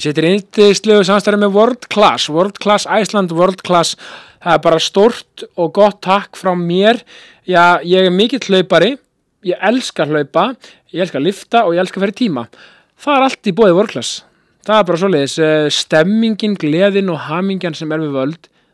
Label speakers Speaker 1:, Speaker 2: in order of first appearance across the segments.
Speaker 1: Sittir yndislegu samstæri með World Class, World Class Iceland, World Class. Það er bara stórt og gott takk frá mér. Já, ég er mikill hlaupari, ég elska að hlaupa, ég elska að lifta og ég elska að fyrir tíma. Það er allt í bóði World Class. Það er bara svoleiðis, eh, stemmingin, gleðin og hamingjan sem er við völd,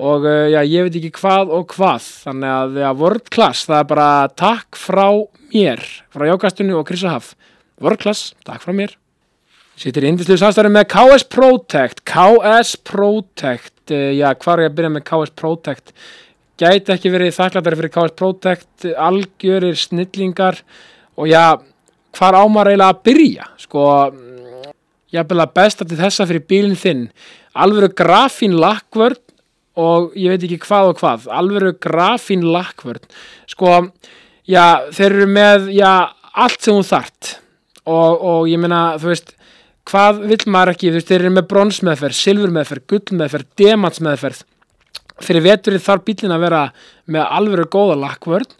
Speaker 1: og uh, já, ég veit ekki hvað og hvað þannig að ja, vörklass, það er bara takk frá mér, frá Jókastunni og Krissa Haf, vörklass, takk frá mér Sýttir indislu samstæðum með KS Protect KS Protect uh, já, hvað er ég að byrja með KS Protect gæti ekki verið þakklættari fyrir KS Protect, algjörir snillingar og já, hvar ámar eiginlega að byrja sko, mm, jafnvel að besta til þessa fyrir bílinn þinn alvöru grafín lakkvörn og ég veit ekki hvað og hvað alvöru grafín lakkvörn sko, já, þeir eru með já, allt sem hún þart og, og ég meina, þú veist hvað vill maður ekki, þú veist, þeir eru með bronsmeðferð, silfurmeðferð, gullmeðferð demansmeðferð fyrir veturinn þarf bílinn að vera með alvöru góða lakkvörn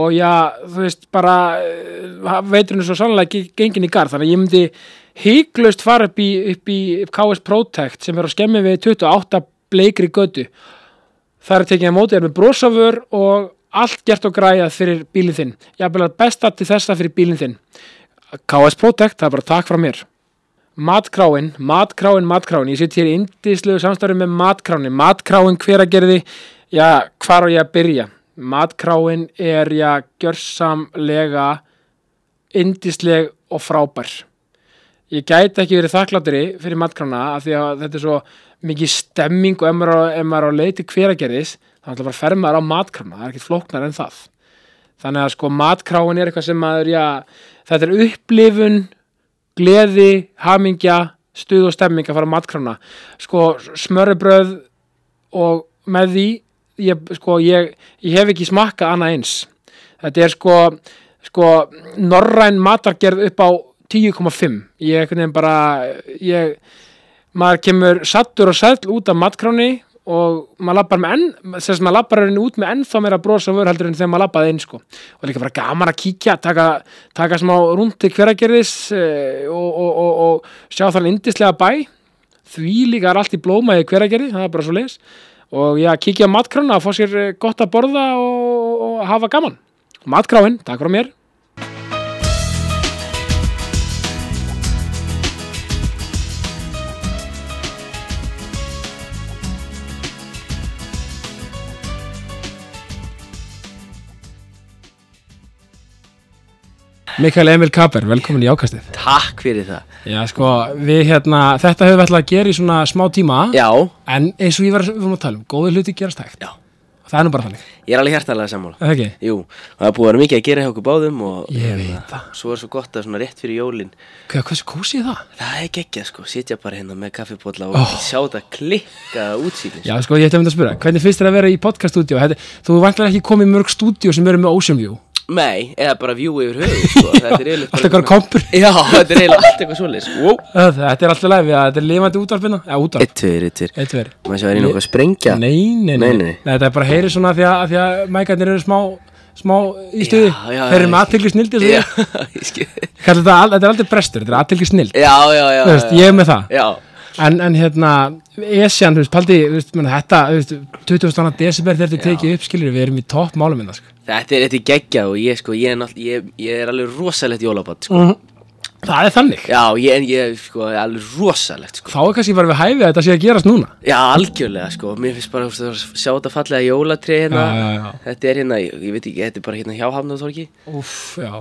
Speaker 1: og já, þú veist, bara eh, veturinn er svo sannlega ge- gengin í garð þannig að ég myndi hygglust fara upp í, upp í upp KS Protect sem er á skemmi við 28 bleikri götu það er tekið á móti er með brosafur og allt gert og græjað fyrir bílinn þinn jafnvel að besta til þessa fyrir bílinn þinn KS Protect, það er bara takk frá mér Matkráin, matkráin, matkráin Ég sitt hér í indislegu samstarfi með matkráin Matkráin hver að gerði Já, hvar á ég að byrja Matkráin er, já, gjörsamlega Indisleg og frábær Ég gæti ekki verið þakklátri fyrir matkrána af því að þetta er svo mikið stemming og ef maður er á- ef maður er á leiti hver að gerðis þá ætla bara að ferma þær á matkrána það er ekkert flóknar en það þannig að sko matkráin er eitthvað sem maður já, þetta er upplifun gleði, hamingja, stuð og stemming að fara á matkrána. Sko, smörrebröð og með því, ég, sko, ég, ég hef ekki smakkað annað eins. Þetta er sko, sko, norræn matargerð upp á 10,5. Ég einhvern veginn bara, ég, maður kemur sattur og sæll út af matkráni og maður lappar með enn, sem sem maður lappar henni út með ennþá meira brosa vör heldur en þegar maður lappaði inn sko. Og líka bara gaman að kíkja, taka, taka smá rúndi hveragerðis eh, og, og, og, og sjá þann indislega bæ. Því líka er allt í blóma í hveragerði, það er bara svo leis. Og já, kíkja á matkrána að fá sér eh, gott að borða og, og hafa gaman. Matkráin, takk frá mér. Mikael Emil Kaper, velkomin í ákastið.
Speaker 2: Takk fyrir það
Speaker 1: Já, sko, við hérna, þetta höfum við ætlað að gera í svona smá tíma,
Speaker 2: Já,
Speaker 1: en eins og ég var við vorum að tala um, góði hluti gerast hægt.
Speaker 2: Já.
Speaker 1: Og Það er nú bara þannig,
Speaker 2: ég er alveg hjartalega sammála
Speaker 1: er það ekki?
Speaker 2: Jú, og það er búið að vera mikið að gera hjá okkur báðum og
Speaker 1: Ég
Speaker 2: hérna,
Speaker 1: veit það.
Speaker 2: Svo er svo gott að svona rétt fyrir jólin
Speaker 1: Hvað, hversu kósið er það?
Speaker 2: Það er geggjað sko, sitja bara hérna með kaffibólla og
Speaker 1: Oh.
Speaker 2: sjá þetta klikka útsýnis
Speaker 1: Já, sko, ég ætti að mynda að spura, hvernig finnst þér að vera í podcaststúdíu? Þetta- Þú vantilega ekki komið í mörg stúdíu sem eru með Ocean View.
Speaker 2: Nei, eða bara view yfir höfuð sko, þetta er eiginlega
Speaker 1: Allt eitthvað kompur.
Speaker 2: Já, þetta er eiginlega allt eitthvað svoleiðis wow.
Speaker 1: Þetta er alltaf læfið að þetta er lifandi útvarpina, eða útvarp,
Speaker 2: Eitt fyrir, eitt fyrir
Speaker 1: eitt verið.
Speaker 2: Maður sé að reyna okkur að sprengja
Speaker 1: Nei, nei, nei,
Speaker 2: Nei, nei.
Speaker 1: þetta er bara heyri svona af því að, af því að mækarnir eru smá, smá í stuði,
Speaker 2: Já, já,
Speaker 1: þeir eru
Speaker 2: já,
Speaker 1: með aðtilgi snildi,
Speaker 2: Já, ég skil
Speaker 1: þetta al- þetta er aldrei brestur, þetta er aðtilgi snild.
Speaker 2: Já, já, já,
Speaker 1: Þú veist,
Speaker 2: já,
Speaker 1: ég er með það.
Speaker 2: já.
Speaker 1: En, en hérna, Esjan, þú veist, paldi, þú veist, menn, þetta, þú veist, 22. desember þegar þetta tekið upp, skiljur, við erum í topp málum innan, sko.
Speaker 2: Þetta er eitt í geggjað og ég sko, ég er, nátt- ég, ég er alveg rosalegt jólabat sko.
Speaker 1: Það er þannig.
Speaker 2: Já, ég, en ég sko, er alveg rosalegt sko.
Speaker 1: Þá er kannski bara við hæfið að þetta sé að gerast núna.
Speaker 2: Já, algjörlega sko, mér finnst bara þú veist, að sjá þetta fallega jólatrið hérna
Speaker 1: Já, já, já.
Speaker 2: Þetta er hérna, ég, ég veit ekki, þetta er bara hérna hjá Hafnatorki
Speaker 1: Úff, já.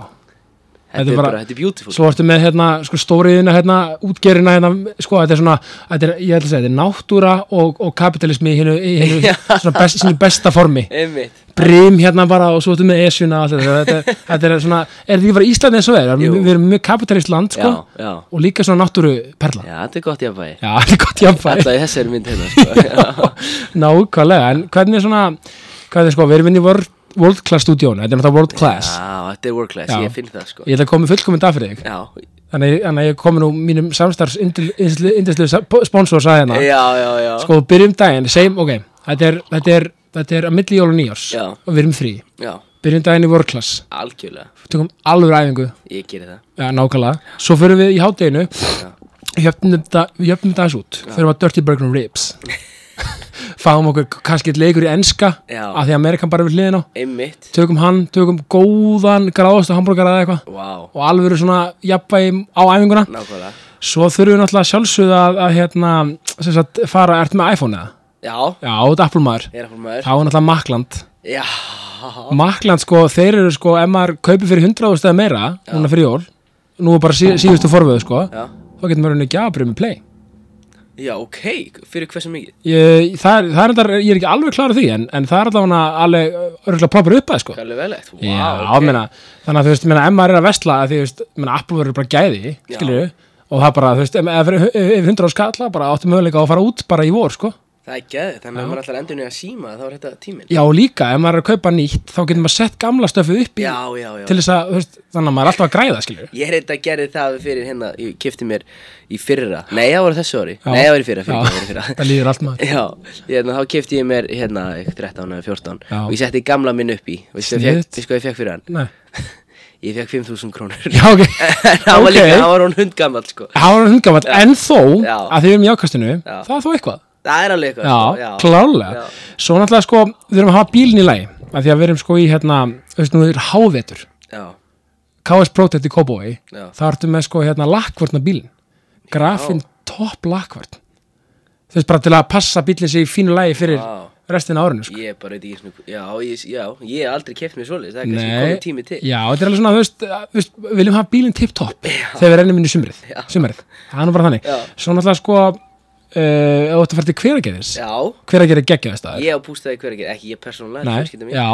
Speaker 1: Þetta
Speaker 2: Þetta
Speaker 1: er
Speaker 2: er
Speaker 1: bara-
Speaker 2: bara, þetta er beautiful
Speaker 1: Svo ertu með hérna, sko, stóriðina hérna, útgerina hérna, sko, þetta er svona, þetta er, ég ætla að segja, þetta er náttúra og, og kapitalismi í hinu, í hinu
Speaker 2: Já.
Speaker 1: svona best, sínu besta formi.
Speaker 2: Einmitt
Speaker 1: Brim hérna bara og svo ertu með esjuna og allt þetta, þetta, þetta er svona, er þetta ekki bara Íslandi eins og er,
Speaker 2: Jú.
Speaker 1: við erum mjög kapitalist land, sko,
Speaker 2: Já, já
Speaker 1: og líka svona náttúru perla. Já,
Speaker 2: Já, þetta er gott jafnvægi
Speaker 1: þetta er gott jafnvæg,
Speaker 2: Alltaf í þessari mynd hérna sko. Já.
Speaker 1: nákvæmlega, en hvernig svona, hvernig sko, við erum inn í World, world Class stúdíónu, þetta er náttúrulega World Class.
Speaker 2: Já, þetta er work class,
Speaker 1: Já.
Speaker 2: ég finn það sko
Speaker 1: Ég ætla að koma fullkominn dag fyrir þig.
Speaker 2: Já,
Speaker 1: Þannig, þannig að ég komin úr mínum samstarfs indislu sponsor
Speaker 2: já,
Speaker 1: sæðina
Speaker 2: já, já
Speaker 1: hérna. sko byrjum daginn, segjum, ok þetta er, þetta er, þetta er að milli jól og nýjárs
Speaker 2: Já.
Speaker 1: og við erum frí,
Speaker 2: Já,
Speaker 1: byrjum daginn í world class
Speaker 2: algjörlega,
Speaker 1: tökum alveg æfingu,
Speaker 2: ég gerir það
Speaker 1: já nákvæmlega svo förum við í hátteginu
Speaker 2: Já.
Speaker 1: jöfnum þetta við jöfnum þetta aðeins út, förum að Dirty Burger and Ribs fáum okkur kannski eitt leikur í enska
Speaker 2: Já.
Speaker 1: af því að Amerikan bara er við hliðin á
Speaker 2: Einmitt
Speaker 1: tökum hann, tökum góðan gráðasta hambúrgara eða eitthvað
Speaker 2: Vá, wow.
Speaker 1: og alveg svona jafnvægi á æfinguna
Speaker 2: nákvæmlega
Speaker 1: Svo þurfum við náttúrulega sjálfsögða að, að hérna, sem sagt, fara, ertu með iPhone eða?
Speaker 2: Já,
Speaker 1: Já, þetta er Apple maður.
Speaker 2: ég er að fór maður
Speaker 1: Þá er náttúrulega Makland.
Speaker 2: Já,
Speaker 1: Makland, sko, þeir eru sko, ef maður kaupir fyrir 100 eða meira, núna fyrir jól, nú er bara sí, síðustu forvöðu, sko,
Speaker 2: já,
Speaker 1: þá getur maður unni gjafabrið með Play.
Speaker 2: já, ok, fyrir hversu mikið?
Speaker 1: Ég, það, er, það er þetta, ég er ekki alveg klar á því, en, en það er allavega alveg örgulega proper uppæð, sko.
Speaker 2: Það er alveg velegt, vá,
Speaker 1: Já,
Speaker 2: ok
Speaker 1: meina, þannig að þú veist, meina, ef maður er að vesla, að því, þú veist, meina, Apple verður bara gæði,
Speaker 2: Já.
Speaker 1: skilur og það bara, þú veist, ef ef- ef- ef 100 á skalla, bara áttu möguleika á að fara út bara í vor, sko.
Speaker 2: Það er geðið, þannig að maður ætlar endur niður að síma þá er þetta tíminn
Speaker 1: Já, og líka, ef maður er að kaupa nýtt þá getur maður sett gamla stöfið upp í
Speaker 2: Já, já, já
Speaker 1: til þess að, þú veist, þannig að maður er alltaf að græða, skilur
Speaker 2: Ég er þetta að gera það fyrir hérna, ég kipti mér í fyrra Nei, það var þessu ári,
Speaker 1: Já.
Speaker 2: nei, það var í fyrra, fyrir, það var í
Speaker 1: Já,
Speaker 2: fyrra
Speaker 1: það líður allt maður
Speaker 2: Já, hérna, þá kefti ég mér hérna eitthvað 13 eða 14
Speaker 1: Já.
Speaker 2: og ég setti gamla minn upp í Veistu hvað ég
Speaker 1: Sniðugt.
Speaker 2: fekk- veistu hvað ég fekk fyrir hann?
Speaker 1: Nei.
Speaker 2: Ég fekk 5.000 krónur
Speaker 1: Já, ok,
Speaker 2: Það var líka,
Speaker 1: Ok.
Speaker 2: það var hún hundgamall sko
Speaker 1: það var hundgamall en þó,
Speaker 2: Já.
Speaker 1: að því við erum í ákastinu
Speaker 2: Já.
Speaker 1: það er þó eitthvað,
Speaker 2: Það er alveg eitthvað
Speaker 1: já,
Speaker 2: sko,
Speaker 1: klárlega
Speaker 2: Já.
Speaker 1: Svo náttúrulega, sko, við erum að hafa bílinn í lagi að því að við erum, sko, í, hérna, þú veist, nú er hávetur
Speaker 2: Já,
Speaker 1: KS Protect í Kobói
Speaker 2: Já.
Speaker 1: þá ertu með, sko, hérna, lakkvörna bílinn grafinn topp lakkvörn þú veist, bara til að passa bílinn sig í fínu lagi fyrir
Speaker 2: Vá.
Speaker 1: restina af árinu, sko.
Speaker 2: ég bara veit ekki svona Já, ég, já, ég hef aldrei keft mér svoleiðis Það er kannski
Speaker 1: Nei,
Speaker 2: komið tími til
Speaker 1: já, þetta er alveg svona, þú veist, að- þú veist við viljum hafa bílinn tipp-topp þegar við rennum inn í sumrið, sumrið, það er nú bara þannig.
Speaker 2: Já.
Speaker 1: Svo náttúrulega sko, uh, ef þú ætti að fara til hveragerðis,
Speaker 2: Já,
Speaker 1: hveragerði geggjaði staðar.
Speaker 2: ég á bústaði hver ekki, ekki ég persónulega, fjölskylda
Speaker 1: Nei,
Speaker 2: mín.
Speaker 1: já,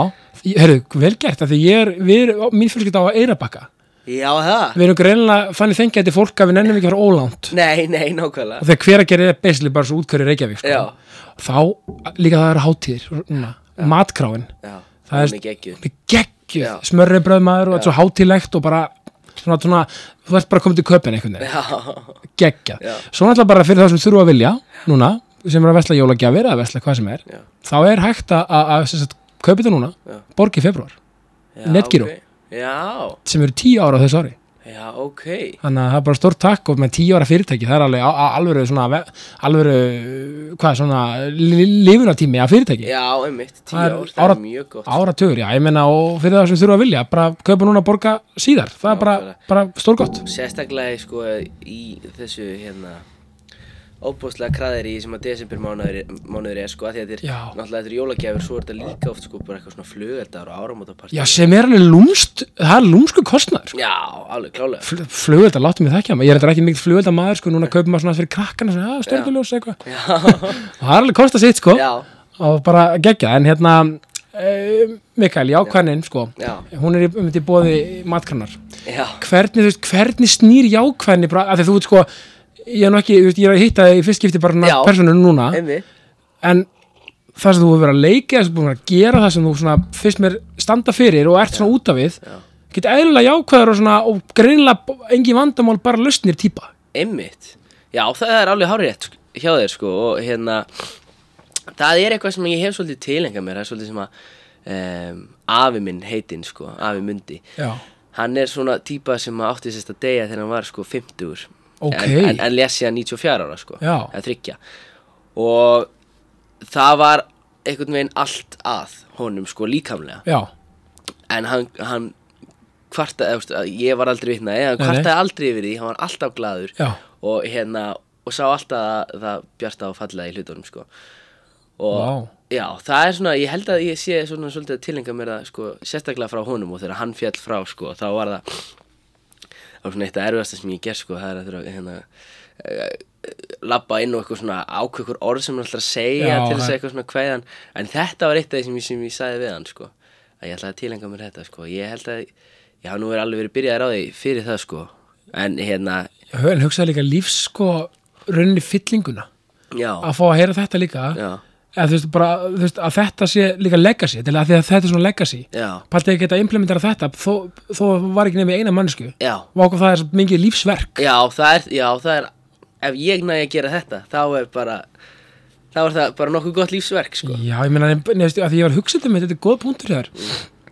Speaker 1: Ég- heyrðu, vel gert, af því ég er, við erum, mín fjölskylda á að eirabakka.
Speaker 2: Já, það?
Speaker 1: Við erum greinlega fannig þengið þetta fólk að við nennum ekki að fara ólánt.
Speaker 2: Nei, nei, nákvæmlega.
Speaker 1: Og þegar hveragerði er basically bara svo útkörri Reykjavík, sko.
Speaker 2: Já.
Speaker 1: Þá, líka það eru hátíðir, svona, matkráin,
Speaker 2: Já,
Speaker 1: Það er-
Speaker 2: það er mikið ekki.
Speaker 1: hún er geggjuð,
Speaker 2: Já.
Speaker 1: smörribröð maður og þetta er svo hátíðlegt og bara, svona, svona, þú ert bara komið til köpinn einhvern veginn.
Speaker 2: Já,
Speaker 1: geggjað,
Speaker 2: Já.
Speaker 1: svo náttúrulega bara fyrir þá sem þurfa að vilja núna, sem er að vesla jólagjafir eða vesla hvað sem er,
Speaker 2: Já.
Speaker 1: þá er hægt að- að að sem sagt, kaupi þetta núna,
Speaker 2: Já.
Speaker 1: borgi í februar,
Speaker 2: já.
Speaker 1: Netgyro.
Speaker 2: ok. Já,
Speaker 1: sem eru tíu ára á þessu ári
Speaker 2: já, ok.
Speaker 1: þannig að það er bara stórt takk og með tíu ára fyrirtæki það er alveg á- á- alvöru svona ve- alvöru, hvað, svona li- lifunartími af fyrirtæki
Speaker 2: Já, einmitt, tíu
Speaker 1: Það er
Speaker 2: ár, það
Speaker 1: ára-
Speaker 2: er mjög gott.
Speaker 1: áratugur, já, ég meina og fyrir það sem þurfa að vilja, bara kaupa núna borga síðar, það er bara,
Speaker 2: Nákvæmlega.
Speaker 1: bara stór gott
Speaker 2: Sérstaklega, sko, í þessu, hérna, óbúslega kraðir í sem að desember mánuður, mánuður er, sko, að því að þetta er,
Speaker 1: Já.
Speaker 2: náttúrulega þetta er jólagjafir, svo er þetta líka oft, sko, bara eitthvað svona flugeldar og áramótapartí.
Speaker 1: já, sem er alveg lúmst, það er lúmsku kostnaður sko.
Speaker 2: Já, alveg, klálega.
Speaker 1: Fl- flugvelda, láttu mig þekkja maður ég er þetta ekki mikill flugvelda maður sko, núna kaupir maður svona fyrir krakkana svona, að stjörnuljós eitthvað og það er alveg kosta sitt sko
Speaker 2: Já,
Speaker 1: og bara geggja, en hérna e, Mikael, jákvæðnin sko
Speaker 2: já,
Speaker 1: hún er í- um þetta bóði matkranar
Speaker 2: já,
Speaker 1: hvernig, þú veist, hvernig snýr jákvæðni bara, af því að þú veit sko ég er nú ekki, þú veist, ég er að hitta þig í fyrst skipti bara
Speaker 2: Já.
Speaker 1: svona persónunum núna,
Speaker 2: einmitt.
Speaker 1: en það sem þú hefur verið að leika, það sem þú hefur verið að gera það sem þú svona fyrst mér standa fyrir og ert svona út af við,
Speaker 2: Já.
Speaker 1: get eðlilega jákvæður og svona, og greinlega engin vandamál bara lausnir típa
Speaker 2: Einmitt. Já, það er alveg hárétt sk- hjá þér sko og hérna það er eitthvað sem ég hef svolítið tilengað mér það er svolítið sem að um, afi minn heitinn sko, afi mundi
Speaker 1: Já,
Speaker 2: hann er svona típa sem að átti sérst að deyja þegar hann var sko 50
Speaker 1: Ok.
Speaker 2: en, en, en lesi hann 94 ára sko
Speaker 1: Já.
Speaker 2: eða þryggja og það var einhvern veginn allt að honum sko líkamlega
Speaker 1: já,
Speaker 2: en hann, hann kvartaði, eða, þú veist, ég var aldrei vitnaði hann
Speaker 1: Nei, nei.
Speaker 2: kvartaði aldrei yfir því, hann var alltaf glaður
Speaker 1: já,
Speaker 2: og hérna og sá alltaf það, það bjarta og fallega í hlutunum sko og
Speaker 1: Vá.
Speaker 2: já, það er svona, ég held að ég sé svona svolítið að tilenga mér það sko sérstaklega frá honum og þegar hann fjall frá sko þá var það það var svona eitt af erfiðasta sem ég ger sko, það er að þurfa hérna, labba inn og eitthvað svona ákveðkur orð sem hann ætlar að segja
Speaker 1: Já,
Speaker 2: til þess
Speaker 1: það-
Speaker 2: að eitthvað svona kveðan en þetta var eitt af því sem ég, sem ég sagði við hann sko, að ég ætlaði að tilenga mér þetta sko. ég held að, já nú er alveg verið byrjaðar á því fyrir það sko en hérna,
Speaker 1: Hörn hugsaði líka lífs sko rauninni fyllinguna
Speaker 2: já,
Speaker 1: að fá að heyra þetta líka
Speaker 2: já,
Speaker 1: eða þú veist bara þú veist, að þetta sé líka legacy til að því að þetta er svona legacy
Speaker 2: já
Speaker 1: Paldi að geta implementera þetta þó, þó var ekki nefnir eina mannsku
Speaker 2: já,
Speaker 1: Vákum það er svo mikið lífsverk
Speaker 2: já, það er, já, það er ef ég næg að gera þetta, þá er bara þá er það bara nokkuð gott lífsverk sko,
Speaker 1: Já, ég meina, nefnst, að því ég var hugsað um þetta, þetta er góð punktur hér mm.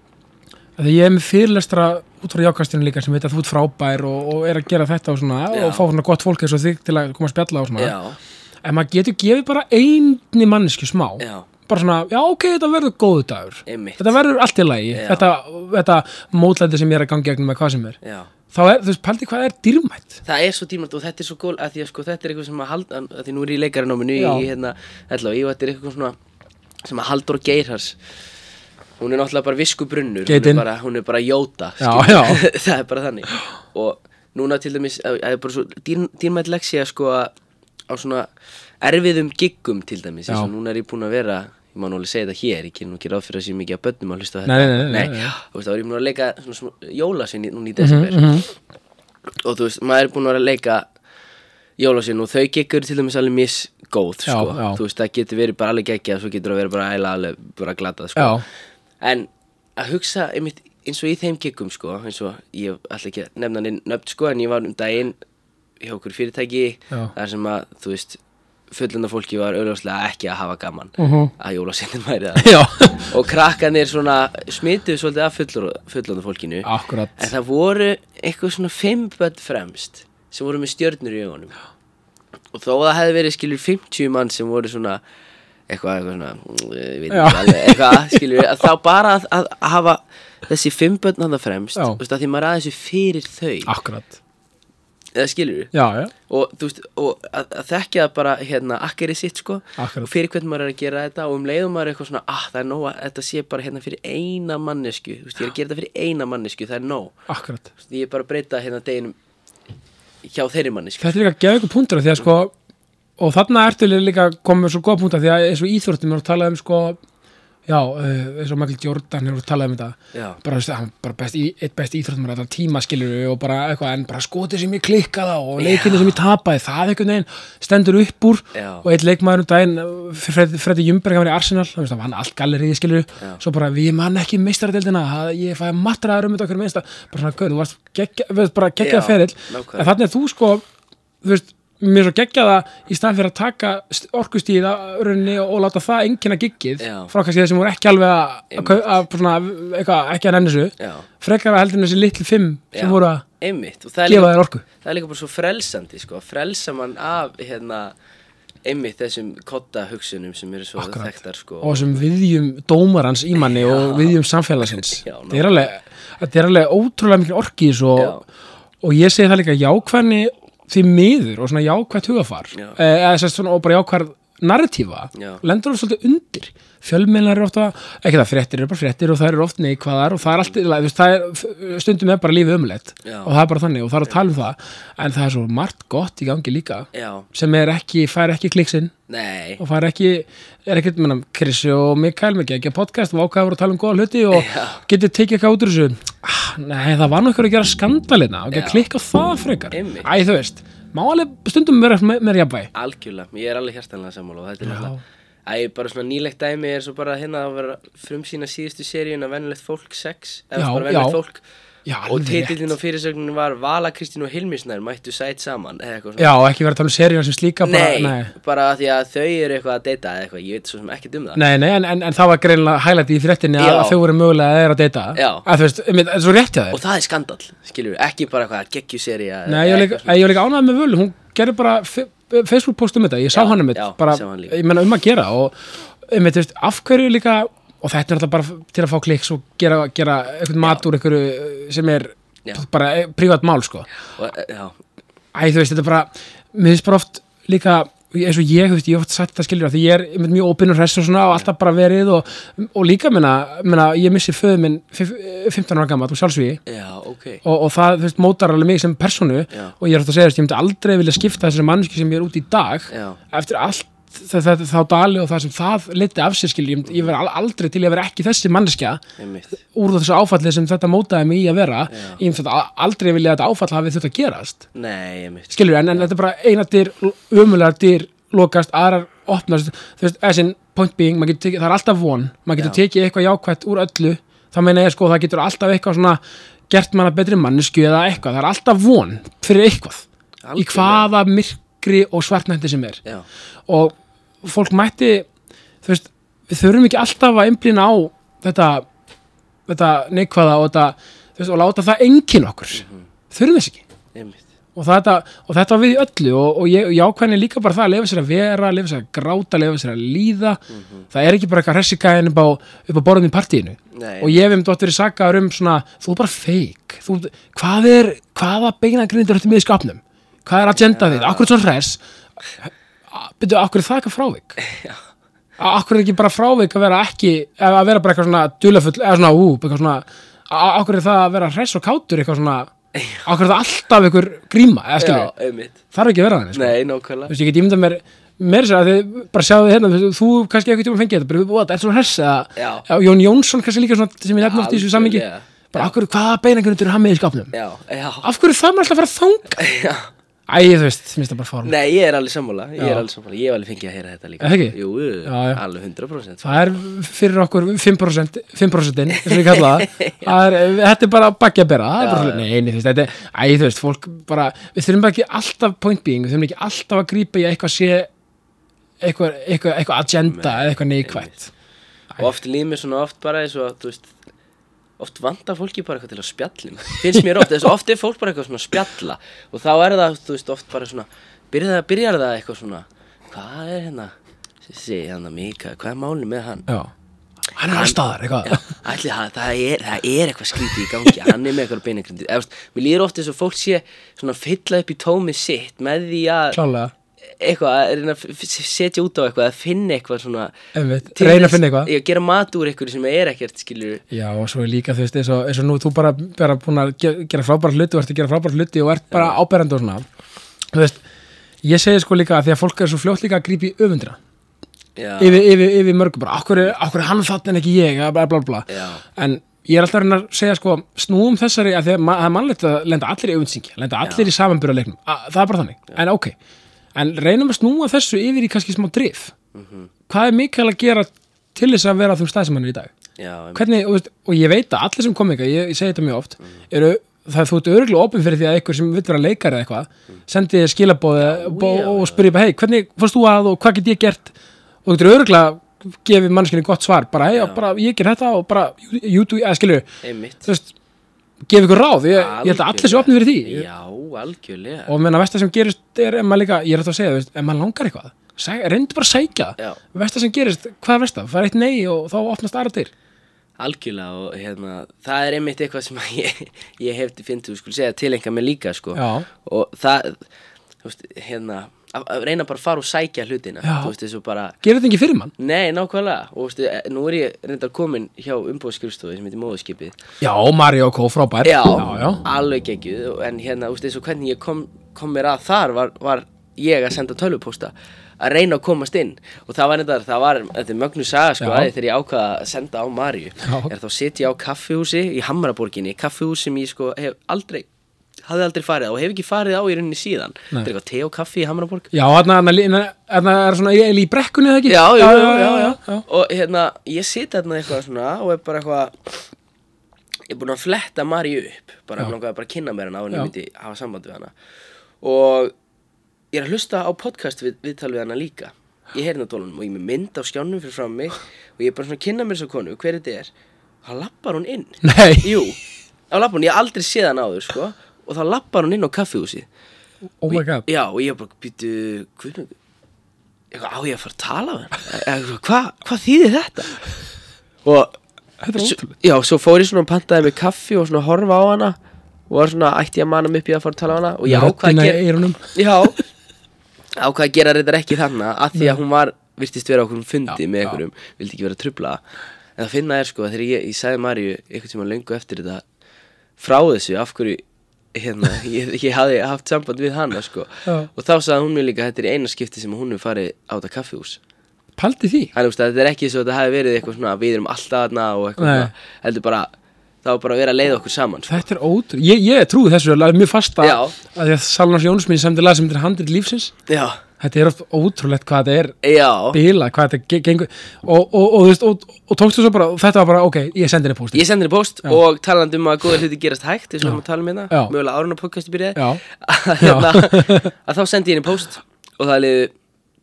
Speaker 1: að því ég er með fyrirlestra út frá jákastinu líka sem veit að þú ert frábær og, og er að gera þetta og svona
Speaker 2: Já.
Speaker 1: og fá svona gott fólk eins og þig til að koma að spjalla og svona
Speaker 2: já,
Speaker 1: en maður getur gefið bara einni mannesku smá
Speaker 2: já
Speaker 1: bara svona, já ok, þetta verður góðu dagur
Speaker 2: Einmitt.
Speaker 1: þetta verður allt í lagi
Speaker 2: Já.
Speaker 1: þetta, þetta mótlæti sem ég er að gangi gegnum með hvað sem er
Speaker 2: Já.
Speaker 1: þá er, þú veist, paldi hvað er dýrmætt
Speaker 2: Það er svo tímalt og þetta er svo gól að því að sko, þetta er eitthvað sem að halda að því nú er ég í leikarináminu í
Speaker 1: Já.
Speaker 2: hérna ætla, og þetta er eitthvað svona sem að Haldur Geirhars hún er náttúrulega bara viskubrunnur
Speaker 1: Geitin.
Speaker 2: hún er bara, hún er bara jóta
Speaker 1: Já,
Speaker 2: skilur.
Speaker 1: já.
Speaker 2: það er bara þannig og núna til dæmis að að er bara svo dýr, dýrmætt leksi að sko að á svona erfiðum giggum til dæmis
Speaker 1: Já.
Speaker 2: eins og núna er ég búinn að vera ég má nú alveg segja þetta hér, ég kynna nú ekki ráð fyrir að sé mikið að bönnum að hlusta á þetta
Speaker 1: Nei, nei, nei, nei, Mhm, nei.
Speaker 2: Þú veist, þá er ég búinn að leika svona, svona jólasinn í- núna í desember og þú veist, maður er búinn að vera að leika jólasinn og þau gekkur til dæmis alveg misgóð,
Speaker 1: Já,
Speaker 2: sko
Speaker 1: já.
Speaker 2: þú veist, það getur verið bara alveg geggjað svo getur það verið bara æla alveg bara glatað, sko
Speaker 1: Já.
Speaker 2: en að hugsa einmitt eins og í þeim geggum, sko eins og ég ætla ekki að nefna neinn nöfn, sko en ég var um daginn hjá okkur fyrirtæki
Speaker 1: Já.
Speaker 2: þar sem að, þú veist fullanda fólki var auðvitað ekki að hafa gaman
Speaker 1: Mhm.
Speaker 2: að jólasinnin væri það
Speaker 1: já,
Speaker 2: og krakkan er svona smituð svolítið af fullur, fullanda fólkinu
Speaker 1: akkurat
Speaker 2: En það voru eitthvað svona fimm börn fremst sem voru með stjörnur í augunum og þó að það hefði verið skilur 50 mann sem voru svona eitthvað, eitthvað svona, mm, ég veit
Speaker 1: Já.
Speaker 2: ekki alveg eitthvað, skilur við, að þá bara að, að hafa þessi fimm börn að það fremst
Speaker 1: Já.
Speaker 2: þú veist, að því maður er aðeins fyrir þau
Speaker 1: akkurat,
Speaker 2: eða skilur við,
Speaker 1: já, já,
Speaker 2: og þú veist og að, að þekkja það bara, hérna, akkeri sitt sko,
Speaker 1: Akkurat.
Speaker 2: og fyrir hvernig maður er að gera þetta og um leiðum maður er eitthvað svona, ah, það er nóg að þetta sé bara hérna fyrir eina mannesku, þú veist, ég er að gera þetta fyrir eina mannesku, það er nóg
Speaker 1: akkurat
Speaker 2: ég er bara að breyta hérna deginum hjá þeirri manni sko.
Speaker 1: Þetta er líka að gefa ykkur punktur af því að sko og þarna ertu líka komið svo góða punktur því að eins og íþróttum er að tala um sko já, eh, eins og Michael Jordan er að tala um þetta
Speaker 2: Já,
Speaker 1: bara, þú veist, hann bara best, í- einn best íþróttum er að tíma skilur og bara eitthvað en bara skotið sem ég klikkaða og leikinu sem ég tapaði það einhvern veginn stendur upp úr
Speaker 2: Já.
Speaker 1: og einn leikmaður um daginn eh, Freddi, Freddi Jumberg hann var í Arsenal þú veist, hann vann allt galleriði skilur
Speaker 2: Já.
Speaker 1: svo bara við mann ekki meistaradeldina það- ég fæði matraðar um þetta okkur minnsta bara svona gaur, þú varst geggja, við veist, bara
Speaker 2: Já,
Speaker 1: geggjað ferill
Speaker 2: nákvæmlega.
Speaker 1: en þannig er þú sko þú veist, mér er svo geggjaða í staðan fyrir að taka orkustíð að rauninni og, og láta það enginn að giggið
Speaker 2: Já.
Speaker 1: frá kannski þeir sem voru ekki alveg að, að, kau- að svona, eitthvað, ekki að nenni þessu
Speaker 2: já,
Speaker 1: frekar að heldur en þessi litlu fimm sem
Speaker 2: Já.
Speaker 1: voru að
Speaker 2: einmitt og það er,
Speaker 1: gefa
Speaker 2: líka,
Speaker 1: þér orku
Speaker 2: það er líka bara svo frelsandi sko, að frelsa mann af hérna einmitt þessum kotta hugsunum sem eru svo
Speaker 1: Akkurat.
Speaker 2: þekktar sko
Speaker 1: og sem viðjum dómarans í manni og viðjum samfélagsins
Speaker 2: Já,
Speaker 1: það er alveg, þetta er alveg ótrúlega mikil orki
Speaker 2: Já.
Speaker 1: og, og ég segi það líka jákvæðni því miður og svona jákvæðt hugafar
Speaker 2: Já.
Speaker 1: Eh, eða sérst svona og bara jákvæð narratífa
Speaker 2: Já.
Speaker 1: lendur það svolítið undir fjölmiðlar eru ofta, ekki það fréttir eru bara fréttir og það eru oft neikvaðar og það er allt í lagi, þú veist, það er, stundum er bara lífið umleitt
Speaker 2: Já.
Speaker 1: og það er bara þannig og það er að tala um það en það er svo margt gott í gangi líka
Speaker 2: já,
Speaker 1: sem er ekki, fær ekki kliksinn
Speaker 2: nei,
Speaker 1: og fara ekki, er ekkert mennum, Krissi og Mikael mikið ekki að podcast og ákvæða voru að tala um góða hluti og
Speaker 2: Já.
Speaker 1: getið tekið eitthvað út úr þessu ah, nei, það var nú eitthvað að gera skandalina og ekki að
Speaker 2: Já.
Speaker 1: klikka á það frekar
Speaker 2: Einmitt.
Speaker 1: æ, þú veist, má alveg stundum vera með, með jafnvæg
Speaker 2: algjörlega ég er alveg hjartanlega sammála og þetta er
Speaker 1: Já.
Speaker 2: náttúrulega Æ, bara svona nýlegt dæmi er svo bara hérna að vera frumsýna síðustu seríun að Venulegt fólk 6 eða
Speaker 1: Já,
Speaker 2: bara
Speaker 1: já.
Speaker 2: Venulegt fólk
Speaker 1: já,
Speaker 2: og
Speaker 1: alveg rétt.
Speaker 2: titillin og fyrirsögnin var Vala Kristín og Hilmisnær mættu sæt saman eða eitthvað svona
Speaker 1: já, ekki vera að tala um seríun sem slíka bara,
Speaker 2: nei, bara að því að þau eru eitthvað að deyta eða eitthvað, ég veit svo sem ekkert um það
Speaker 1: Nei, nei, en, en, en það var greinlega hælætt í fréttinni að,
Speaker 2: Já.
Speaker 1: að þau voru mögulega að þeirra að deyta
Speaker 2: Já.
Speaker 1: að þú veist, einmitt, það er svo rétt hjá þeir
Speaker 2: og það er skandal, skilur við, ekki bara eitthvað geggjuseri
Speaker 1: Nei, ég var líka, ég var líka ánægð með völu, hún gerði bara fe- Facebook post um þetta, ég sá
Speaker 2: Já,
Speaker 1: hann um þetta,
Speaker 2: já,
Speaker 1: bara,
Speaker 2: sá hann líka.
Speaker 1: ég menna um að gera og um þetta, veist, af hverju líka, og þetta er alltaf bara til að fá kliks og gera, gera eitthvað mat úr einhverju eh, sem er
Speaker 2: Já.
Speaker 1: bara eh, prívat mál, sko.
Speaker 2: og, já,
Speaker 1: Æ, þú veist, þetta er bara, mér finnst bara oft líka, eins og ég, þú veist, ég hef oft sagt það skilur því ég er einmitt mjög opinn og hress og svona og alltaf bara verið og, og líka minna, minna ég missi föðu minn fif- 15 ára gammal og sjálfsvíi
Speaker 2: já, ok
Speaker 1: og, og það, þú veist, mótar alveg mig sem personu
Speaker 2: Já.
Speaker 1: og ég er oft að segja, þú veist, ég myndi aldrei vilja skipta þessari mannsku sem ég er út í dag
Speaker 2: Já.
Speaker 1: eftir allt það, það, þá dali og það sem það liti af sér skilur, ég, myndi- ég verð al- aldrei til ég verð ekki þessi mannskja
Speaker 2: einmitt,
Speaker 1: úr þessu áfallið sem þetta mótaði mig í að vera ég myndi þetta a- aldrei vilja að þetta áfall hafi þurft að gerast
Speaker 2: nei, einmitt
Speaker 1: skilur en, en þetta er bara eina dyr ömulegar dyr lokast, aðrar opnast þú veist, þessin point being, maður getur tekið, það er alltaf von maður getur
Speaker 2: Já.
Speaker 1: tekið eitthvað jákvætt úr öllu þá meina ég sko, það getur alltaf eitthvað svona gert manna betri mannesku eða eitthvað það er alltaf von fyrir eitthvað í
Speaker 2: Algjörlega.
Speaker 1: hvaða myrkri og svartnætti sem er
Speaker 2: já,
Speaker 1: og fólk mætti þú veist, við þurfum ekki alltaf að einblýna á þetta, þetta neikvæða og þetta þú veist, og láta það engin okkur
Speaker 2: Mhm.
Speaker 1: þurfum þess ekki
Speaker 2: einmitt
Speaker 1: og þetta, og þetta var við í öllu og, og ég, ég ákveðin líka bara það að lifa sér að vera lifa sér að gráta, lifa sér að líða það er ekki bara eitthvað hressikæðin upp á, upp á borðinu í partíinu
Speaker 2: Nei.
Speaker 1: og ég hef um dótt verið sakaður um svona þú er bara feik, þú, hvað er hvaða beina grindir þetta með í skapnum hvað er agenda ja. þitt, akkur er svona hress byrju, akkur er það eitthvað frávik akkur er ekki bara frávik að vera ekki, að vera bara eitthvað svona dulafull, eða svona ú, eitthvað svona akkur er það að vera hress og kátur eitthvað svona akkur er það alltaf einhver gríma, eða skilur
Speaker 2: já, einmitt,
Speaker 1: þarf ekki að vera þannig sko.
Speaker 2: nei,
Speaker 1: þú
Speaker 2: nákvæmlega
Speaker 1: veist, ég get ímyndað mér mér sér að þið bara sjáðu þið hérna þú, veist, þú kannski eitthvað tíma fengið þetta, bara, "Vá, þetta er svona hress eða,
Speaker 2: Já.
Speaker 1: Jón Jónsson kannski líka svona sem ég nefnum oft í þessu sammingi
Speaker 2: Algjörlega.
Speaker 1: bara af hverju, hvaða beinagrundur er hann með í skapnum
Speaker 2: já, já,
Speaker 1: af hverju það maður alltaf að fara að þanga
Speaker 2: já
Speaker 1: æ, þú veist, minnst það bara fórum
Speaker 2: Nei, ég er alveg sammála, ég
Speaker 1: Já.
Speaker 2: er alveg sammála, ég hef alveg fengið að heyra þetta líka
Speaker 1: Er það ekki?
Speaker 2: Jú,
Speaker 1: Já, já.
Speaker 2: alveg 100%
Speaker 1: það er fyrir okkur 5% 5% inn, sem ég kalla það Það er, þetta er bara að bakja að bera það er bara,
Speaker 2: Já,
Speaker 1: svona- nei, nei, þú veist, þetta er, æ, þú veist, fólk bara, við þurfum bara ekki alltaf point being, við þurfum ekki alltaf að grípa í að eitthvað sé eitthvað, eitthvað, eitthvað agenda eða eitthvað neikvætt
Speaker 2: Og oft límið svona oft bara eins og, þú veist Oft vantar fólki bara eitthvað til að spjallin Finnst mér oft, þess að oft er fólk bara eitthvað svona að spjalla Og þá er það, þú veist, oft bara svona Byrjar það, byrjar það eitthvað svona Hvað er hérna, þessi hérna Mika, hvað er málið með hann?
Speaker 1: já, hann er allstaðar, eitthvað
Speaker 2: Já, ætli það, það er, það er eitthvað skrítið í gangi, hann er með eitthvað beinagrindi Eða, þú veist, Mér líður oft eins og fólk sé svona að fylla upp í tómið sitt með því að
Speaker 1: klálega,
Speaker 2: eitthvað, að reyna að f- f- setja út á eitthvað að finna eitthvað svona
Speaker 1: einmitt,
Speaker 2: til
Speaker 1: reyna
Speaker 2: þess-
Speaker 1: að finna eitthvað
Speaker 2: Já, gera mat úr eitthvað sem er ekkert, skilur
Speaker 1: já, og svo er líka, þú veist, eins og, eins og nú þú bara, bara búin að ge- gera frábæra hluti og ert að gera frábæra hluti og ert bara áberandi og svona þú veist, ég segi sko líka að því að fólk er svo fljótt líka að grípa í öfundra
Speaker 2: Já,
Speaker 1: yfir, yfir, yfir mörgum bara, okkur er, okkur er hann þarna en ekki ég bla, bla, bla.
Speaker 2: Já.
Speaker 1: en ég er alltaf að reyna að segja sko, snúum þessari að því að ma- það er mannlegt að lenda allir í öfnsingi lenda allir í samanbyrjuleiknum, það er bara þannig en ok, en reynum að snúa þessu yfir í kannski smá drif
Speaker 2: Mhm.
Speaker 1: hvað er mikil að gera til þess að vera á þeim stað sem hann er í dag
Speaker 2: já, einmitt.
Speaker 1: hvernig, og, veist, og ég veit að allir sem kom eitthvað, ég, ég segi þetta mjög oft
Speaker 2: Mm.
Speaker 1: eru, það er þú ert örgulega opinn fyrir því að einhver sem vill vera leikari eða eitthvað sendi þér skilabóð bó,
Speaker 2: Mm. já,
Speaker 1: og spyrir bara, hei, hvernig fórst þú að og hvað get ég gert og þú getur örgulega gefið mannskinni gott svar, bara, hei, bara, ég ger þetta og bara, you- you do, eða skilju
Speaker 2: einmitt
Speaker 1: þú veist, gefið ykkur ráð ég, ég held að allir sem
Speaker 2: Algjörlega.
Speaker 1: opni fyrir því
Speaker 2: Já, algjörlega
Speaker 1: og meina, veist það sem gerist er, ef maður líka, ég er þetta að segja, þú veist, ef maður langar eitthvað sæ- reyndu bara að sækja
Speaker 2: Já.
Speaker 1: veist það sem gerist, hvað er veist það, það er eitt nei og þá opnast aðra dyr
Speaker 2: Algjörlega og hérna, það er einmitt eitthvað sem að ég, ég hef til fyndið, þú skulle segja, tilengja mig líka, sko.
Speaker 1: Já.
Speaker 2: Og það, þú veist, hérna, að, að reyna bara að fara og sækja hlutina,
Speaker 1: Já.
Speaker 2: þú veist, þessu bara,
Speaker 1: gerir þetta ekki fyrir mann
Speaker 2: nei, nákvæmlega, og þú veist, eh, nú er ég reyndar komin hjá umbóðskrifstofi sem heitir móðskipið.
Speaker 1: Já, Mario Kó frábær
Speaker 2: Já,
Speaker 1: já, já.
Speaker 2: alveg geggjuð, og- en hérna, þú veist, þessu hvernig ég kom, kom mér að þar var, var ég að senda tölvupósta að reyna að komast inn og það var þetta, það var, þetta er mögnu saga sko
Speaker 1: Já.
Speaker 2: aðeins þegar ég ákvaða að senda á Marju
Speaker 1: Já.
Speaker 2: er þá sitt ég á kaffihúsi í Hamraborginni kaffihús sem ég sko hef aldrei hafði aldrei farið á og hef ekki farið á í rauninni síðan
Speaker 1: Nei.
Speaker 2: þetta er eitthvað te og kaffi í Hamraborg
Speaker 1: Já, þarna þarna lí- þarna er svona í, í brekkunni eða ekki
Speaker 2: já, já, já, já,
Speaker 1: já.
Speaker 2: og hérna, ég sit þarna eitthvað svona og er bara eitthvað ég er búinn að fletta Maríu upp bara
Speaker 1: Já.
Speaker 2: langaði bara að kynna mér hana á henni
Speaker 1: Já.
Speaker 2: myndi hafa samband við hana og ég er að hlusta á podcast við, viðtal við hana líka ég heyri hérna dólunum og ég er með mynd á skjánum fyrir fram mig og ég er bara svona að kynna mér svo konu hver þetta er, þá lappar hún inn
Speaker 1: Nei.
Speaker 2: jú, þá lappar hún, ég hef aldrei séð hana áður sko, og þá lappar hún inn á kaffihúsið
Speaker 1: Oh my god
Speaker 2: Já, og ég bara býtu Guðmund Eitthvað á ég að fara að tala við hann Eitthvað, Hvað hva þýðir þetta? Og
Speaker 1: Þetta er
Speaker 2: s-
Speaker 1: ótrúlegt.
Speaker 2: Já, svo fór ég svona og pantaði mig kaffi og svona horfa á hana og var svona ætti ég að manna mig upp í að fara að tala við hana og ég ákvað að
Speaker 1: Röddina í
Speaker 2: gera
Speaker 1: eyrunum.
Speaker 2: Já ákvað að gera reyndar ekki þannig að því að hún var, virtist vera okkur fundi með einhverjum, vildi ekki vera að trubla en það finna er sko að þegar ég, ég sagði Marju einhvern tíma löngu eftir þetta frá þessu af hverju hérna, ég, ég hafði haft samband við hana sko
Speaker 1: Já.
Speaker 2: og þá sagði hún mér líka að þetta er eina skipti sem hún hefur farið á þetta kaffihús
Speaker 1: Paldi því
Speaker 2: Þannig að þetta er ekki svo að þetta hafi verið eitthvað svona við erum alltaf þarna og eitthvað
Speaker 1: Nei.
Speaker 2: svona, heldur bara, það var bara að vera að leiða okkur saman sko.
Speaker 1: Þetta er ótrú, ég, ég trúi þessu alveg mjög fasta
Speaker 2: Já.
Speaker 1: að því að Salunars Jóns mín sem til að sem þetta er handrið lífsins
Speaker 2: Já,
Speaker 1: Þetta er oft ótrúlegt hvað þetta er
Speaker 2: já
Speaker 1: bila, hvað þetta ge- gengur og, og, og, þú veist, og, og tókstu svo bara, þetta var bara ok, ég sendi henni pústi
Speaker 2: Ég sendi henni post og talandi um að góða hluti gerast hægt eins og við erum að tala um hérna,
Speaker 1: Já.
Speaker 2: mögulega árun og podcasti byrjaði
Speaker 1: Já,
Speaker 2: að, hérna, að þá sendi ég henni post og það liðu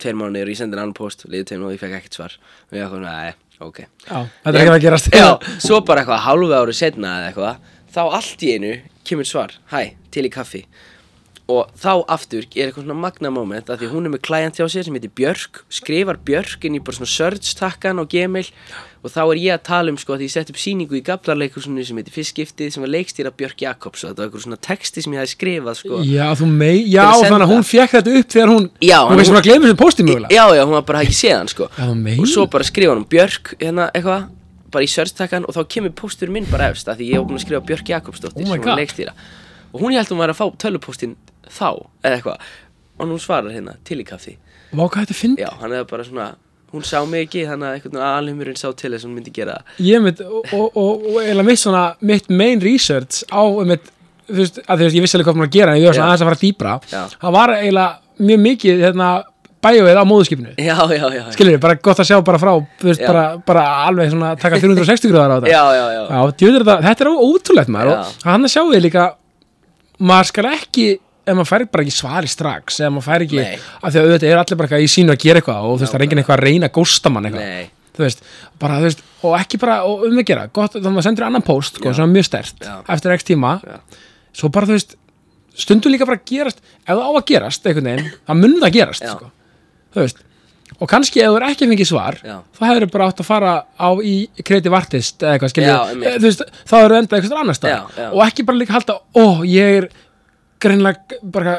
Speaker 2: tveir mánuðir og ég sendi henni annan post og liðu tveir mánuðir og ég fekk ekkert svar og ég kom, nei, ok
Speaker 1: já, þetta er ekki að gerast
Speaker 2: Já, svo bara eitthvað hálfu ári setna eða eitthvað þá allt í einu kemur svar hæ, til í kaffi og þá aftur er eitthvað svona magna moment að því hún er með klæjant hjá sér sem heitir Björk skrifar Björk inn í bara svona search takkan á Gmail og þá er ég að tala um sko að ég sett upp síningu í gablarleikursunu sem heitir Fiskiftið sem var leikstýra Björk Jakobs og þetta var eitthvað svona texti sem ég hafði skrifað sko
Speaker 1: Já, þú mei, já,
Speaker 2: Til að senda.
Speaker 1: þannig að hún fekk þetta upp þegar hún,
Speaker 2: Já,
Speaker 1: hún veist hún
Speaker 2: hún-
Speaker 1: að gleyma þessu pósti mjögulega
Speaker 2: Já, já, hún var bara ekki séðan sko
Speaker 1: Já, þú meinar.
Speaker 2: Og svo bara skrifa hann um Björk hérna eitthvað Bara í sörnstakkan og þá kemur póstur minn bara efst af Því ég var búin að skrifa Björk Jakobsdóttir
Speaker 1: Oh my
Speaker 2: sem var
Speaker 1: God.
Speaker 2: leikstýra Og hún ég held hún var að fá tölvupóstin þá Eða eitthvað Og hún svarar hérna til í kaffi
Speaker 1: Vá, hvað þetta finn
Speaker 2: Já, hann er bara svona Hún sá mig ekki, þannig að einhvern veginn alheimurinn sá til þess að hún myndi gera það
Speaker 1: ég mitt og, og, og, og eiginlega mitt svona mitt main research á mitt, þú veist, að þú veist, ég vissi alveg hvað maður að gera en ég var svona
Speaker 2: Já.
Speaker 1: aðeins að fara dýbra
Speaker 2: Já.
Speaker 1: það var eiginlega mjög mikið hérna, bæjóið á móðuskipinu
Speaker 2: Já, já, já, já.
Speaker 1: skilur við, bara gott að sjá bara frá þú veist,
Speaker 2: Já.
Speaker 1: bara, bara alveg svona taka 360 gráðar á þetta
Speaker 2: Já, já, já.
Speaker 1: djöður, þetta, þetta er ó- ótrúlegt maður
Speaker 2: Já.
Speaker 1: og hann að sjá við líka maður skal ekki ef maður fær bara ekki svari strax ef maður fær ekki,
Speaker 2: Nei.
Speaker 1: af því að auðvitað er allir bara eitthvað í sínu að gera eitthvað og þú veist, það er enginn eitthvað að reyna að gósta mann eitthvað
Speaker 2: Nei,
Speaker 1: þú veist, bara, þú veist, og ekki bara og um að gera, gott, þannig að sendur annan post sko, sem er mjög stert,
Speaker 2: Já.
Speaker 1: eftir x tíma
Speaker 2: Já.
Speaker 1: svo bara, þú veist stundum líka bara gerast, ef það á að gerast einhvern veginn, það mun það gerast
Speaker 2: Já.
Speaker 1: sko. þú veist, og kannski ef þú er ekki fengið svar,
Speaker 2: Já.
Speaker 1: þá hefur bara átt að fara á í creative artist eða eitthvað, skilja,
Speaker 2: Já, einmitt.
Speaker 1: þú veist, þá eru endað einhvers staðar annars
Speaker 2: Já, já.
Speaker 1: staðar, og ekki bara líka halda, ó, ég er greinlega, bara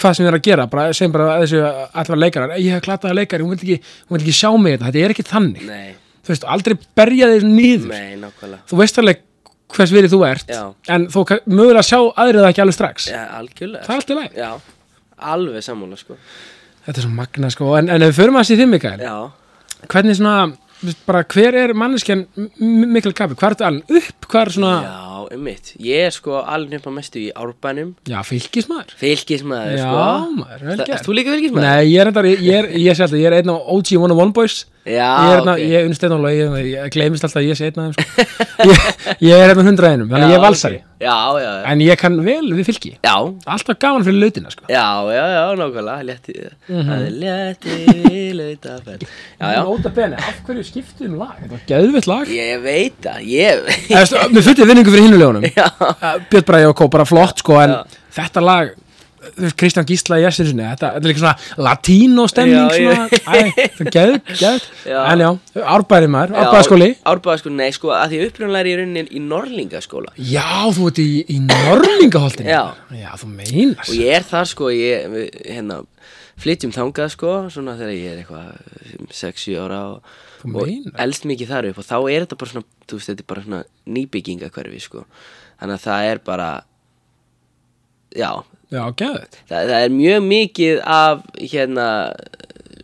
Speaker 1: hvað sem ég er að gera, bara segjum bara að þessu allar leikarar, ég hef glataða leikari, hún vil ekki, hún vil ekki sjá mig þetta, þetta er ekki þannig
Speaker 2: nei,
Speaker 1: þú veist, aldrei berja þér nýður
Speaker 2: nei, nákvæmlega
Speaker 1: þú veist alveg hvers verið þú ert
Speaker 2: Já.
Speaker 1: en þú ka- mögulega sjá aðrið það ekki alveg strax
Speaker 2: Já, algjörlega sko.
Speaker 1: það er allt í lagi,
Speaker 2: Já, alveg sammála, sko
Speaker 1: þetta er svo magna sko en, en ef við förum að sér þig Mikael,
Speaker 2: Já,
Speaker 1: hvernig svona þú veist, bara hver er manneskjan Mikael Gabi, hvað ertu alveg upp hvað er svona, já,
Speaker 2: já, um mitt Ég er sko alveg upp á mestu í árbænum
Speaker 1: fylgismar
Speaker 2: Fylgismæður,
Speaker 1: já,
Speaker 2: sko
Speaker 1: maður, vel
Speaker 2: Erst
Speaker 1: gert
Speaker 2: þú líka fylgismæður?
Speaker 1: Nei, ég er þetta, ég er, ég er sér alltaf, ég er einn af OG 101 boys
Speaker 2: Já,
Speaker 1: Ég er einn af,
Speaker 2: Ah, ok.
Speaker 1: ég unnst einn af lögi, ég gleymist alltaf að ég sé einn af þeim sko. ég, ég er hérna einn af hundraðinum, þannig að
Speaker 2: Já,
Speaker 1: ég er valsari
Speaker 2: ok. Já, já, já
Speaker 1: En ég kann vel við fylgi
Speaker 2: Já,
Speaker 1: Alltaf gaman fyrir lautina sko
Speaker 2: já, já, já, nákvæmlega Létti,
Speaker 1: Mhm.
Speaker 2: það er létti Lautafell Já, já,
Speaker 1: Nóta bene, af hverju skiptu um lag? Þetta var geðvitt lag
Speaker 2: ég veit það Ég,
Speaker 1: Eftir, Mér fyrir vinningu fyrir hinulegunum
Speaker 2: já
Speaker 1: Björn Bræði og Kó, bara flott sko En
Speaker 2: Já.
Speaker 1: þetta lag, þú veist Kristján Gísla í essinu sinni Þetta, þetta er líka svona latínó
Speaker 2: Já,
Speaker 1: stemning svona,
Speaker 2: ég-
Speaker 1: Æ, Það er geðvitt, geðvitt
Speaker 2: Já.
Speaker 1: En já, árbæri maður, árbæðaskóli
Speaker 2: Árbæðaskóli, nei, sko, að því upprjónlega er ég raunin í Norlingaskóla
Speaker 1: Já, þú ert í, í Norlingaholtinu
Speaker 2: Já.
Speaker 1: þú meinas
Speaker 2: Og ég er þar sko, ég, við, hérna, flytjum þangað sko, svona þegar ég er eitthvað 6-7 ára og,
Speaker 1: Þú
Speaker 2: og
Speaker 1: meinar.
Speaker 2: elst mikið þar upp og þá er þetta bara svona, þú veist, þetta er bara svona nýbyggingakverfi sko. Þannig að það er bara, já,
Speaker 1: Já, geðvitt
Speaker 2: það, það er mjög mikið af hérna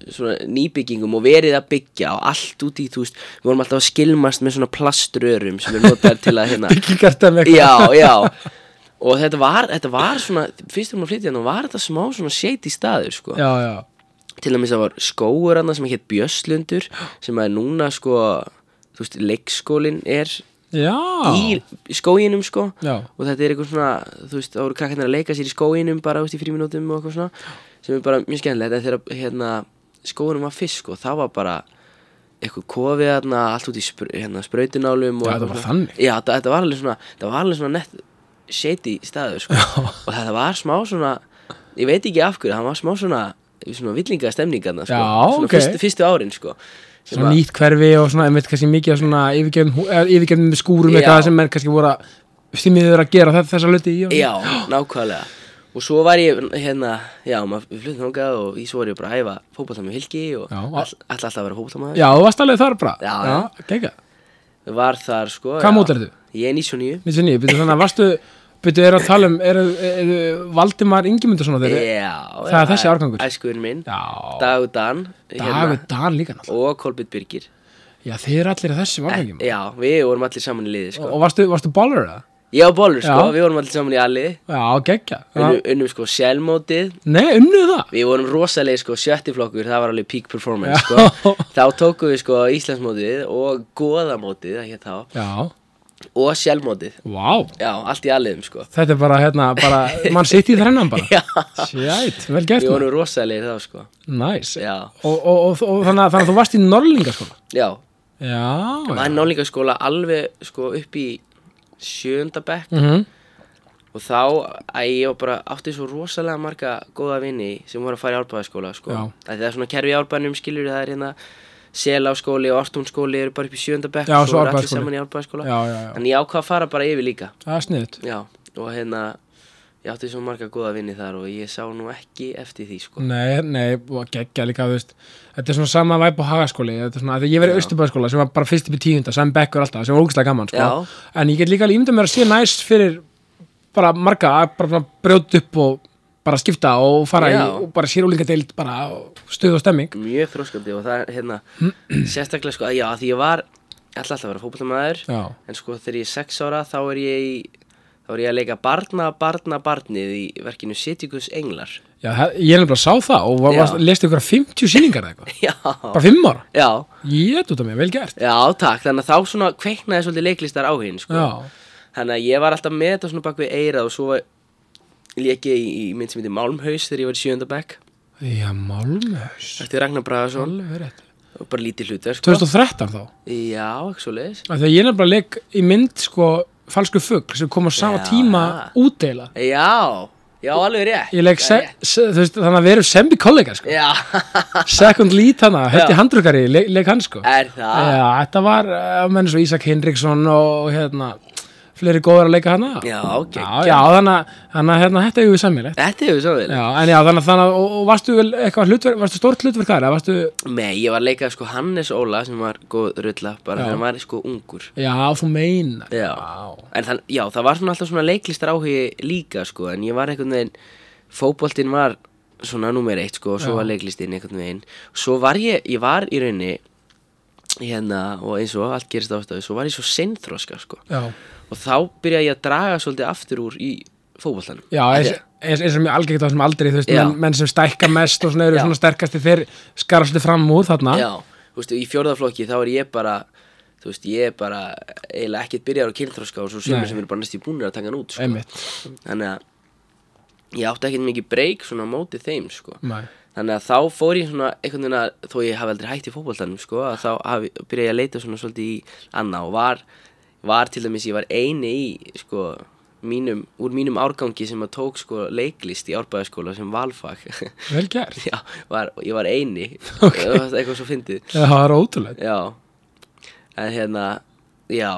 Speaker 2: svona nýbyggingum og verið að byggja og allt út í, þú veist, við vorum alltaf að skilmast með svona plaströrum sem er notaðar til að hérna
Speaker 1: Byggingarta með
Speaker 2: já, já og þetta var, þetta var svona fyrst þegar maður flytti hérna var þetta smá svona shady staður sko.
Speaker 1: já, já,
Speaker 2: til að það var skóur annað sem hétt Bjöslundur sem að núna sko þú veist, leikskólinn er
Speaker 1: já.
Speaker 2: í skóginum sko
Speaker 1: Já.
Speaker 2: og þetta er eitthvað svona þú veist, þá eru krakkarnir að leika sér í skóginum bara þú veist, í fríminútum og eitthvað svona sem er bara mjög skemmtilegt en þegar hérna, skóginum var fyrst sko, þá var bara eitthvað kofið hérna, allt út í spr hérna, sprautunálum og
Speaker 1: Já, þetta
Speaker 2: eitthvað
Speaker 1: var
Speaker 2: svona.
Speaker 1: þannig.
Speaker 2: Já, þetta, þetta var alveg svona, þetta var alveg svona nett shady staður sko og þetta var smá svona, ég veit ekki af hverju það var smá svona, svona villinga stemningarna sko,
Speaker 1: Já,
Speaker 2: svona
Speaker 1: ok.
Speaker 2: fyrstu, fyrstu árin sko Sem
Speaker 1: svona
Speaker 2: að-
Speaker 1: nýtt hverfi og svona, einmitt kannski mikið af svona yfirgefnum hú- eða yfirgefnum skúrum
Speaker 2: Já.
Speaker 1: eitthvað sem menn kannski voru að stimmiður að gera þess, þessa hluti í og
Speaker 2: Já, nákvæmlega og svo var ég hérna, já, maður við fluttum þangað og í svo var ég bara að æfa fótbolta með Hilki og
Speaker 1: Já,
Speaker 2: all,
Speaker 1: og-
Speaker 2: alltaf að vera fótboltamaður.
Speaker 1: Já, þú varst alveg þar bara
Speaker 2: Já,
Speaker 1: gegga
Speaker 2: Var þar sko.
Speaker 1: Hvað
Speaker 2: já.
Speaker 1: mótar þú?
Speaker 2: Ég er 99.
Speaker 1: Mér sinni, byrju svona, varstu Byrju, eru að tala um, eru, eru Valdimar Ingimundur svona
Speaker 2: Já.
Speaker 1: þeirri?
Speaker 2: já,
Speaker 1: Það er þessi árgangur.
Speaker 2: Æskuðin minn,
Speaker 1: Já,
Speaker 2: Dagur Dan hérna,
Speaker 1: Dagur Dan líka náttúrulega
Speaker 2: og Kolbjörn Birgir.
Speaker 1: Já, þeir eru allir að þessi vargangjum
Speaker 2: Já, við vorum allir saman í liði sko.
Speaker 1: Og varstu, varstu baller eða?
Speaker 2: Ég og Bólur sko,
Speaker 1: Já.
Speaker 2: við vorum allir saman í alliði.
Speaker 1: Já, gegga
Speaker 2: Unnum, unnum sko sjálfmótið,
Speaker 1: Nei, unnuð það
Speaker 2: Við vorum rosalega sko sjötti flokkur, það var alveg peak performance
Speaker 1: Já.
Speaker 2: sko. Þá tókum við sko Íslandsmótið og Goðamótið, það hétt þá,
Speaker 1: Já,
Speaker 2: og Sjálfmótið.
Speaker 1: vá
Speaker 2: Já, allt í alliðum sko.
Speaker 1: Þetta er bara, hérna, bara Man sitt í þrennan bara
Speaker 2: Já,
Speaker 1: Sjæt, vel gert
Speaker 2: við
Speaker 1: maður.
Speaker 2: vorum rosalega þá sko.
Speaker 1: Næs nice.
Speaker 2: Já,
Speaker 1: og, og, og, og þannig að, þannig að þú varst í Norlingaskóla
Speaker 2: já.
Speaker 1: Já
Speaker 2: Maður nálinga skóla alveg sko upp í sjönda bekk
Speaker 1: mm
Speaker 2: og þá að ég var bara átti svo rosalega marga góða vini sem voru að fara í árbæðaskóla sko.
Speaker 1: Já.
Speaker 2: Af því Það er svona kerfi í árbæðanum skilur, það er hérna Seláskóli og Ortúnskóli eru bara upp í sjönda bekk
Speaker 1: Já,
Speaker 2: og
Speaker 1: svo
Speaker 2: svo eru allir
Speaker 1: Árbæjarskóli.
Speaker 2: saman í árbæðaskóla.
Speaker 1: Já, já, já
Speaker 2: Þannig ég ákvað að fara bara yfir líka
Speaker 1: Það er sniðut
Speaker 2: Já, og hérna Ég átti svo marga góða vinni þar og ég sá nú ekki eftir því sko
Speaker 1: Nei, nei, og geggja líka, þú veist Þetta er svona sama væp á hagaskóli Þetta er svona, þegar ég verið austurbæðaskóla sem var bara fyrst upp í tíunda sem bekkur alltaf, sem var ógustlega gaman, sko
Speaker 2: Já.
Speaker 1: En ég get líka alveg ímyndað mér að sé næs fyrir bara marga að bara svona brjóta upp og bara skipta og fara í
Speaker 2: Já.
Speaker 1: og bara sér úlinga deild bara og stuð og stemming
Speaker 2: Mjög þróskandi og það er hérna Sérstaklega sko, já því ég var ætla alltaf að vera fótboltamaður
Speaker 1: Já,
Speaker 2: En sko þegar ég er sex ára þá er ég í Þá er ég að leika barna, barna, barnið í verkinu Sittikus Englar
Speaker 1: já það- ég er nefnilega sá það og var,
Speaker 2: Já.
Speaker 1: varst, lesti ykkur 50 síningar eða eitthvað
Speaker 2: Já,
Speaker 1: bara 5 ára,
Speaker 2: já,
Speaker 1: ég út af mér, vel gert
Speaker 2: já takk Þannig að þá svona kveiknaði svolítið leiklistar áhinn sko
Speaker 1: Já,
Speaker 2: Þannig að ég var alltaf með þetta svona bak við eirað og svo var- lék ég í, í mynd sem heitir Málmhaus þegar ég var í sjöndabæk
Speaker 1: já málmöðs
Speaker 2: Eftir Ragnar Bragason
Speaker 1: Alveg rétt
Speaker 2: og bara lítið hlutur sko.
Speaker 1: 2013 þá
Speaker 2: Já, ekki svo leiðis
Speaker 1: Af því að ég er nefnilega leik í mynd sko falsku fugg sem kom á sama
Speaker 2: Já.
Speaker 1: tíma útdeila.
Speaker 2: Já, já, alveg rétt
Speaker 1: Ég leik se, se, þú veist, þannig að við erum semi-kollega sko.
Speaker 2: Já,
Speaker 1: Second lead hana, hötti handrukari, leik, leik hann sko.
Speaker 2: er það
Speaker 1: Já, þetta var uh, menn svo Ísak Hinriksson og hérna, fleiri góðar að leika hana.
Speaker 2: Já, ok
Speaker 1: já, já þannig að- þannig að hérna, þetta er ju samilegt.
Speaker 2: Þetta hefur svo vel
Speaker 1: Já, en já, þannig að, þannig að, og, og varstu vel eitthvað hlutverk, varstu stórt hlutverk þar, eða varstu,
Speaker 2: Nei, ég var að leika sko Hannes Óla sem var góð rulla bara
Speaker 1: Já.
Speaker 2: þegar maður er sko ungur
Speaker 1: já, þú meina.
Speaker 2: Já.
Speaker 1: Vá.
Speaker 2: En þann, já, það var svona alltaf svona leiklistar áhugi líka sko En ég var einhvern veginn, fótboltinn var svona númer eitt sko Og svo var leiklistinn einhvern veginn Svo var ég, ég var í rauninni Hérna, og eins og allt gerist ástæðu Svo var ég svo sinnþroska sko
Speaker 1: Já,
Speaker 2: Og þá byrjaði ég að draga svolítið aftur úr í fótboltanum
Speaker 1: Já, eins, eins, eins og mjög algengt á þessum aldri, þú veist,
Speaker 2: Já.
Speaker 1: menn, menn sem stækka mest og svona eru
Speaker 2: Já.
Speaker 1: svona sterkasti, þeir skara svolítið fram úr þarna.
Speaker 2: Já, þú veist, í fjórðaflokki þá er ég bara Þú veist, ég er bara eiginlega ekkert byrjaður á kynþroska og svo
Speaker 1: Nei.
Speaker 2: sumir sem eru bara næst í búnir að taka hann út sko.
Speaker 1: Einmitt.
Speaker 2: Þannig að ég átti ekkert mikið breyk svona á móti þeim sko.
Speaker 1: Nei.
Speaker 2: Þannig að þá fór ég svona einhvern veginn að þó ég hafi aldrei hætt í fótboltanum sko að þá hafi, byrjaði ég að leita svona svolítið í annað og var, var til dæmis ég var eini í sko mínum, úr mínum árgangi sem að tók sko leiklist í árbæðaskóla sem valfag
Speaker 1: Vel gert.
Speaker 2: Já, var, ég var eini
Speaker 1: Ok.
Speaker 2: Það var eitthvað svo fyndið
Speaker 1: Það var ótrúlega.
Speaker 2: Já En hérna, já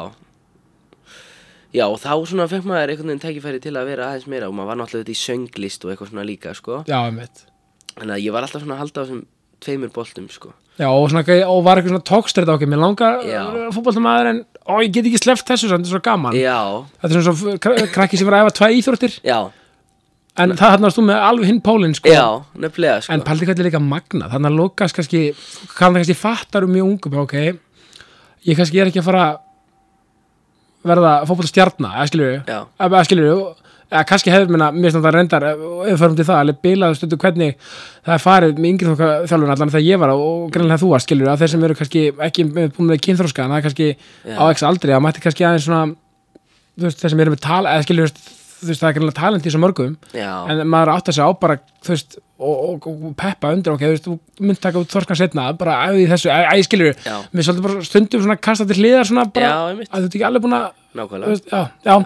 Speaker 2: Já, og þá svona fekk maður einhvern veginn tækifæri til að vera aðeins meira og maður var náttúrulega þetta í sönglist og eitthvað svona líka, sko
Speaker 1: Já, einmitt.
Speaker 2: Þannig að ég var alltaf svona að halda á þessum tveimur boltum, sko
Speaker 1: Já, og, svona, og var eitthvað svona tókstrið á okkur, mér langar
Speaker 2: Já.
Speaker 1: fótballtamaður en, ó, ég get ekki sleppt þessu, samt, þetta er svo gaman.
Speaker 2: Já,
Speaker 1: Þetta er svona svo kra- krakki sem var að æfa tvað íþróttir,
Speaker 2: já,
Speaker 1: en það þarna varst þú með alveg hinn pólinn, sko.
Speaker 2: já, nefnilega, sko
Speaker 1: En paldi hvað þetta er líka magna, þannig að Lukas kannski, kann það kannski fattar um mjög ungum, ok, ég kannski er ekki að fara að verða fótbollstjarna, eða skilur við,
Speaker 2: Já,
Speaker 1: eða skilur við, eða kannski hefur minna, mér snart að reyndar, ef ef við förum til það, alveg bilaðu stundu hvernig það er farið með yngri þjálfun allan þegar ég var og og greinlega þú var, skilur við, að þeir sem eru kannski ekki með- búin með kynþróska, en það er kannski
Speaker 2: Já.
Speaker 1: á ekki aldrei, það mætti kannski aðeins svona, þú veist, þeir sem eru með tala, eða skilur við, þú veist, það er greinlega talent í svo mörgum,
Speaker 2: já,
Speaker 1: en maður átt að segja á bara þú veist, og, og, og peppa undir ok, þú veist, þú mynd taka út þorskan setna bara æði þessu, æ, æ, skilur
Speaker 2: Já.
Speaker 1: mér svolítið bara stundum svona kasta til hliðar svona bara,
Speaker 2: Já, einmitt.
Speaker 1: að þú ert ekki alveg búin að þú
Speaker 2: nákvæmlega
Speaker 1: veist, já, já,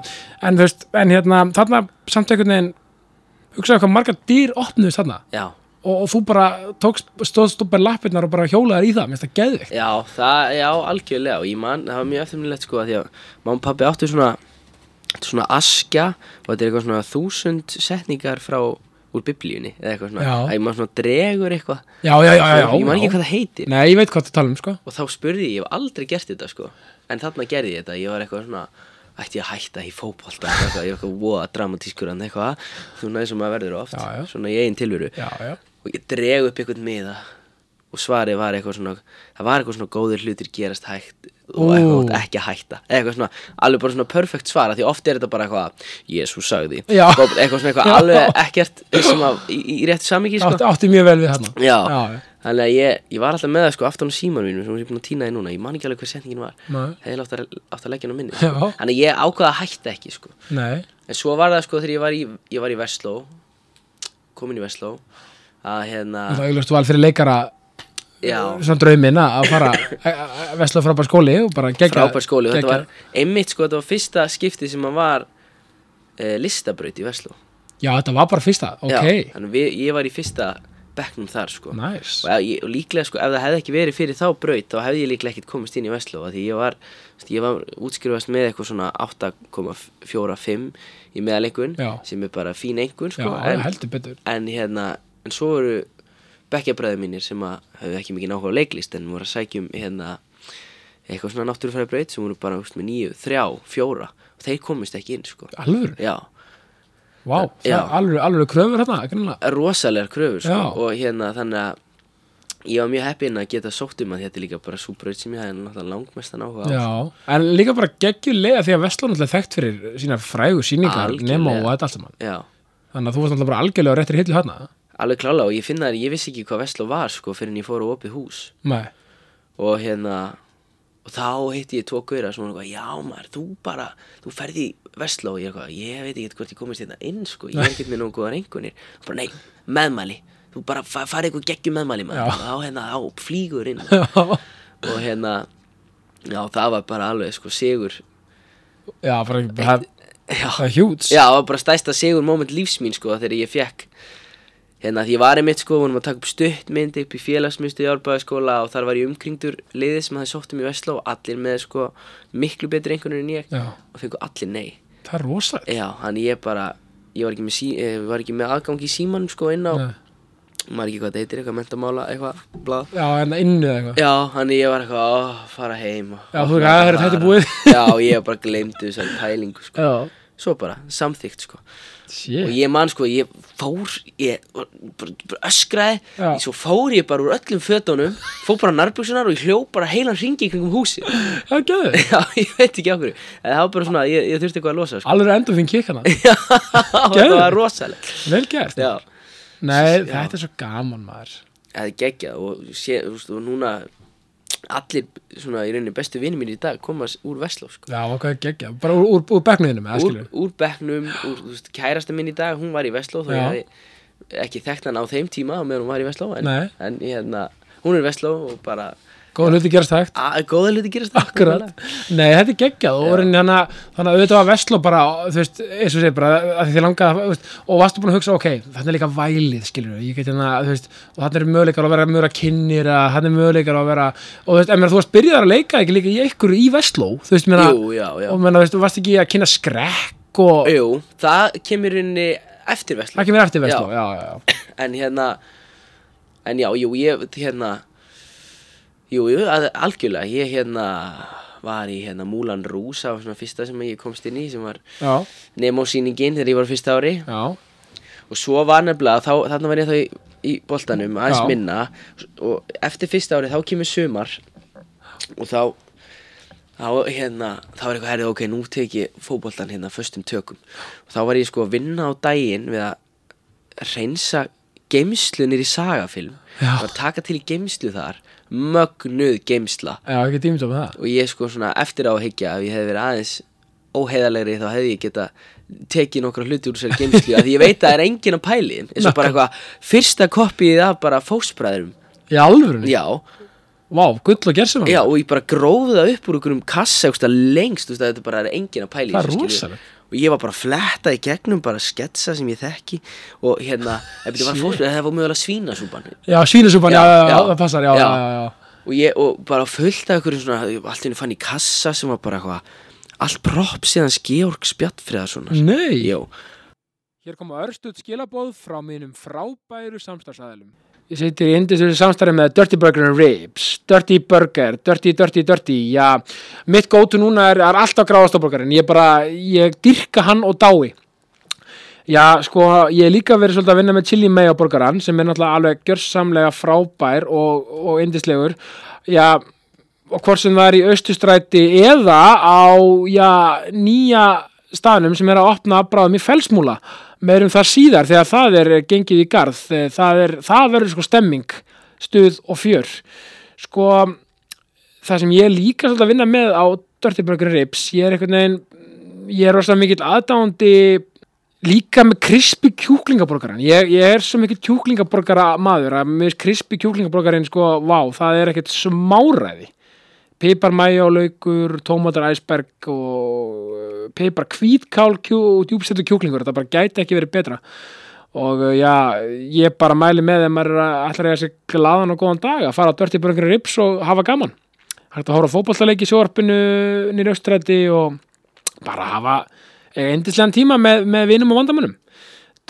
Speaker 1: en þú veist, en hérna þarna samtökunni hugsaðu hvað margar dýr opnuðist þarna
Speaker 2: Já,
Speaker 1: og, og þú bara tókst, stóðst upp bara lappirnar og bara hjólaðar í það, mér finnst það geðvikt
Speaker 2: já, það, já, algjörlega og ég man, það var mjög eftirminlegt, sko að því að mamma og pabbi áttu svona þetta er svona askja og þetta er eitthvað svona þúsund setningar frá úr biblíunni eða eitthvað svona,
Speaker 1: Já.
Speaker 2: að ég maður svona dregur eitthvað
Speaker 1: já, já, já, já,
Speaker 2: ég man ekki
Speaker 1: já.
Speaker 2: hvað það heitir
Speaker 1: Nei, ég veit hvað það tala um, sko
Speaker 2: og þá spurði ég, ég hef aldrei gert þetta sko en þarna gerði ég þetta, ég var eitthvað svona ætti ég að hætta í fótbolta eða eitthvað, ég var eitthvað voða dramatískur en eitthvað þú næði sem maður verður oft,
Speaker 1: Já, já.
Speaker 2: svona í eigin tilveru
Speaker 1: Já, já,
Speaker 2: og ég dreg upp einhvern miða og svarið var eitthvað svona það var eitthvað svona góðir hlutir gerast hægt og
Speaker 1: Ó.
Speaker 2: eitthvað þú átt ekki að hætta Eða eitthvað svona, alveg bara svona perfekt svara því oft er þetta bara eitthvað, Jesús sagði
Speaker 1: Já.
Speaker 2: Bob- eitthvað svona eitthvað
Speaker 1: Já.
Speaker 2: alveg ekkert sem að, í, í rétt samíki sko.
Speaker 1: átti, átti mjög vel við þarna
Speaker 2: já.
Speaker 1: já,
Speaker 2: þannig að ég, ég var alltaf með það sko aftan á símanum mínum sem ég er búin að týna í núna, ég man ekki alveg hver setningin var
Speaker 1: Nei.
Speaker 2: það er átt að, átt að leggja hann á minni
Speaker 1: Já.
Speaker 2: sko. þannig að ég ákvaða að hætta ekki sko.
Speaker 1: nei
Speaker 2: En svo var það sko þegar ég var í, ég var í Vestló komin í Vestló að hérna
Speaker 1: Það er auðvitað val fyrir leikara
Speaker 2: já,
Speaker 1: svona drauminn að að fara að vesla frábær skóli og bara gegja
Speaker 2: frábær skóli og þetta var einmitt sko, þetta var fyrsta skipti sem hann var e, listabraut í Vestló
Speaker 1: Já, þetta var bara fyrsta, ok
Speaker 2: Já, þannig við, ég var í fyrsta bekknum þar sko
Speaker 1: Næs
Speaker 2: og, ég, og líklega sko, ef það hefði ekki verið fyrir þá braut þá hefði ég líklega ekkert komist inn í Vestló af því ég var, þú veist, ég var útskrifast með eitthvað svona 8,45 í meðalengun
Speaker 1: Já.
Speaker 2: sem er bara fín engun
Speaker 1: Já,
Speaker 2: sko en,
Speaker 1: heldur betur
Speaker 2: en hérna, en svo voru bekkjabræður mínir sem að höfðu ekki mikið náhuga á leiklist en voru að sækjum hérna eitthvað svona náttúrufæri braut sem voru bara úst, með nýju, þrjá, fjóra og þeir komist ekki inn sko
Speaker 1: Alvöru,
Speaker 2: já,
Speaker 1: vá, það
Speaker 2: Já.
Speaker 1: er alvöru, alvöru kröfur hérna grunlega.
Speaker 2: rosalegar kröfur sko
Speaker 1: Já.
Speaker 2: og hérna þannig að ég var mjög heppinn að geta sótt um að þetta er líka bara svo braut sem ég hafði náttúrulega langmestan áhuga á
Speaker 1: Já, en líka bara geggjulega því að vesla náttúrulega þekkt fyrir sína frægu síningar
Speaker 2: Algjörlega.
Speaker 1: Nemo og þetta allt saman
Speaker 2: já,
Speaker 1: Þannig að þú varst náttúrulega bara algjörlega á réttri hillu hérna
Speaker 2: alveg klála og ég finna það, ég vissi ekki hvað Vestló var sko fyrir en ég fór á opið hús
Speaker 1: Nei,
Speaker 2: og hérna og þá hitti ég tvo gauðra sem var eitthvað já maður, þú bara, þú ferði í Vestló og ég eitthvað, ég veit ekki hvort ég komist hérna inn sko, ég er ekkert með nógu góðar engunir og bara nei, meðmæli, þú bara fa- farið eitthvað geggjum meðmæli maður,
Speaker 1: Já.
Speaker 2: og þá hérna, þá flýgur inn
Speaker 1: já,
Speaker 2: og hérna já, það var bara alveg sko sigur
Speaker 1: já bara, það,
Speaker 2: já,
Speaker 1: það er hjúts
Speaker 2: já, það var bara stæsta sigur moment lífs mín sko, þegar ég fekk hérna, því ég var einmitt sko, vorum að taka upp stuttmynd upp í félagsmyndu í árbæðaskóla og þar var ég umkringdur liðið sem hafði sótt um í Vestló og allir með sko miklu betri einhvern en ég
Speaker 1: Já.
Speaker 2: og fengu allir nei
Speaker 1: það er rosa
Speaker 2: já, þannig ég bara ég var ekki með, sí, eh, var ekki með aðgang í símanum sko inn á,
Speaker 1: Nei.
Speaker 2: maður ekki hvað þetta heitir eitthvað mentamála, eitthvað, blað
Speaker 1: Já, en innu eða eitthvað
Speaker 2: já, þannig ég var eitthvað, ó, fara heim og-
Speaker 1: Já, þú veist, að þetta er búið.
Speaker 2: já, ég bara gleymdi þessari pælingu sko.
Speaker 1: Já,
Speaker 2: svo bara, samþygt sko
Speaker 1: shit
Speaker 2: og ég man sko, ég fór ég var- bara, bara öskraði
Speaker 1: Já.
Speaker 2: svo fór ég bara úr öllum fötunum fór bara nærbuxunar og ég hljó bara heilan ringi kringum húsi
Speaker 1: Það er gæður
Speaker 2: já, ég veit ekki okkur en það var bara svona, ég, ég þurfti eitthvað að losa sko.
Speaker 1: Alveg endur finn kikkana
Speaker 2: já,
Speaker 1: Ah,
Speaker 2: það var rosalegt
Speaker 1: Vel gert
Speaker 2: já,
Speaker 1: Nei,
Speaker 2: Já.
Speaker 1: þetta er svo gaman maður
Speaker 2: það er geggjað og, sé, þú veist, og núna allir svona, í rauninni bestu vinni mín í dag komast úr Vestló sko.
Speaker 1: Já, og hvað er geggja Bara úr, úr, úr bekknuðinum, eða
Speaker 2: úr,
Speaker 1: skilur
Speaker 2: úr bekknum, úr, þú veist, kærasta minn í dag hún var í Vestló þó
Speaker 1: Já.
Speaker 2: ég hefði ekki þekkt hann á þeim tíma á meðan hún var í Vestló en,
Speaker 1: Nei.
Speaker 2: en hérna, hún er í Vestló og bara
Speaker 1: Góða hluti gerast hægt
Speaker 2: að góða hluti gerast þar,
Speaker 1: Akkurat
Speaker 2: nákvæmlega.
Speaker 1: Nei, þetta er geggjað og orðin hana, þannig að auðvitað var Vestló bara, þú veist, eins og segir bara að þið langaði, þú veist, og varstu búin að hugsa ok, þarna er líka vælið, skilur við, ég get hérna þú veist, og þarna er möguleikar að vera möguleikar kynir eða þarna er möguleikar að vera og þú veist, en mér þú varst byrjaðar að leika ekki líka í einhverju í Vestló, þú veist, mér
Speaker 2: Jú, já, já.
Speaker 1: og mér, þú veist, þú varst ekki að kynna skrekk og
Speaker 2: jú, það kemur henni eftir Vestló
Speaker 1: það kemur eftir Vestló, já, já, já,
Speaker 2: en hérna en já, jú, ég hérna jú, jú, að, algjörlega ég hérna var í hérna Múlan Rús á svona fyrsta sem ég komst inn í sem var
Speaker 1: já,
Speaker 2: nemósýningin þegar ég var á fyrsta ári
Speaker 1: já.
Speaker 2: og svo var nefnilega, þá, þarna var ég þá í, í boltanum, aðeins
Speaker 1: Já.
Speaker 2: minna og eftir fyrsta árið þá kemur sumar og þá þá hérna, þá var eitthvað herrið ok, nú tek ég fótboltan hérna föstum tökum og þá var ég sko að vinna á daginn við að reynsa geimslunir í sagafilm
Speaker 1: Já.
Speaker 2: var að taka til geimslu þar mögnuð geimsla
Speaker 1: Já, ekki dýmd á með það.
Speaker 2: og ég sko svona eftir á að hyggja ef ég hefði verið aðeins óheiðalegri þá hefði ég geta tekið nokkra hluti úr sér geimslu af því ég veit að það er enginn að pæli þeim. eins og bara eitthvað fyrsta koppið af bara fósbræðurum
Speaker 1: Í alvörunni?
Speaker 2: já,
Speaker 1: Vá, gull og gersum
Speaker 2: já og ég bara gróf það upp úr einhverjum kassa eitthvað lengst, þú veist að þetta bara er enginn að pæli
Speaker 1: Það er rosalegt.
Speaker 2: og ég var bara að fletta í gegnum bara sketsa sem ég þekki og hérna, ef þetta var fósbræður það var mjögulega svínasúpan
Speaker 1: Já, svínasúpan, já,
Speaker 2: Já,
Speaker 1: já, já,
Speaker 2: já.
Speaker 1: það passar, já,
Speaker 2: Já.
Speaker 1: já, já, já.
Speaker 2: og ég, og bara fullt af einhverjum svona, allt í henni fann í kassa sem var bara eitthvað allt prop síðan Georg Spjallfriðarssonar
Speaker 1: Nei
Speaker 2: Jó,
Speaker 1: Hér koma örstuð skilabóð frá mínum frábæru samstarfsæðalum. Ég sittir í indisverðu samstarfi með Dirty Burger and Ribs, Dirty Burger, Dirty, Dirty, Dirty, já, mitt gótu núna er, er alltaf gráðastofburgarinn, ég bara, ég dyrka hann og dái. Já, sko, ég hef líka verið svolítið að vinna með chili mayo burgarann sem er náttúrulega alveg gjörsamlega frábær og, og indislegur, já, og hvort sem það er í austustræti eða á já, nýja staðnum sem er að opna bráðum í felsmúla meir um það síðar þegar það er gengið í garð Eh, það, er, það verður sko stemming stuð og fjör sko það sem ég er líka svolítið að vinna með á Dirty Burger Rips ég er einhvern veginn ég er rosalega mikill aðdáandi líka með krispi kjúklingaborgaran ég, ég er svo mikill kjúklingaborgara maður að með krispi kjúklingaborgarin sko, vá, það er ekkert smáræði piparmæjólaukur, tómatar æsberg og uh, pipar kvítkál kjú, og djúbstættu kjúklingur þetta bara gæti ekki verið betra og uh, já, ég bara mæli með þegar maður er að- ætlar að eiga sér glaðan og góðan dag að fara að dörti börnir rips og hafa gaman hægt að hóra fótballtaleik í sjóarpinu nýri austræti og bara hafa eindislegan tíma með, með vinum og vandamönnum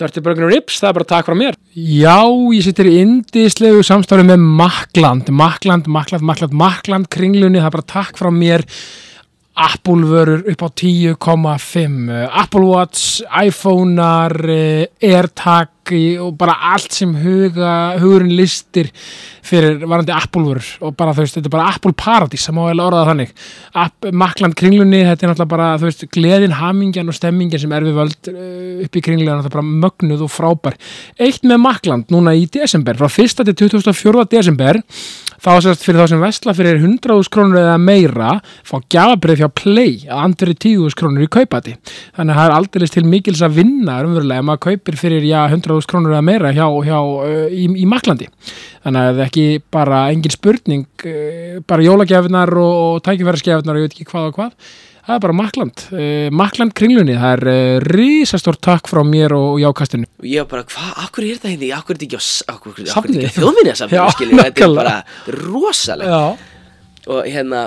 Speaker 1: Dirty Burger Rips, það er bara takk frá mér. Já, ég sittir í indislegu samstarfi með Makland, Makland, Makland, Makland, Makland, kringlunni, það er bara takk frá mér. Apple vörur upp á 10,5, eh, Apple Watch, iPhone-ar, eh, AirTag í- og bara allt sem huga, hugurinn listir fyrir varandi Apple vörur og bara þú veist, þetta er bara Apple Paradís, það má vel orða það þannig. App, Makland kringlunni, þetta er náttúrulega bara, þú veist, gleðin, hamingjan og stemmingjan sem er við völd eh, upp í kringlunni, það er bara mögnuð og frábær. Eitt með Makland núna í desember, frá 1. til 24. desember, þá sérst fyrir þá sem vesla fyrir 100.000 krónur eða meira fá gjafabrið hjá Play að andri 10.000 krónur í kaupati þannig að það er aldrei til mikils að vinna umverulega ef maður kaupir fyrir já, 100.000 krónur eða meira hjá, hjá, uh, í, í Maklandi þannig að ekki bara engin spurning uh, bara jólagjafinar og, og tækifæraskjafinar og ég veit ekki hvað og hvað það er bara Makland, uh, Makland kringlunni það er uh, risastór takk frá mér og, og jákastinu
Speaker 2: og ég var bara, hvað, akkur er þetta hérna, í- akkur er þetta ekki á, s- akkur, akkur er þetta
Speaker 1: Safnið?
Speaker 2: ekki á þjóðminni
Speaker 1: Já,
Speaker 2: skilur, þetta er
Speaker 1: nákvæmlega.
Speaker 2: bara rosalegt
Speaker 1: Já,
Speaker 2: og hérna,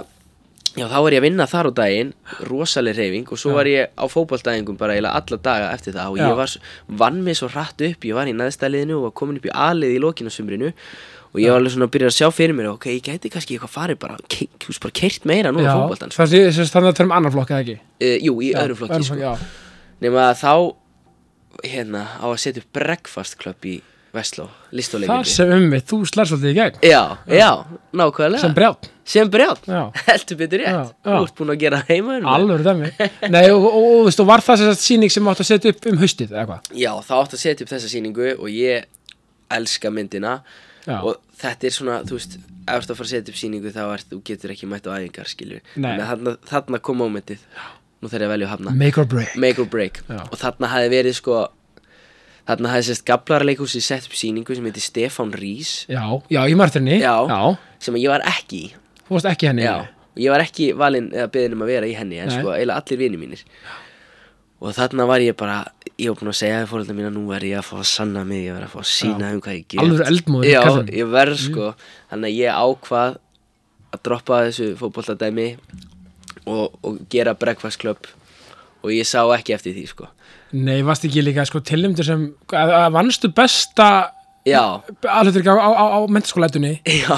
Speaker 2: já, þá var ég að vinna þar á daginn, rosaleg reyfing og svo var ég á fótballtæðingum bara eiginlega alla daga eftir það og
Speaker 1: Já.
Speaker 2: ég var, s- vann mig svo hratt upp, ég var í neðstæliðinu og var komin upp í aðlið í lokinu sumrinu og ég var alveg svona að byrja að sjá fyrir mér, ok, ég gæti kannski eitthvað farið bara, ke- þú veist, bara keirt meira nú á
Speaker 1: já,
Speaker 2: fótballtans
Speaker 1: þannig að það er um annar flokk eða ekki
Speaker 2: uh, Jú, í
Speaker 1: Já,
Speaker 2: öðrum flokki sko.
Speaker 1: já.
Speaker 2: Nefna að þá hérna, á að setja upp breakfast club í Vestló,
Speaker 1: Þar
Speaker 2: listóleikindi
Speaker 1: sem ummið, þú slær svolítið í gegn
Speaker 2: Já, já, nákvæmlega
Speaker 1: sem brjáln,
Speaker 2: Sem brjáln,
Speaker 1: Já.
Speaker 2: heldur betur rétt
Speaker 1: Já, já.
Speaker 2: Þú ert búin að gera það heima hérna. þér, maður.
Speaker 1: alveg dæmi Nei, og, og, og þú veist, og var það sérst síning sem átt að setja upp um haustið eða hvað
Speaker 2: Já, þá átt að setja upp þessa sýningu og ég elska myndina
Speaker 1: Já.
Speaker 2: og þetta er svona, þú veist ef þú ert að fara að setja upp sýningu þá ert, þú getur ekki mætt á æfingar, skilur
Speaker 1: Nei.
Speaker 2: þarna, þarna kom mómentið Nú þarf ég að velja að hafna
Speaker 1: Make or break
Speaker 2: Make or Break
Speaker 1: Já.
Speaker 2: og þarna hafði verið sko þarna hafði sérst gablarleikhúsi sett upp sýningu sem heiti Stefán Rís
Speaker 1: Já, já, í martinni
Speaker 2: Já.
Speaker 1: já
Speaker 2: sem ég var ekki í
Speaker 1: Þú varst ekki henni
Speaker 2: Já, og ég var ekki valinn eða beðin um að vera í henni en
Speaker 1: Nei.
Speaker 2: sko eiginlega allir vinir mínir og þarna var ég bara ég var búinn að segja við fóröldar mína nú er ég að fá að sanna mig, ég verð að fá að sína um hvað ég get
Speaker 1: Alvöru Mm. eldmóður í
Speaker 2: Já,
Speaker 1: kallinum.
Speaker 2: ég verð sko, þannig að ég ákvað að droppa þessu fótboltadæmi og, og gera breakfast club og ég sá ekki eftir því sko
Speaker 1: Nei, varst ekki líka sko tilnæmdur sem að, að vannstu besta
Speaker 2: Já,
Speaker 1: aðlutur ekki á, á, á, á mentaskólætunni
Speaker 2: já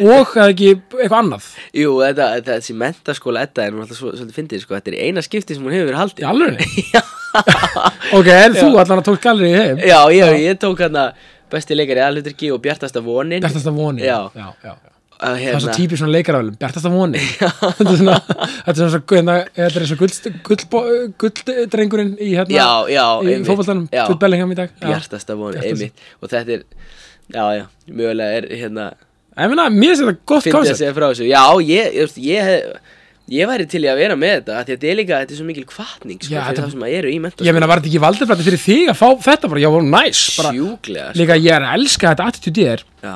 Speaker 1: og eða ekki eitthvað annað
Speaker 2: Jú, þetta, þetta, þessi mentaskóla Edda er nú alltaf svo, svolítið fyndið, sko, þetta er eina skipti sem hún hefur verið haldið
Speaker 1: Í alveg Ok, en þú allan að tók galri í heim
Speaker 2: Já, ég, ég tók hérna besti leikari aðluturki og bjartasta vonin
Speaker 1: Bjartasta voni
Speaker 2: Já.
Speaker 1: já, já.
Speaker 2: að,
Speaker 1: Það er svo
Speaker 2: hérna,
Speaker 1: típið svona leikaraflum, Bjartasta voni Þetta er svona, þetta er svona, hérna, þetta er svona gull, gull, gulldrengurinn í hérna
Speaker 2: Já, já,
Speaker 1: í fótboltanum,
Speaker 2: Já,
Speaker 1: Jude Bellingham í dag Já.
Speaker 2: bjartasta vonin,
Speaker 1: Bjartasta-
Speaker 2: einmitt Og þetta er, já, já, mjögulega er hérna
Speaker 1: Ég meina, mér finnst þetta gott
Speaker 2: Fyndi að
Speaker 1: koncept
Speaker 2: segja frá þessu Já, ég, ég, veist, ég, hef, ég væri til í að vera með þetta af því að Þetta er líka, þetta er svo mikil kvatning sko,
Speaker 1: Já,
Speaker 2: Fyrir
Speaker 1: þetta-
Speaker 2: það sem að eru í menta
Speaker 1: Ég meina, var þetta ekki valdeflætti fyrir þig að fá þetta bara, já, var næs bara,
Speaker 2: Sjúklega sko. sko.
Speaker 1: Líka, ég er að elska þetta attitude ég er
Speaker 2: Já,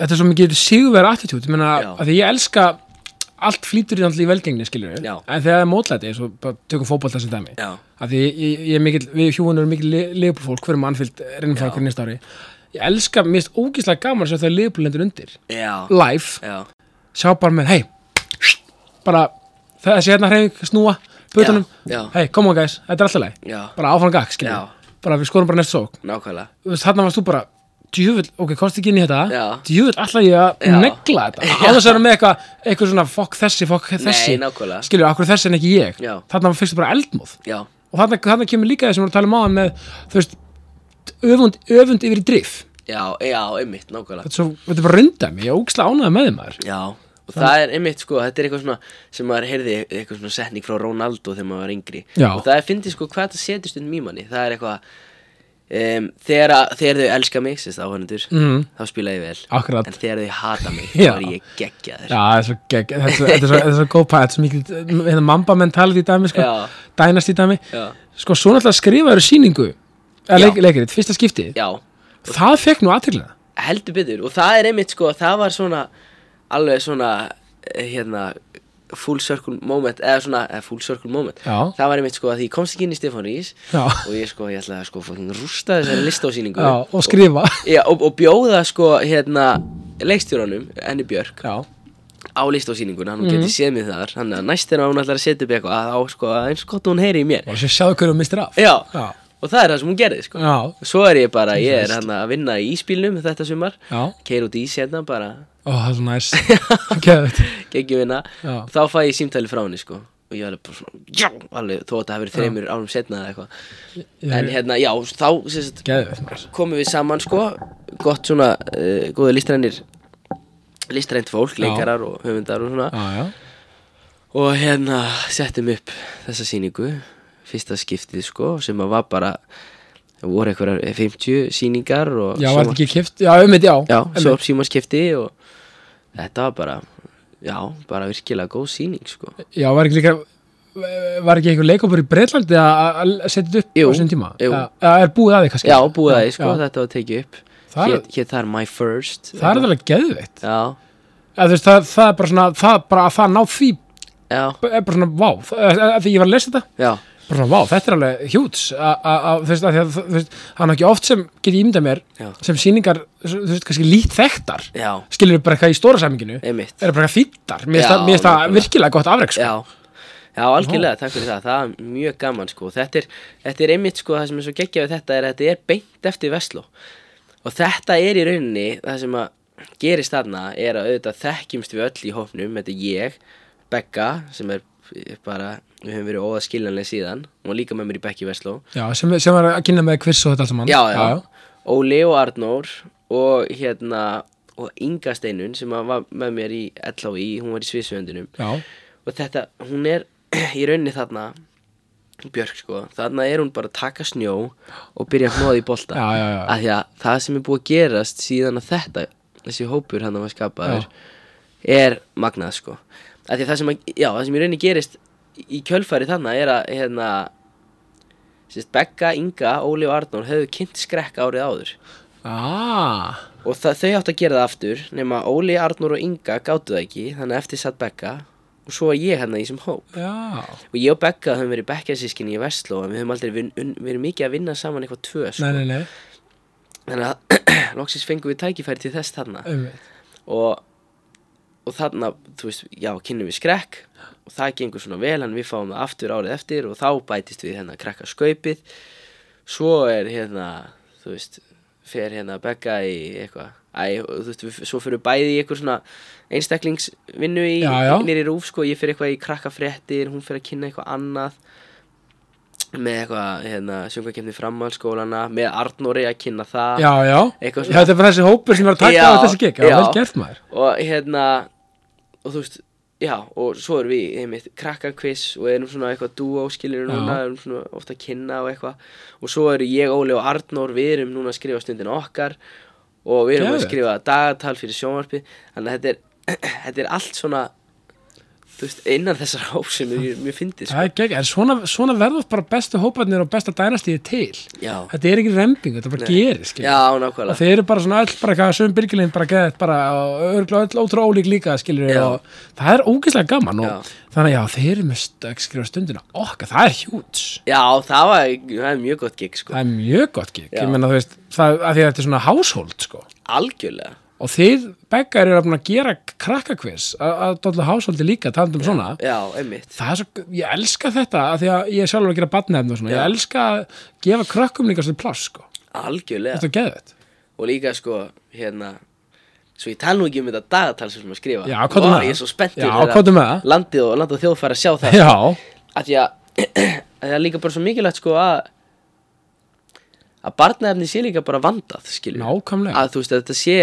Speaker 1: Þetta er svo mikið sigurverð attitude Ég meina,
Speaker 2: Já.
Speaker 1: að því ég elska allt flýtur í allir í velgengni, skiljur við
Speaker 2: Já.
Speaker 1: En þegar það er mótlæti, eins og bara tökum fótbolta sem dæmi
Speaker 2: já,
Speaker 1: að því ég, ég, ég er mikill, við hjúin erum mikill leifbúrfólk, hverjum anfylg reynum frá
Speaker 2: Já.
Speaker 1: hverju næsta ári ég elska, mér finnst ógíslega gaman að sjá það leifbúrlendur undir
Speaker 2: já,
Speaker 1: live,
Speaker 2: já
Speaker 1: sjá bara með, hei bara, þessi hérna hreyfing snúa butunum,
Speaker 2: Já, já.
Speaker 1: hei, come on guys, þetta er alltaf leið
Speaker 2: Já,
Speaker 1: bara áfram gag, skiljum,
Speaker 2: Já.
Speaker 1: bara við skorum bara næstu sók
Speaker 2: nákvæmlega
Speaker 1: Þú veist, þarna varst þú bara djúvill, ok, kosti ekki inn í þetta
Speaker 2: Já.
Speaker 1: djúvill alltaf ég að
Speaker 2: Já.
Speaker 1: negla þetta á þess að vera með eitthvað, eitthvað svona fokk þessi, fokk þessi,
Speaker 2: Nei, nákvæmlega.
Speaker 1: skilur, akkur þessi en ekki ég,
Speaker 2: Já.
Speaker 1: þarna fyrst bara eldmóð
Speaker 2: Já,
Speaker 1: og þarna, þarna kemur líka þessum við talum um áðan með, þú veist öfund, öfund yfir í drif
Speaker 2: já, já, einmitt, nákvæmlega
Speaker 1: þetta er, svo, þetta er bara rundæmi, ég er ógislega ánægði með þeim maður
Speaker 2: Já, og það er einmitt sko, þetta er eitthvað svona sem maður heyrði eitthvað svona setning frá Ronaldo þegar maður var yngri
Speaker 1: Já.
Speaker 2: og það er, fyndi sko, hvað þetta setjast um mýmanni það er eitthvað um, þegar, að- þegar þau elska mig, sérst áhörnendur
Speaker 1: Mhm.
Speaker 2: þá spila ég vel
Speaker 1: Akkurat.
Speaker 2: en þegar þau hata mig, þá
Speaker 1: Já.
Speaker 2: er ég geggjaður
Speaker 1: Já, það er svo gegg, þetta er svo- þetta er svo- þetta er svo góð pæð, þetta er svo mikið, hérna mamba mentality dæmi, sko,
Speaker 2: Já.
Speaker 1: dænast í dæmi,
Speaker 2: Já.
Speaker 1: sko, svo náttúrulega skrifaður síningu, eða
Speaker 2: Já.
Speaker 1: leik, leikrit, fyrsta skipti,
Speaker 2: Já,
Speaker 1: það fekk nú aðtilina.
Speaker 2: heldur betur og það er einmitt sko, það var svona alveg svona, eh, hérna full circle moment, eða svona eða full circle moment,
Speaker 1: Já.
Speaker 2: það var einmitt sko að því ég komst ekki inn í Stefán Rís
Speaker 1: Já.
Speaker 2: og ég sko, ég ætlaði að sko fucking rústa þessari listásýningu
Speaker 1: Já, og skrifa.
Speaker 2: Já, og, og bjóða sko hérna leikstjóranum, Enni Björk
Speaker 1: Já,
Speaker 2: á listásýninguna, hann mm
Speaker 1: Mhm.
Speaker 2: geti séð mig þar hann að næst þegar hún ætlar að setja upp eitthvað þá sko, eins gott og hún heyri í mér
Speaker 1: og þess að sjáðu hverju hún mistir af.
Speaker 2: Já,
Speaker 1: Já.
Speaker 2: og það er það sem hún gerði sko
Speaker 1: Já,
Speaker 2: Svo er ég bara, ég er hann að vinna í íspilnum þetta sumar
Speaker 1: já,
Speaker 2: Keir út í ís hérna bara
Speaker 1: ó, það er svo næs, geðvitt,
Speaker 2: geggjum hérna
Speaker 1: Já.
Speaker 2: þá fæ ég símtæli frá henni sko og ég var alveg bara svona, já, alveg, þó að það hafi verið þreymur árum setna eða eitthvað en hérna, já, þá sem sagt,
Speaker 1: geðvitt, maður.
Speaker 2: komum við saman sko gott svona, uh, góðu listrænir listrænt fólk,
Speaker 1: Já.
Speaker 2: leikarar og höfundar og svona
Speaker 1: Já, já,
Speaker 2: og hérna settum upp þessa sýningu fyrsta skiptið sko sem að var bara voru einhverjar 50 sýningar og
Speaker 1: já, var
Speaker 2: sjónvarps-
Speaker 1: þetta ekki kift, já, um já,
Speaker 2: Já,
Speaker 1: einmitt.
Speaker 2: svo símaskipti og þetta var bara, já, bara virkilega góð sýning, sko.
Speaker 1: já, var ekki líka, var ekki einhver leikopur í Breitlandi að að setja þetta upp
Speaker 2: Jú,
Speaker 1: á sinni tíma?
Speaker 2: jú.
Speaker 1: Já, eða er búið aðeins kannski?
Speaker 2: Já, búið aðeins, sko,
Speaker 1: já.
Speaker 2: þetta var tekið upp.
Speaker 1: Það er-
Speaker 2: Hét, hét þar My First.
Speaker 1: Það er alveg geðveitt
Speaker 2: Já,
Speaker 1: Eða, þú veist, það, það er bara svona, það, bara, að það ná því
Speaker 2: já,
Speaker 1: er bara svona, vá það- eða, eða, Því ég var að lesa þetta,
Speaker 2: já,
Speaker 1: bara svona, vá, þetta er alveg hjúts Þú veist, af því að þú veist, það er nú ekki oft sem get ég ímyndað mér
Speaker 2: Já.
Speaker 1: sem sýningar, þú veist, kannski lít þekktar
Speaker 2: já,
Speaker 1: skilur bara eitthvað í stóra saminginu er
Speaker 2: einmitt.
Speaker 1: bara eitthvað þýttar, mér finnst
Speaker 2: Já,
Speaker 1: það- mér finnst það
Speaker 2: nákvæmlega.
Speaker 1: virkilega gott afrek sko.
Speaker 2: Já, já, algjörlega, takk fyrir það, það er mjög gaman, sko. Þetta er, þetta er einmitt, sko, það sem er svo geggjað við þetta er að þetta er beint eftir Vestló. Og þetta er í rauninni, það sem að gerist þarna er að auðvitað þekkjumst við öll í hófnum, þetta er ég, Begga, sem er bara, við höfum verið óðaskiljanlega síðan, hún var líka með mér í Bekki Vestló.
Speaker 1: Já, sem, sem var að kynna með kviss og þetta allt saman
Speaker 2: já, já. Óli og Arnór og hérna og Inga Steinun sem að var með mér í LHI, hún var í Sviðsvöndunum
Speaker 1: já,
Speaker 2: og þetta, hún er í rauninni þarna Björk sko, þarna er hún bara að taka snjó og byrja að hnoða í bolta
Speaker 1: Já, já, já.
Speaker 2: af því að það sem er búið að gerast síðan að þetta, þessi hópur hann var skapaður, er magnað sko, af því að það sem að, já, það sem í rauninni gerist í kjölfæri þarna er að, hérna sérst, Begga, Inga, Óli og Arnór höfðu kynnt skrekk árið áður
Speaker 1: Ah,
Speaker 2: og það, þau átt að gera það aftur nema Óli, Arnór og Inga gáttu það ekki þannig að eftir satt Begga og svo var ég hérna í þessum hóp
Speaker 1: já.
Speaker 2: og ég og Begga höfum verið bekkjarsískinni í Vestló en við höfum aldrei vin, un, verið mikið að vinna saman eitthvað tvö sko.
Speaker 1: Nei, nei, nei,
Speaker 2: þannig að loksins fengum við tækifæri til þess þarna
Speaker 1: einmitt.
Speaker 2: og, og þarna, þú veist, já, kynnum við skrekk og það gengur svona vel en við fáum það aftur árið eftir og þá bætist við hérna krakka skaupið svo er hérna, þú veist fer hérna Begga í eitthvað Æ, og þú veist, við, svo fyrir bæði í eitthvað svona einstaklingsvinnu í
Speaker 1: Já, já.
Speaker 2: nýri rúf, sko, ég fyrir eitthvað í krakkafréttir hún fyrir að kynna eitthvað annað með eitthvað, hérna, sjöngvakefni framhaldsskólana, með Arnóri að kynna það
Speaker 1: Já, já,
Speaker 2: Eitthvað svona-
Speaker 1: þetta er bara þessi hópur sem er að taka
Speaker 2: Ah. Já,
Speaker 1: á þessi gig Já,
Speaker 2: já.
Speaker 1: vel gert maður
Speaker 2: og hérna og þú veist, já, og svo erum við einmitt krakkakviss og erum svona eitthvað dúo skilir
Speaker 1: Já.
Speaker 2: núna, erum svona ofta að kynna og eitthvað, og svo eru ég, Óli og Arnór við erum núna að skrifa stundin okkar og við erum að
Speaker 1: Geðveikt.
Speaker 2: skrifa dagatal fyrir sjónvarpi, þannig að þetta er þetta er allt svona þú veist, innan þessar hóp sem ég, mér fyndið, sko.
Speaker 1: Það er gegn, en svona, svona verður bara bestu hóparnir og besta dænastíði til
Speaker 2: já,
Speaker 1: Þetta er ekki rembing, þetta bara gerir skilur.
Speaker 2: já,
Speaker 1: Og
Speaker 2: nákvæmlega
Speaker 1: þeir eru bara svona öll, bara eitthvað, sögum byrgilinn bara geðið bara, og örgulega öll ótrú ólík líka skilur
Speaker 2: Já.
Speaker 1: og það er ógeðslega gaman
Speaker 2: Já.
Speaker 1: og, þannig að já, þeir eru með stökk skrifa stundina okkar, það er hjúts
Speaker 2: já, það var, það er mjög gott gig, sko
Speaker 1: Það er mjög gott gig,
Speaker 2: Já.
Speaker 1: ég menna þú veist það, að því að þetta er svona household sko.
Speaker 2: algjörlega
Speaker 1: og þið beggar eru að búin að gera krakkakviss að að dollu hásaldi líka talandi um svona
Speaker 2: já, einmitt
Speaker 1: það er svo, ég elska þetta af því að ég er sjálfur að gera badnefni og svona, ég
Speaker 2: Já.
Speaker 1: elska að gefa krökkum líka sér pláss sko,
Speaker 2: algjörlega
Speaker 1: þetta er geðvett
Speaker 2: og líka sko, hérna svo ég tala nú ekki um þetta dagatal sem við erum að skrifa
Speaker 1: Já, hvað er með
Speaker 2: Ó,
Speaker 1: það?
Speaker 2: ég er svo spenntur
Speaker 1: Já,
Speaker 2: þegar
Speaker 1: hvað er með það?
Speaker 2: landið og landið og þjóð fara að sjá það
Speaker 1: Já,
Speaker 2: af því að það er líka bara svo mikilvægt sko að að barnaefni sé líka bara vandað skilur
Speaker 1: nákvæmlega
Speaker 2: að þú veist að þetta sé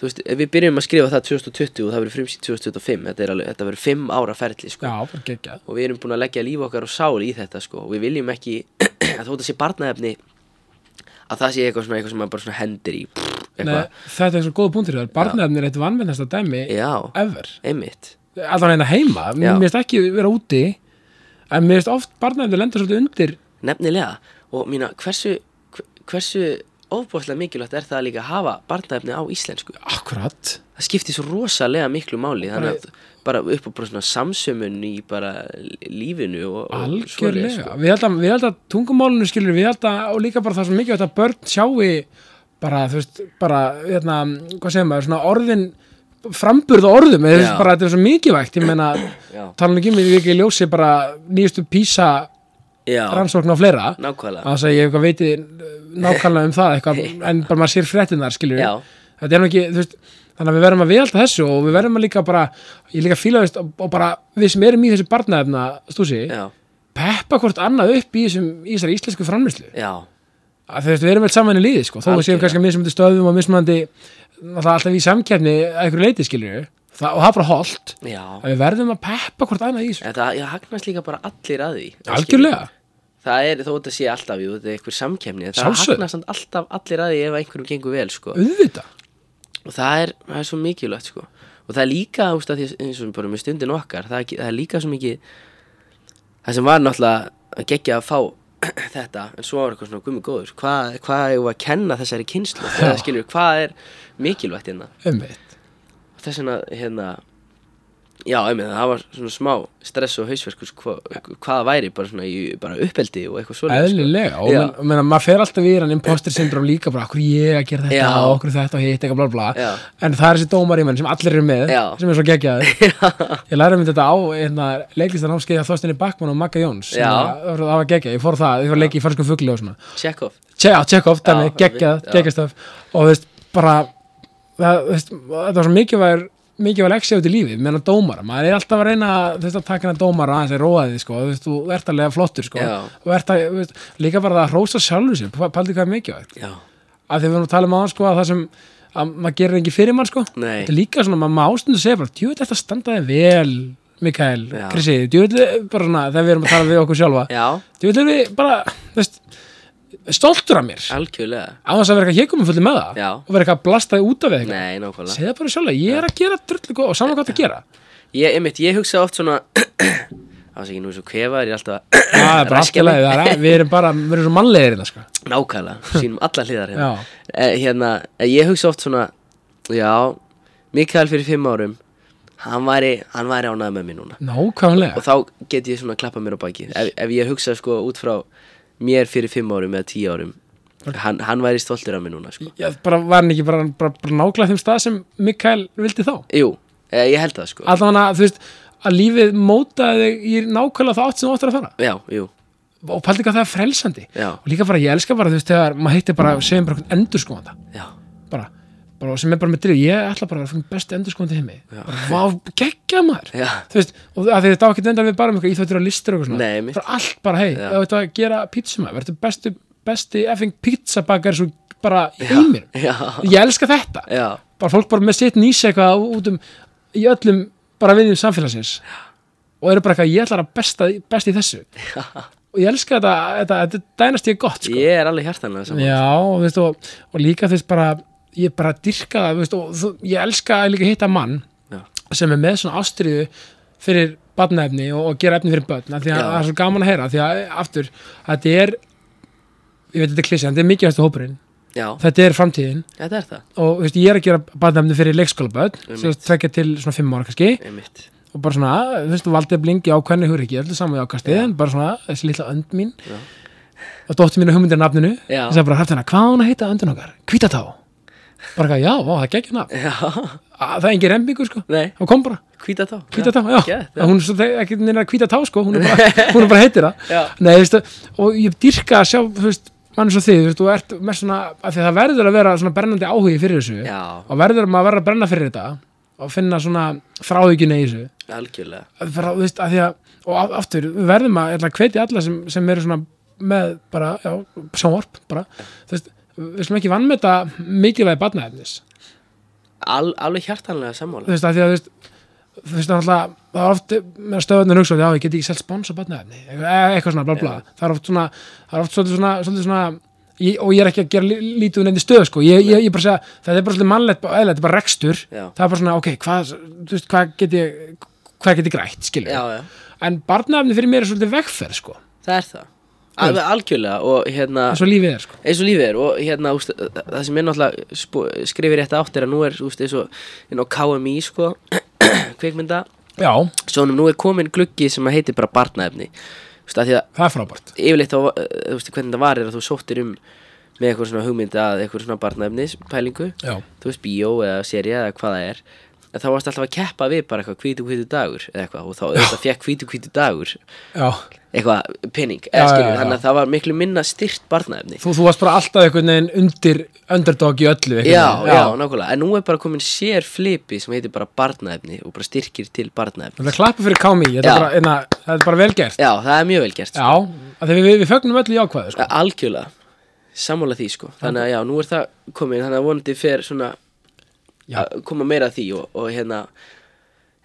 Speaker 2: þú veist ef við byrjum að skrifa það 2020 og það verður frumsýnt 2025 þetta, er alveg, þetta verður 5 ára ferli sko
Speaker 1: Já, bara geggjað
Speaker 2: og við erum búin að leggja líf okkar og sál í þetta sko og við viljum ekki að þótt að sé barnaefni að það sé eitthvað svona eitthvað sem maður bara svona hendir í pff,
Speaker 1: Nei,
Speaker 2: eitthvað
Speaker 1: Þetta er svo góð punktur þér, barnefni er eitt vannmennasta dæmi
Speaker 2: já,
Speaker 1: ever,
Speaker 2: einmitt
Speaker 1: allan eina heima
Speaker 2: Já.
Speaker 1: mér mér finnst ekki vera úti en mér finnst oft barnefni lenda svolítið undir
Speaker 2: nefnilega og mína hversu hversu ofbúðslega mikilvægt er það líka að hafa barnaefni á íslensku
Speaker 1: akkurat,
Speaker 2: það skiptir svo rosalega miklu máli þannig að bara upp á bara svona samsömun í bara lífinu og, og svoleiðis, sko.
Speaker 1: algjörlega við held, að, við held að tungumálinu skilur við held að, og líka bara það er svo mikið að börn sjáu bara, þú veist, bara hérna, hvað segir maður, svona orðin framburð á orðum, eða þú veist,
Speaker 2: Já.
Speaker 1: bara þetta er svo mikilvægt ég meina,
Speaker 2: Já.
Speaker 1: tala nú ekki um við ekki ljósi bara nýjustu písa
Speaker 2: sko. já,
Speaker 1: rannsókn á fleira
Speaker 2: nákvæmlega
Speaker 1: þannig að ég eitthvað veiti nákvæmlega um það eitthvað, en bara maður sér fréttinnar skilur
Speaker 2: Já.
Speaker 1: þetta er nú ekki, þú veist þannig að við verðum að viðalda þessu og við verðum að líka bara ég líka fíla, þú veist, og- og bara við sem erum í þessu barnaefna, stúsi
Speaker 2: já,
Speaker 1: peppa hvort annað upp í, þessum, í þessari íslensku framlýslu
Speaker 2: já,
Speaker 1: að þú veist, við erum vel saman í liði sko, þó við séum
Speaker 2: Algjörlega.
Speaker 1: kannski að mismunandi stöðum og mismunandi náttúrulega alltaf í samkeppni að einhverju leiti skilur það, og það er bara holt
Speaker 2: já.
Speaker 1: að við verðum að peppa hvort annað í þessu
Speaker 2: En það já, hagnast líka bara allir að því
Speaker 1: algjörlega,
Speaker 2: Það er, þó þetta sé alltaf, jú, þetta er einhver samkemni Það
Speaker 1: Sjálfsögðu.
Speaker 2: hagnast samt alltaf allir að því ef einhverjum gengur vel, sko
Speaker 1: auðvita
Speaker 2: Og það er, það er svo mikilvægt, sko Og það er líka, þú veist, að því eins og bara með stundin okkar Það er, ekki- það er líka svo mikið Það sem var náttúrulega að gegja að fá þetta En svo var eitthvað svona gummi góður Hvað, hvað er að kenna þessari kynslu? Það skilur, hvað er mikilvægt hérna?
Speaker 1: um veit,
Speaker 2: þess vegna hérna já, einmitt, það var svona smá stress og hausverkur hva, hvað væri bara svona í bara uppeldi og eitthvað svoleiðis, sko.
Speaker 1: eðlilega og
Speaker 2: Já.
Speaker 1: men, menna, maður fer alltaf í hann imposter syndrom líka bara, okkur ég að gera þetta
Speaker 2: Já.
Speaker 1: og okkur þetta og hitt, eitthvað bla bla
Speaker 2: Já.
Speaker 1: en það er þessi dómar í menn sem allir eru með
Speaker 2: Já.
Speaker 1: sem er svo geggjaður ég læra mér þetta á hérna, leiklistan áskeiði að Þorstinni Backmann og Magga Jóns sem
Speaker 2: Já.
Speaker 1: að- það var geggjað, ég fór það, ég fór að leika í farskum fugli og svona
Speaker 2: sko. check off
Speaker 1: Che- Já, Chekhov, dæmi,
Speaker 2: Já,
Speaker 1: geggjað,
Speaker 2: við- já.
Speaker 1: geggjastöf og þú veist, bara það, þú veist, þetta var svo mikilvægur mikilvæg leksja út í lífið, meðan dómara maður er alltaf að reyna, þú veist, að taka hennar dómara aðeins að róa þið, sko, þú veist, þú ert alveg flottur, sko,
Speaker 2: Já.
Speaker 1: og ert að, þú veist, líka bara það að hrósa sjálfum sér, pa- pældi hvað er mikilvægt
Speaker 2: já,
Speaker 1: af því við vorum að tala um aðan, sko, að það sem að maður gerir engi fyrir mann, sko
Speaker 2: Nei.
Speaker 1: þetta er líka svona, maður mástundu segja bara, djúvill þetta standaði vel, Mikael,
Speaker 2: Já.
Speaker 1: Krissi djúvill, bara svona, þegar við erum að tala við okkur sjálfa
Speaker 2: já,
Speaker 1: djúvill er við bara, þú veist stoltur af mér
Speaker 2: algjörlega
Speaker 1: á þess að vera eitthvað hékumum fulli með það
Speaker 2: Já.
Speaker 1: og vera eitthvað að blasta út af við eitthvað
Speaker 2: nei, nákvæmlega
Speaker 1: segja bara sjálf, ég er að gera drullu góð og saman hvað það gera
Speaker 2: ég, einmitt, ég hugsa oft svona það sé ekki nú svo kefar, ég er alltaf
Speaker 1: það er bara allt í lagi, það er- við erum bara við erum svo mannlegir þetta sko
Speaker 2: nákvæmlega, sínum alla hliðar hérna,
Speaker 1: Já.
Speaker 2: Eh, hérna eh, ég hugsa oft svona já, Mikael fyrir fimm árum hann væri, hann væri ánæð með mér núna
Speaker 1: nákvæmlega,
Speaker 2: og þá get ég svona að klappa mér á baki ef, ef ég hugsa sko út frá mér fyrir fimm árum eða tíu árum hann, hann væri stoltur af mér núna sko
Speaker 1: ég bara var hann ekki bara, bara, bara nákvæmlega þeim stað sem Mikael vildi þá
Speaker 2: jú, eh, ég held það sko
Speaker 1: allan að þú veist að lífið mótaði þig í nákvæmlega það átt sem þú áttir að fara
Speaker 2: já, jú,
Speaker 1: og paldi hvað það er frelsandi
Speaker 2: Já.
Speaker 1: og líka bara ég elska bara þú veist þegar maður heitti bara segjum bara einhvern endur
Speaker 2: já,
Speaker 1: bara, bara sem er bara með drif ég ætla bara að vera fyrir besti endurskóðandi heimi bara, vá, geggja maður
Speaker 2: Já.
Speaker 1: þú veist, og að því þetta á ekki endan við bara um eitthvað íþjóttur og listur og eitthvað svona,
Speaker 2: Nei, einmitt.
Speaker 1: bara allt bara, hei,
Speaker 2: Já.
Speaker 1: þú veit að gera pítsuma verður besti, besti effing pizzabakar svo bara í mér
Speaker 2: já,
Speaker 1: ég elska þetta,
Speaker 2: já
Speaker 1: bara fólk bara með sitt nýs eitthvað út um, í öllum bara viðjum samfélagsins og eru bara eitthvað, ég ætla að vera besta, best í þessu Já. og ég elska þetta þetta, þetta dænast ég gott, sko
Speaker 2: ég er alveg hjartanlega saman
Speaker 1: Já, og, þú veist, og, og líka þú veist bara ég bara dyrka það þú veist, og þú, ég elska að líka hitta mann
Speaker 2: Já.
Speaker 1: sem er með svona ástriðu fyrir barnaefni og, og gera efni fyrir börn af því að
Speaker 2: Já.
Speaker 1: það er svo gaman að heyra af því að eh, aftur, þetta er ég veit þetta er klísi, þetta er mikilvægstu hópurinn
Speaker 2: já,
Speaker 1: þetta er framtíðin
Speaker 2: þetta er það,
Speaker 1: og þú veist, ég er að gera barnaefni fyrir leikskóla börn sem tvekja til svona fimm ára kannski
Speaker 2: einmitt
Speaker 1: og bara svona, þú veist, valdið blingi ákveðni hugur ekki, öllu saman í ákastið, en bara svona þessi litla önd mín
Speaker 2: Já.
Speaker 1: og dóttir mín er hugmyndir nafninu,
Speaker 2: Já.
Speaker 1: ég sagði bara hræftina, hvað á hún að heita öndin okkar? Hvítatá bara eitthvað, já, ó, það gekkja nafn
Speaker 2: Já,
Speaker 1: Að, það er engin rembingur sko,
Speaker 2: nei,
Speaker 1: það kom bara
Speaker 2: hvíta tá
Speaker 1: hvíta tá, já,
Speaker 2: geðveikt,
Speaker 1: hún er svo þeg- ekki neina hvíta tá sko, hún er bara, hún er bara heitir það
Speaker 2: já.
Speaker 1: Nei, þú veist, og ég dyrka að sjá, þú veist, mann svo þið, þú veist, og ert með svona, af því að það verður að vera svona brennandi áhugi fyrir þessu
Speaker 2: já,
Speaker 1: og verður maður að vera að brenna fyrir þetta og finna svona þráðugina í þessu,
Speaker 2: algjörlega
Speaker 1: Að bara, þú veist, af því að, og af- aftur, við verðum að, ég ætla að hvetja alla sem, sem eru svona með bara, já, sjónvarp, bara, þú veist, við slum ekki vannmeta mikilvægi barnaefnis,
Speaker 2: Al, alveg hjartanlega sammála
Speaker 1: þú veist, af því að, þú veist, þú veist, náttúrulega, það er oft með stöðunir hugsa, já, ég get ekki selt spons á batnaefni eitthvað svona, bla bla, það er oft svona það er oft svolítið svona, svolítið svona ég, og ég er ekki að gera lí- lítið um nefndi stöð sko. ég, ég, ég bara segja, það er bara svolítið mannlegt eða þetta er bara rekstur,
Speaker 2: Já.
Speaker 1: það er bara svona, ok hvað, þú veist, hvað get ég hvað get ég grætt, skilur
Speaker 2: Já, já,
Speaker 1: en barnaefni fyrir mér er svolítið vegferð sko,
Speaker 2: það er það Alveg algjörlega og hérna
Speaker 1: eins og lífið er sko.
Speaker 2: eins og lífið er og hérna úst, það sem er náttúrulega spó, skrifir rétt átt er að nú er úst, eins og hérna á KMI sko kvikmynda
Speaker 1: já,
Speaker 2: svonum nú er komin gluggi sem að heitir bara barnaefni úst, að því að
Speaker 1: það er frábært
Speaker 2: yfirleitt þá, eh, þú veist hvernig það var er að þú sóttir um með eitthvað svona hugmynd að eitthvað svona barnaefni pælingu
Speaker 1: já,
Speaker 2: þú veist bíó eða séri eða hvað það er en þá varst alltaf að keppa við bara eitthvað hvítu hvítu dagur eða eitthvað og þá þetta fekk hvítu hvítu dagur
Speaker 1: já,
Speaker 2: eitthvað pinning
Speaker 1: Já,
Speaker 2: eða
Speaker 1: já,
Speaker 2: skilur
Speaker 1: já.
Speaker 2: þannig að það var miklu minna styrt barnaefni
Speaker 1: þú, þú varst bara alltaf einhvern veginn undir underdog í öllu einhvern
Speaker 2: já,
Speaker 1: veginn.
Speaker 2: já, nákvæmlega, en nú er bara komin sér flipi sem heitir bara barnaefni og bara styrkir til barnaefni
Speaker 1: Þú ætla að klappa fyrir KMI, þetta
Speaker 2: Já.
Speaker 1: er bara, einna, þetta er bara vel gert.
Speaker 2: Já, það er mjög vel gert sko.
Speaker 1: Já, af því við, við, við fögnum öllu jákvæðu, sko.
Speaker 2: A- Algjörlega, sammála því sko Þannig að já, nú er það komin, þannig að vonandi fer svona
Speaker 1: Já.
Speaker 2: að koma meira að því og, og hérna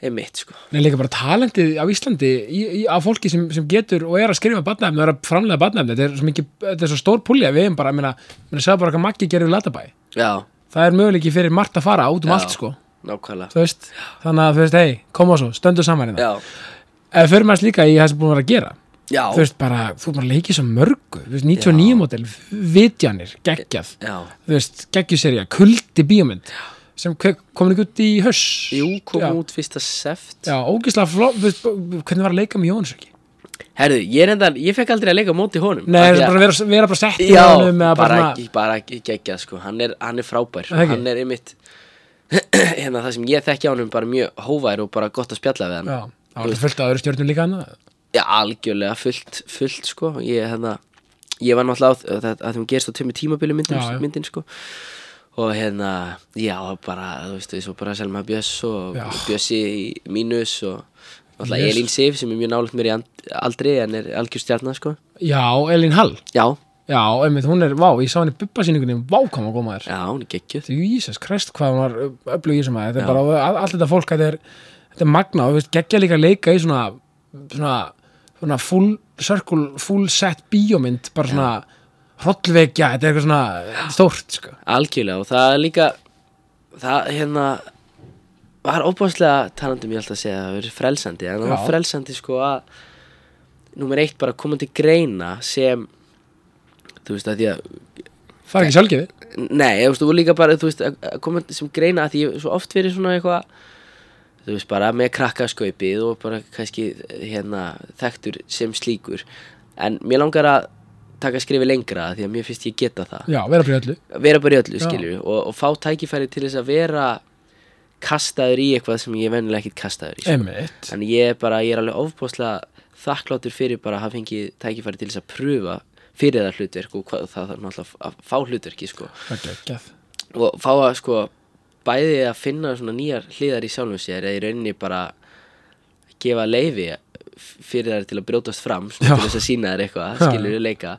Speaker 2: einmitt sko
Speaker 1: Nei, líka bara talendið á Íslandi í, í, á fólki sem, sem getur og er að skrifa badnæfni og er að framlega badnæfni. Þetta er svo, mikið, þetta er svo stór púlja, við erum bara, ég meina, ég meina, segja bara hvað Maggi gerir við Latabæ.
Speaker 2: Já,
Speaker 1: Það er möguleiki fyrir margt að fara út um
Speaker 2: Já.
Speaker 1: allt, sko.
Speaker 2: nákvæmlega
Speaker 1: Þú veist, þannig að, þú veist, hei, koma svo, stöndu saman hérna.
Speaker 2: Já,
Speaker 1: Ef fyrir maður líka í það sem búin að vera að gera.
Speaker 2: já,
Speaker 1: Þú veist, bara, þú er bara leikið svo mörgu, þú veist, 99 mótel, vitjanir, geggjað.
Speaker 2: já
Speaker 1: þú veist, geggjuserja, kuldi bíómynd sem hve- komin ekki út í höss
Speaker 2: Jú, kom
Speaker 1: já,
Speaker 2: út fyrsta seft
Speaker 1: já, ógislega flott, þú veist, hvernig var að leika með Jóns ekki
Speaker 2: Herðu, ég reynda, ég fekk aldrei að leika á móti honum
Speaker 1: nei, þú veist,
Speaker 2: af því að-
Speaker 1: bara vera, vera bara sett í
Speaker 2: Já,
Speaker 1: honum eða
Speaker 2: bara,
Speaker 1: bara svona-
Speaker 2: ekki, bara ekki geggjað sko, hann er, hann er frábær
Speaker 1: Það ekki?
Speaker 2: Hann er einmitt hérna, Það sem ég þekki á hann er bara mjög hóvær og bara gott að spjalla við hann
Speaker 1: já, það var alltaf fullt af öðru stjórnum líka hana
Speaker 2: Já, algjörlega fullt, fullt sko Ég, hérna, ég var náttúrulega á það, að þeim gerist á tömmu tímabili myndin,
Speaker 1: Já, já.
Speaker 2: myndin sko Og hérna, já, bara, þú veistu, svo bara Selma Björs og
Speaker 1: Já.
Speaker 2: Björsi í mínus og náttúrulega
Speaker 1: Yes.
Speaker 2: Elín Sif sem er mjög nálægt mér í and- aldri en er algjör stjarnar sko
Speaker 1: já, Elín Hall,
Speaker 2: Já,
Speaker 1: já, einmitt, hún er vá, ég sá hann í bubbasýningunni, vá, koma að góma þér
Speaker 2: já, hún er geggjöð
Speaker 1: Jesus Christ, hvað hún var öflug í þessum að þetta er
Speaker 2: Já.
Speaker 1: bara, all- allt þetta fólk þetta er, þetta er magna, og þú veist, geggja líka að leika í svona, svona, svona full circle, full set bíómynd, bara svona hrollvekja, þetta er eitthvað svona stórt, sko.
Speaker 2: Algjörlega og það er líka það hérna var óbúðslega talandi mér alltaf að segja að það verið frelsandi en það var
Speaker 1: Já.
Speaker 2: frelsandi sko að nummer eitt bara koma til greina sem þú veist að því að
Speaker 1: Það er ekki sjálfgefið.
Speaker 2: Nei, þú veist, og líka bara, þú veist, að að koma sem greina að því ég hef svo oft verið svona eitthvað, þú veist, bara með krakkaskaupið og bara kannski, hérna, þekktur sem slíkur. En mér langar að taka skrifi lengra af því að mér finnst ég geta það.
Speaker 1: Já, vera bara í öllu.
Speaker 2: Vera bara í öllu,
Speaker 1: Já.
Speaker 2: skilju, og, og fá tækifæri til þess að vera kastaður í eitthvað sem ég er venjulega ekkit kastaður í. sko.
Speaker 1: Einmitt.
Speaker 2: En ég er bara, ég er alveg ofbóðslega þakkláttur fyrir bara að hafa fengið tækifæri til þess að pröfa fyrir það hlutverk og hvað, það þarf náttúrulega að fá hlutverki, sko
Speaker 1: Það er geggjað.
Speaker 2: og fá að sko bæði að finna svona nýjar hliðar í sjálfum sér eða í rauninni bara gefa leifi fyrir þær til að brjótast fram svona,
Speaker 1: Já.
Speaker 2: til þess að sína þær eitthvað,
Speaker 1: Já,
Speaker 2: skilur við leika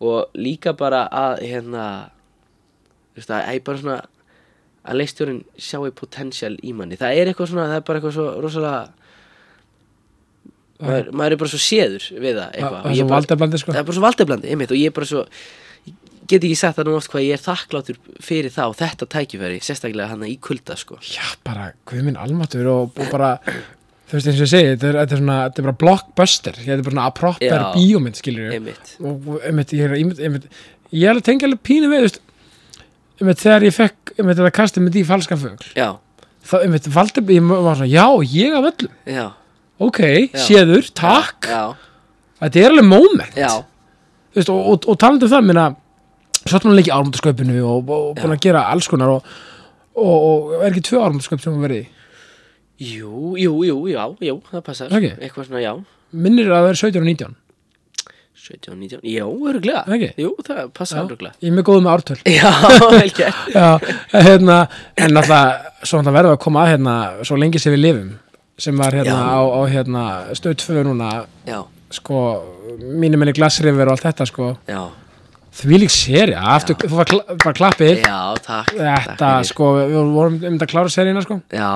Speaker 2: og líka bara að hérna þú veist að ég bara svona að leikstjórin sjáu potential í manni það er eitthvað svona, það er bara eitthvað svo rosalega maður, maður er bara svo séður við það
Speaker 1: Það
Speaker 2: eitthvað
Speaker 1: það
Speaker 2: Og
Speaker 1: er
Speaker 2: ég
Speaker 1: svo
Speaker 2: bara-
Speaker 1: valdablandi, sko.
Speaker 2: það er bara svo valdeblandi, einmitt, og ég er bara svo ég get ekki sagt það nú oft hvað ég er þakkláttur fyrir það og þetta tækifæri sérstaklega hann í kulda, sko
Speaker 1: Já, bara, guð minn almatur og, og bara, þú veist eins og ég segi, þetta er, þetta er svona, þetta er bara blockbuster, þetta er bara svona a proper
Speaker 2: Já.
Speaker 1: bíómynd, skilur
Speaker 2: einmitt,
Speaker 1: og og einmitt, ég er einmitt, einmitt, ég er að tengja alveg pínu við þú veist, einmitt, þegar ég fekk einmitt, þetta kastið með því falskan fögl
Speaker 2: já,
Speaker 1: þá einmitt, valdi, ég var svona, já, ég af öllum
Speaker 2: já
Speaker 1: ok,
Speaker 2: Já.
Speaker 1: séður, takk
Speaker 2: já,
Speaker 1: þetta er alveg moment
Speaker 2: já,
Speaker 1: Þú veist, og, og, og talandi um það, minna svo ætlum hann leikið ármútasköpinu og, og, og búin að gera alls konar og, og, og er ekki tvö ármútasköp sem hann verið í
Speaker 2: Jú, jú, jú, já, já, það passar
Speaker 1: Ekki?
Speaker 2: Eitthvað svona, já
Speaker 1: minnir að það er 17 og 19
Speaker 2: 17, 19, já, öruglega
Speaker 1: Ekki?
Speaker 2: Jú, það passar öruglega
Speaker 1: ég er með góð með ártöl
Speaker 2: Já, vel gert
Speaker 1: Já, hérna, en náttúrulega svo náttúrulega verðum við að koma að hérna svo lengi sem við lifum sem var hérna
Speaker 2: Já.
Speaker 1: á, á hérna, stöð 2 núna
Speaker 2: Já,
Speaker 1: sko, mínum enni glassrifir og allt þetta sko,
Speaker 2: já,
Speaker 1: því lík séri aftur, þú var, kla, var klappið
Speaker 2: já, takk takk
Speaker 1: þetta
Speaker 2: fyrir.
Speaker 1: sko, við vorum um þetta að klára seríina sko,
Speaker 2: Já,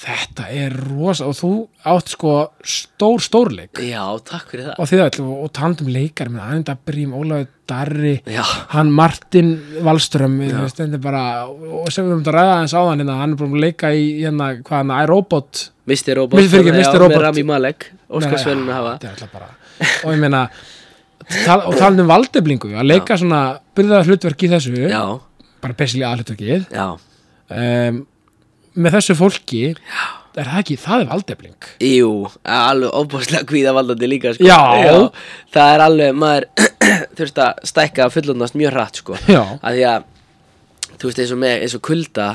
Speaker 1: þetta er rosa og þú átt sko stór stórleik
Speaker 2: já, takk fyrir það
Speaker 1: og því það ætlum og talandum leikar með Anita Brím, Ólafur Darri
Speaker 2: Já,
Speaker 1: hann Martin Wallström við veist, þetta er bara, og sem við höfum þetta ræða hans áðan hérna, hann er búin að leika í hérna, hvað hann, iRobot
Speaker 2: Mr. Robot
Speaker 1: Mr. Fyrir ekki,
Speaker 2: já,
Speaker 1: Mr. Robot.
Speaker 2: Með Rami Malek, Óskarsvölinu hafa
Speaker 1: Þetta er alltaf bara, og ég meina tal, og talandi um valdeblingu, að leika svona byrðaða hlutverki í þessu
Speaker 2: Já,
Speaker 1: bara besilega aðhlutverkið
Speaker 2: já
Speaker 1: um, með þessu fólki já. er það ekki, það er valdebling
Speaker 2: Jú, alveg óbúslega kvíðavaldandi líka sko.
Speaker 1: Já.
Speaker 2: Það er alveg, maður þurft að stækka að fullorðnast mjög hratt sko.
Speaker 1: já,
Speaker 2: að því að þú veist eins og, með, eins og kulda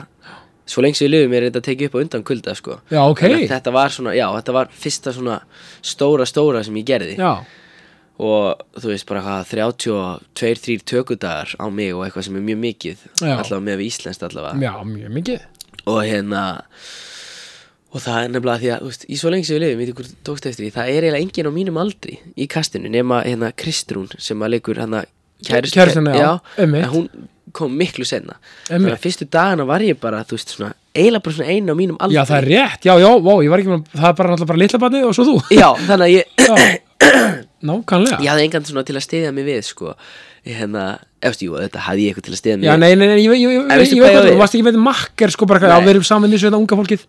Speaker 2: svo lengi sem við lifum er þetta að tekið upp á undan kulda sko.
Speaker 1: já, ok
Speaker 2: Þannig að þetta var svona, já, þetta var fyrsta svona stóra stóra sem ég gerði
Speaker 1: já,
Speaker 2: og þú veist bara hvað 32-3 tökudagar á mig og eitthvað sem er mjög mikið
Speaker 1: Já.
Speaker 2: allavega með við íslenskt allavega
Speaker 1: já, mjög mikið
Speaker 2: og hérna og það er nefnilega því að, þú veist, í svo lengi sem við lifum veitir hvort þú tókst eftir því, það er eiginlega enginn á mínum aldri í kastinu nema hérna Kristrún sem að leikur hérna kærust-
Speaker 1: Kærustan, já, einmitt.
Speaker 2: en hún kom miklu senna
Speaker 1: Einmitt.
Speaker 2: þannig að fyrstu dagana var ég bara, þú veist, svona eiginlega bara svona eina á mínum aldri
Speaker 1: já, það er rétt, já, já, vó, ég var ekki með það er bara náttúrulega bara litla barnið og svo þú
Speaker 2: Já, þannig að ég,
Speaker 1: já, nákvæmlega
Speaker 2: ég hafði engan svona til að stiðja mig við, sko hérna, eftir, jú, þetta hafði ég eitthvað til að stiðja mig
Speaker 1: Já,
Speaker 2: við.
Speaker 1: nei, nei, nei, ég, ég, ég,
Speaker 2: En
Speaker 1: ég,
Speaker 2: veistu
Speaker 1: ég veit hvað
Speaker 2: hvað ég
Speaker 1: þú
Speaker 2: við?
Speaker 1: varst ekki með makker sko bara
Speaker 2: Nei.
Speaker 1: að við erum saman í þessu þetta unga fólkið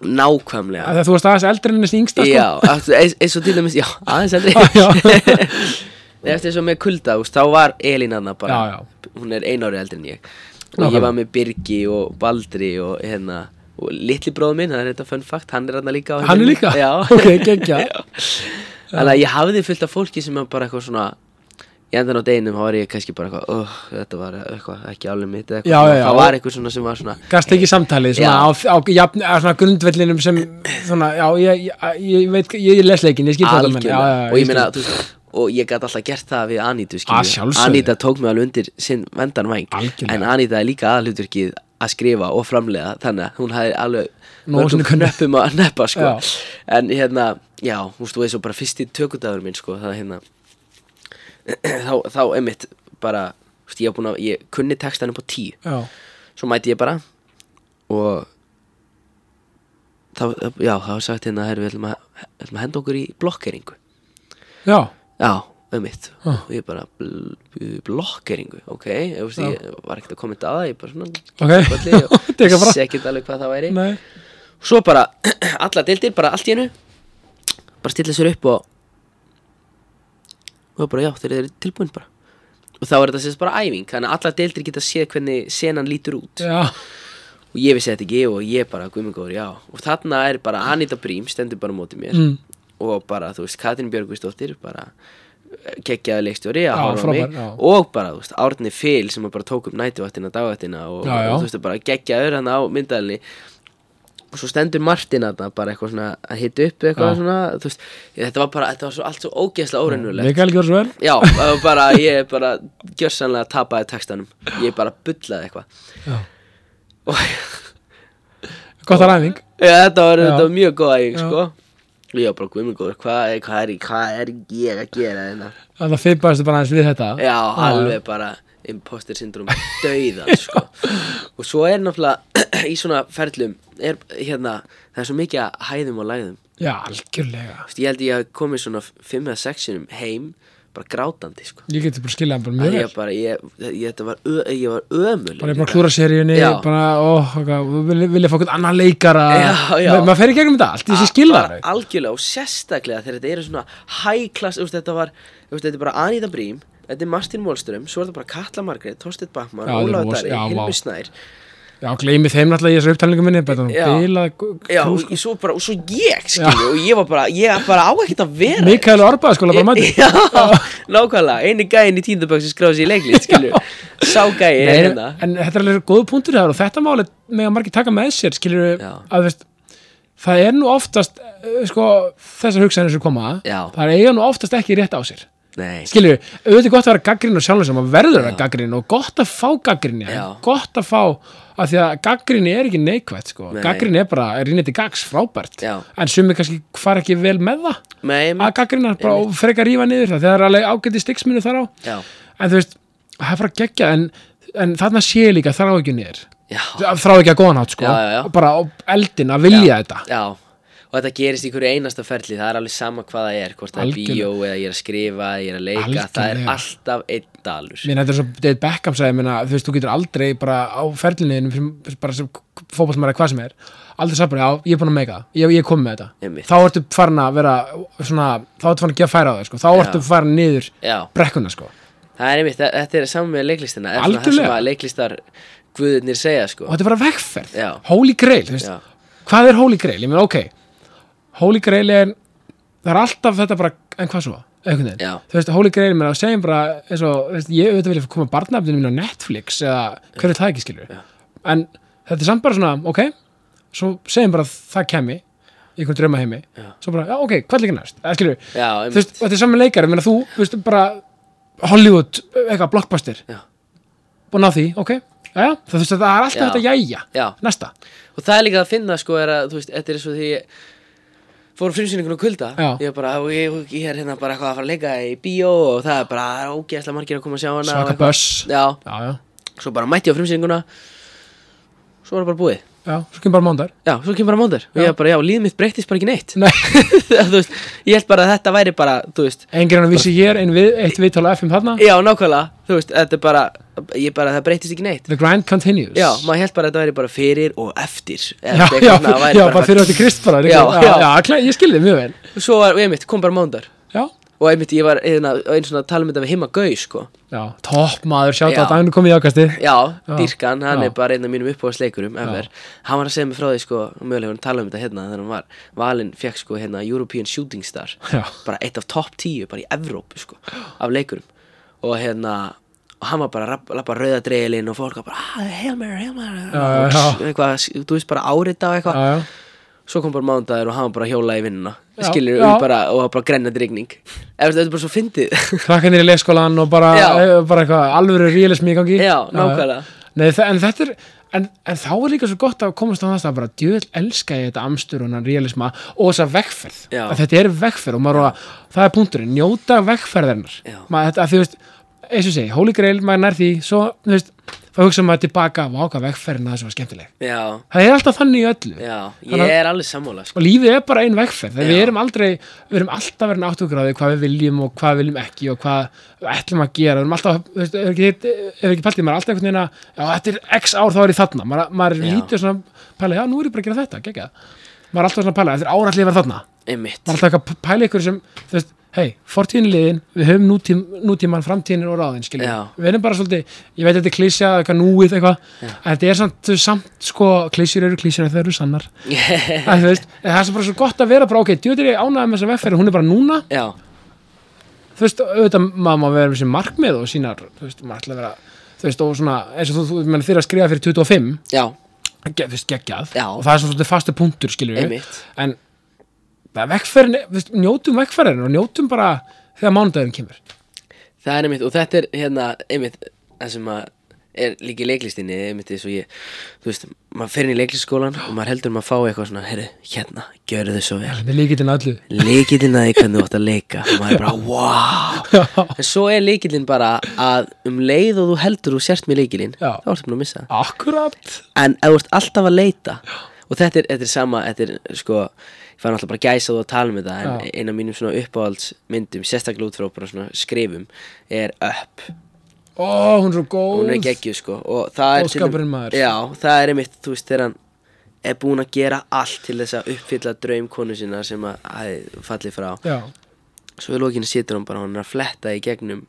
Speaker 2: nákvæmlega
Speaker 1: að þú varst aðeins eldri en þessi yngsta sko
Speaker 2: Já, aftur, eins, eins og til dæmis, já, aðeins eldri
Speaker 1: já.
Speaker 2: Nei, Eftir eins og með kulda, úst, þá var Elín aðna bara
Speaker 1: Já, já.
Speaker 2: Hún er einu ári eldri en ég Og
Speaker 1: Nákvæmlega.
Speaker 2: ég var með Birgi og Baldri og hérna Og litli bróður minn, það er þetta fun fact, hann er aðna líka á
Speaker 1: Hann er
Speaker 2: heimilinu.
Speaker 1: líka?
Speaker 2: Já
Speaker 1: Ok, geggja.
Speaker 2: Þannig að ég hafði fullt af fólki sem var bara eitthvað svona Í endan á deginum, þá var ég kannski bara eitthvað "Ugh, Þetta var eitthvað, ekki alveg mitt eða eitthvað
Speaker 1: Já,
Speaker 2: svona.
Speaker 1: já, já.
Speaker 2: Það var eitthvað svona sem var svona Eh,
Speaker 1: Gast ekki samtalið svona
Speaker 2: Já.
Speaker 1: á, á jafn, á svona grundvellinum sem svona, já, ég, ég, ég veit, ég, ég les leikin, ég skil þetta menn já, já,
Speaker 2: algjörlega
Speaker 1: já,
Speaker 2: og ég meina
Speaker 1: skil.
Speaker 2: þú veist og ég gæti alltaf gert það við Anítu
Speaker 1: Að
Speaker 2: skilju
Speaker 1: sjálfsögðu.
Speaker 2: Aníta tók mig alveg undir sinn vendanvæng
Speaker 1: Algjörlega.
Speaker 2: en Aníta er líka aðhluturkið að skrifa og framlega þannig að hún hafði alveg
Speaker 1: Nú var
Speaker 2: mörgum
Speaker 1: svona kunni.
Speaker 2: knöppum að neppa sko.
Speaker 1: Já.
Speaker 2: en hérna, já, þú veist þú veist svo bara fyrsti tökudagur minn sko, það hérna þá, þá emitt bara, þú veist, ég, var búinn að, ég kunni textan upp á tíu
Speaker 1: já,
Speaker 2: svo mæti ég bara og þá, já, þá var sagt hérna herri, við ætlum að, við ætlum að henda okkur í blokkeringu
Speaker 1: já,
Speaker 2: já, um mitt og ég bara, bl bl- blokkeringu ok, ég, veist, ég var ekkert að koma þetta að það ég bara svona
Speaker 1: ok
Speaker 2: bolli og
Speaker 1: Þetta er ekki bara-
Speaker 2: vissi ekkert alveg hvað það væri
Speaker 1: Nei,
Speaker 2: svo bara, alla deildir, bara allt í hennu bara stilla sér upp og og bara já, þeir eru tilbúin bara og þá er þetta sérst bara æfing þannig að alla deildir geta séð hvernig senan lítur út
Speaker 1: já,
Speaker 2: og ég vissi þetta ekki og ég bara guðmengóður já og þarna er bara Anita Brím stendur bara á móti mér
Speaker 1: Mm.
Speaker 2: og bara þú veist Katrin Björgvistóttir bara kekkjaði leikstjóri
Speaker 1: Já,
Speaker 2: að horfa á
Speaker 1: frábær,
Speaker 2: mig
Speaker 1: já.
Speaker 2: og bara þú veist Árni Fyl sem bara tók upp nætuvættina dagvættina og,
Speaker 1: Já, já.
Speaker 2: og þú veist bara geggjaður hann á myndalni og svo stendur Martin þarna bara eitthvað svona að hita upp eitthvað
Speaker 1: Já.
Speaker 2: svona þú veist þetta var bara þetta var svo allt svo ógeðslega órennulegt
Speaker 1: Mikael gjör svo vel
Speaker 2: Já, það var bara, ég bara gjörsanlega tapaði textanum Ég bara bullaði
Speaker 1: Já.
Speaker 2: eitthvað Og
Speaker 1: Gott að ræðing
Speaker 2: Já, þetta var,
Speaker 1: Já.
Speaker 2: þetta var mjög góð æfing,
Speaker 1: Já.
Speaker 2: sko Ég var bara guðmur góður, hvað er, hvað er, hvað er ég að gera þetta?
Speaker 1: Það fippaðist bara aðeins við þetta
Speaker 2: Já, alveg bara imposter syndrom döiðan, sko Og svo er náttúrulega, í svona ferlum, er hérna, það er svo mikið að hæðum og læðum
Speaker 1: Já, algjörlega
Speaker 2: Vist, Ég held ég að komið svona fimm eða sexinum heim, bara grátandi, sko
Speaker 1: Ég geti bara skiljað hann bara
Speaker 2: Að
Speaker 1: mjög
Speaker 2: Ég
Speaker 1: vel
Speaker 2: bara, ég, ég, þetta var, ö, ég var ömul
Speaker 1: Bara ég bara klúra seríunni,
Speaker 2: Já.
Speaker 1: bara, ó, hvað, vilja, vilja fá einhvern annan leikara
Speaker 2: Já, já. Ah,
Speaker 1: Ma- Maður fer í gegnum þetta, allt í þessi skilðar
Speaker 2: Bara algjörlega og sérstaklega þegar þetta eru svona high class, þú veist, þetta var þú veist, þetta er bara Anita Brím, þetta er Martin Wallström svo er þetta bara Katla Margrét, Thorsteinn Bachmann,
Speaker 1: Já, þetta er
Speaker 2: Ólaf
Speaker 1: rosa-
Speaker 2: Dari,
Speaker 1: já, vá.
Speaker 2: Hilmi Snær
Speaker 1: Já, gleymi þeim náttúrulega í þessu upptalningu minni Bara
Speaker 2: Já.
Speaker 1: bilað
Speaker 2: Já,
Speaker 1: krús-
Speaker 2: og svo bara, og svo ég, skilju, og ég var bara, ég bara á ekkert að vera
Speaker 1: Mikael Orba skóla bara mæti
Speaker 2: Já, nákvæmlega, eini gæin í tíndabökk sem skráði sér í leiklist, skilju Sá gæi er
Speaker 1: Nei,
Speaker 2: hérna
Speaker 1: en þetta er alveg góð punktur þar og þetta máli með að margir taka með sér skilur
Speaker 2: Já.
Speaker 1: að veist, það er nú oftast eh, sko, þessar hugsanir sem koma
Speaker 2: Já.
Speaker 1: það eiga nú oftast ekki rétt á sér
Speaker 2: Nei,
Speaker 1: skilur við, auðvitað er gott að vera gaggrin og sjálfum maður verður að vera gaggrin og gott að fá gaggrinni en
Speaker 2: Já.
Speaker 1: gott að fá að því að gaggrinni er ekki neikvætt sko.
Speaker 2: Nei.
Speaker 1: gaggrinni er bara, er innið til gags frábært
Speaker 2: Já.
Speaker 1: en sumi kannski fara ekki vel með það
Speaker 2: nei,
Speaker 1: að gaggrina bara og frekar rífa niður það það er alveg ágæti stiksminu þar á
Speaker 2: já,
Speaker 1: en þú veist, það er bara geggjað en, en þarna sé ég líka þrá ekki niður
Speaker 2: já,
Speaker 1: þrá ekki að góðan átt sko
Speaker 2: Já, já, já.
Speaker 1: bara á eldin að vilja þetta
Speaker 2: já Og þetta gerist í hverju einasta ferli, það er alveg sama hvað það er Hvort það er
Speaker 1: Algjörlega.
Speaker 2: bíó, eða ég er að skrifa, eða ég er að leika Það er
Speaker 1: Algjörlega.
Speaker 2: alltaf einn dalur
Speaker 1: Mér þetta er svo David Beckham sagði, minna, þú veist, þú getur aldrei bara á ferlinu þínum, bara sem fótballmæra hvað sem er aldrei sagði bara, já, ég er búin að meika það, ég, ég er komið með þetta
Speaker 2: Einmitt.
Speaker 1: þá ertu farin að vera svona, þá ertu farin að gefa færa á það, sko, þá ertu farin niður
Speaker 2: Já,
Speaker 1: brekkuna, sko, og
Speaker 2: það er einmitt, þe- þetta er saman með leiklistina eða svona Það sem
Speaker 1: Algjörlega.
Speaker 2: að leiklistar guðunir segja, sko
Speaker 1: þetta er bara vegferð
Speaker 2: Já.
Speaker 1: holy grail, þú veist,
Speaker 2: Já,
Speaker 1: hvað er holy grail? Ég meina, ok, holy grail er það er alltaf þetta bara, en hvað svo? einhvern
Speaker 2: Já.
Speaker 1: veginn, þú veist, holy grail menn að segjum bara, eins og, þú veist, ég auðvitað vilja koma barnafninu mín á Netflix eða hverju það ekki skilur, en þetta er samt bara svona, ok, svo segjum bara að það kemi, í einhvern drauma heimi svo bara, já, ok, hvað líka næst, eða skilur
Speaker 2: já,
Speaker 1: þú
Speaker 2: einmitt
Speaker 1: veist, og þetta er saman leikari, menn að þú, þú veist, bara Hollywood, eitthvað, blockbuster
Speaker 2: Já.
Speaker 1: búin á því, ok, já, já þú veist, það er alltaf
Speaker 2: Já.
Speaker 1: þetta jæja,
Speaker 2: Já.
Speaker 1: næsta
Speaker 2: og það er líka að finna sko er að, þú veist, þetta er svo því ég fór á frumsýningun og kulda
Speaker 1: Já.
Speaker 2: ég er bara, og ég, og ég er hérna bara eitthvað að fara að leika í bíó og það er bara, það er ógeðslega margir að koma að sjá hana og
Speaker 1: svaka
Speaker 2: eitthvað.
Speaker 1: buss
Speaker 2: já,
Speaker 1: já, já,
Speaker 2: svo bara mætti ég á frumsýninguna svo var það bara búið
Speaker 1: já, svo kemur bara mándar
Speaker 2: já, svo kemur bara mándur og
Speaker 1: Já.
Speaker 2: ég er bara, já, líð mitt breyttist bara ekki neitt
Speaker 1: Nei.
Speaker 2: þú veist, ég held bara að þetta væri bara þú veist,
Speaker 1: engir hann að vísi hér, ein við, eitt viðtal á FM þarna
Speaker 2: já, nákvæmlega þú veist, þetta er bara, ég bara, það breyttist ekki neitt
Speaker 1: The Grind Continues
Speaker 2: já, maður held bara að þetta væri bara fyrir og eftir
Speaker 1: já,
Speaker 2: Eða eitthvað
Speaker 1: já,
Speaker 2: svona, það væri
Speaker 1: já, bara fyrir átti Krist bara
Speaker 2: Já,
Speaker 1: já,
Speaker 2: já.
Speaker 1: já, klá- ég skilði mjög vel
Speaker 2: svo var, og ég mitt, kom bara mándur
Speaker 1: já,
Speaker 2: og einmitt ég var eina, einn svona tala um þetta við himma Gau sko
Speaker 1: já, topp maður, sjátt
Speaker 2: Já.
Speaker 1: að daginu komið í ákasti
Speaker 2: já,
Speaker 1: Já,
Speaker 2: Dýrkan, hann
Speaker 1: já.
Speaker 2: er bara einn af mínum uppáðsleikurum ever, hann var að segja mig frá því sko mögulega hann tala um þetta hérna þegar hann var Valin fekk sko hérna European Shooting Star
Speaker 1: Já.
Speaker 2: bara eitt af top 10 bara í Evrópu sko af leikurum og hérna og hann var bara að rapp- labba rauða dreilin og fólk var bara ah, Hail Mary, Hail Mary
Speaker 1: Já,
Speaker 2: og
Speaker 1: já.
Speaker 2: eitthvað, þú veist bara árita og
Speaker 1: já,
Speaker 2: eitthvað
Speaker 1: já,
Speaker 2: svo kom bara mándagur og hann var bara að hjóla í vinnuna
Speaker 1: Já,
Speaker 2: skilur,
Speaker 1: já.
Speaker 2: bara, og var bara grennandi rigning Ef þetta er bara svo fyndið
Speaker 1: krakkanir í leikskólan og bara,
Speaker 2: Já.
Speaker 1: eh, bara eitthvað alvöru realismi í gangi
Speaker 2: Já, nákvæmlega.
Speaker 1: Nei, þa- en þetta er En, en þá er líka svo gott að komast á það að bara djöðl elska ég þetta amstur og realisma og þessa vegferð
Speaker 2: Já.
Speaker 1: að þetta er vegferð og maður á að, það er punkturinn, njóta vegferðarnar
Speaker 2: Já.
Speaker 1: maður, þetta, að því veist, eins og ég segi, holy grail maður nær því, svo, þú veist þá hugsa maður tilbaka, vá hvað vegferðina þessu var skemmtileg
Speaker 2: já,
Speaker 1: það er alltaf þannig í öllu
Speaker 2: Já, ég
Speaker 1: Þannig að-
Speaker 2: er alveg sammála sko.
Speaker 1: og lífið er bara ein vegferð þegar við
Speaker 2: Já.
Speaker 1: erum aldrei, við erum alltaf verið náttúrgráði hvað við viljum og hvað við viljum ekki og hvað við ætlum að gera, við erum alltaf þú veist, ef ekki, ef ekki pæltið, maður er alltaf einhvern veginn að já, þetta er x ár þá er ég þarna maður, maður
Speaker 2: Já.
Speaker 1: er lítið svona að pæla, já, nú er ég bara að gera þetta gegja. maður er alltaf svona að pæla, þetta er áralli að vera þarna maður
Speaker 2: Einmitt
Speaker 1: er alltaf eitthvað að pæla ykkur sem, þú veist hei, fortíðinliðin, við höfum nútím, nútíman framtíðin og ráðin, skiljum
Speaker 2: Já.
Speaker 1: við erum bara svolítið, ég veit þetta er klísja, eitthvað núið eitthvað, en þetta er samt, samt sko, klísjur eru klísjur en þau eru sannar að, þú veist, en það er svo bara svo gott að vera bara ok, djúður ég ánægði með þessa vegferð hún er bara núna,
Speaker 2: Já,
Speaker 1: þú veist, auðvitað maður má vera með sér markmið og sínar þú veist, maður ætla að vera, þú veist, og svona eins og þú, þú menn þeir að skrifa fyrir 25
Speaker 2: já,
Speaker 1: ge- þú veist, geggjað,
Speaker 2: Já.
Speaker 1: og það er svona fastu punktur, skilur við,
Speaker 2: einmitt
Speaker 1: en bara vegferðin, er- þú veist, njótum vegferðin og njótum bara þegar mánudagurinn kemur
Speaker 2: Það er einmitt, og þetta er hérna einmitt, það sem að er líka í leiklistinni, einmitt eins og ég þú veist, maður fer inn í leiklistskólan og maður heldur maður að fá eitthvað svona, heyrðu, hérna gjörðu þau svo vel,
Speaker 1: þetta er líkitinn öllu
Speaker 2: leikillin að því hvernig þú átt að leika og maður er bara, wow en svo er leikillin bara að um leið og þú heldur þú sért með leikillin
Speaker 1: Já.
Speaker 2: þá ertu búin að missa það
Speaker 1: akkurat,
Speaker 2: en ef þú ert alltaf að leita og þetta er, þetta er sama, þetta er sko ég fann alltaf bara gæsa þú að tala um þetta en
Speaker 1: Já.
Speaker 2: eina af mínum svona uppáhaldsmyndum sérstaklega út frá bara svona skrifum er Up,
Speaker 1: ó, hún er svo góð
Speaker 2: hún er geggjuð sko og það er
Speaker 1: Óskapurinn maður.
Speaker 2: já, það er einmitt, þú veist, þegar hann er búinn að gera allt til þess að uppfylla draum konu sinna sem að hafði fallið frá
Speaker 1: já,
Speaker 2: svo í lókinu situr hann bara, hann er að fletta í gegnum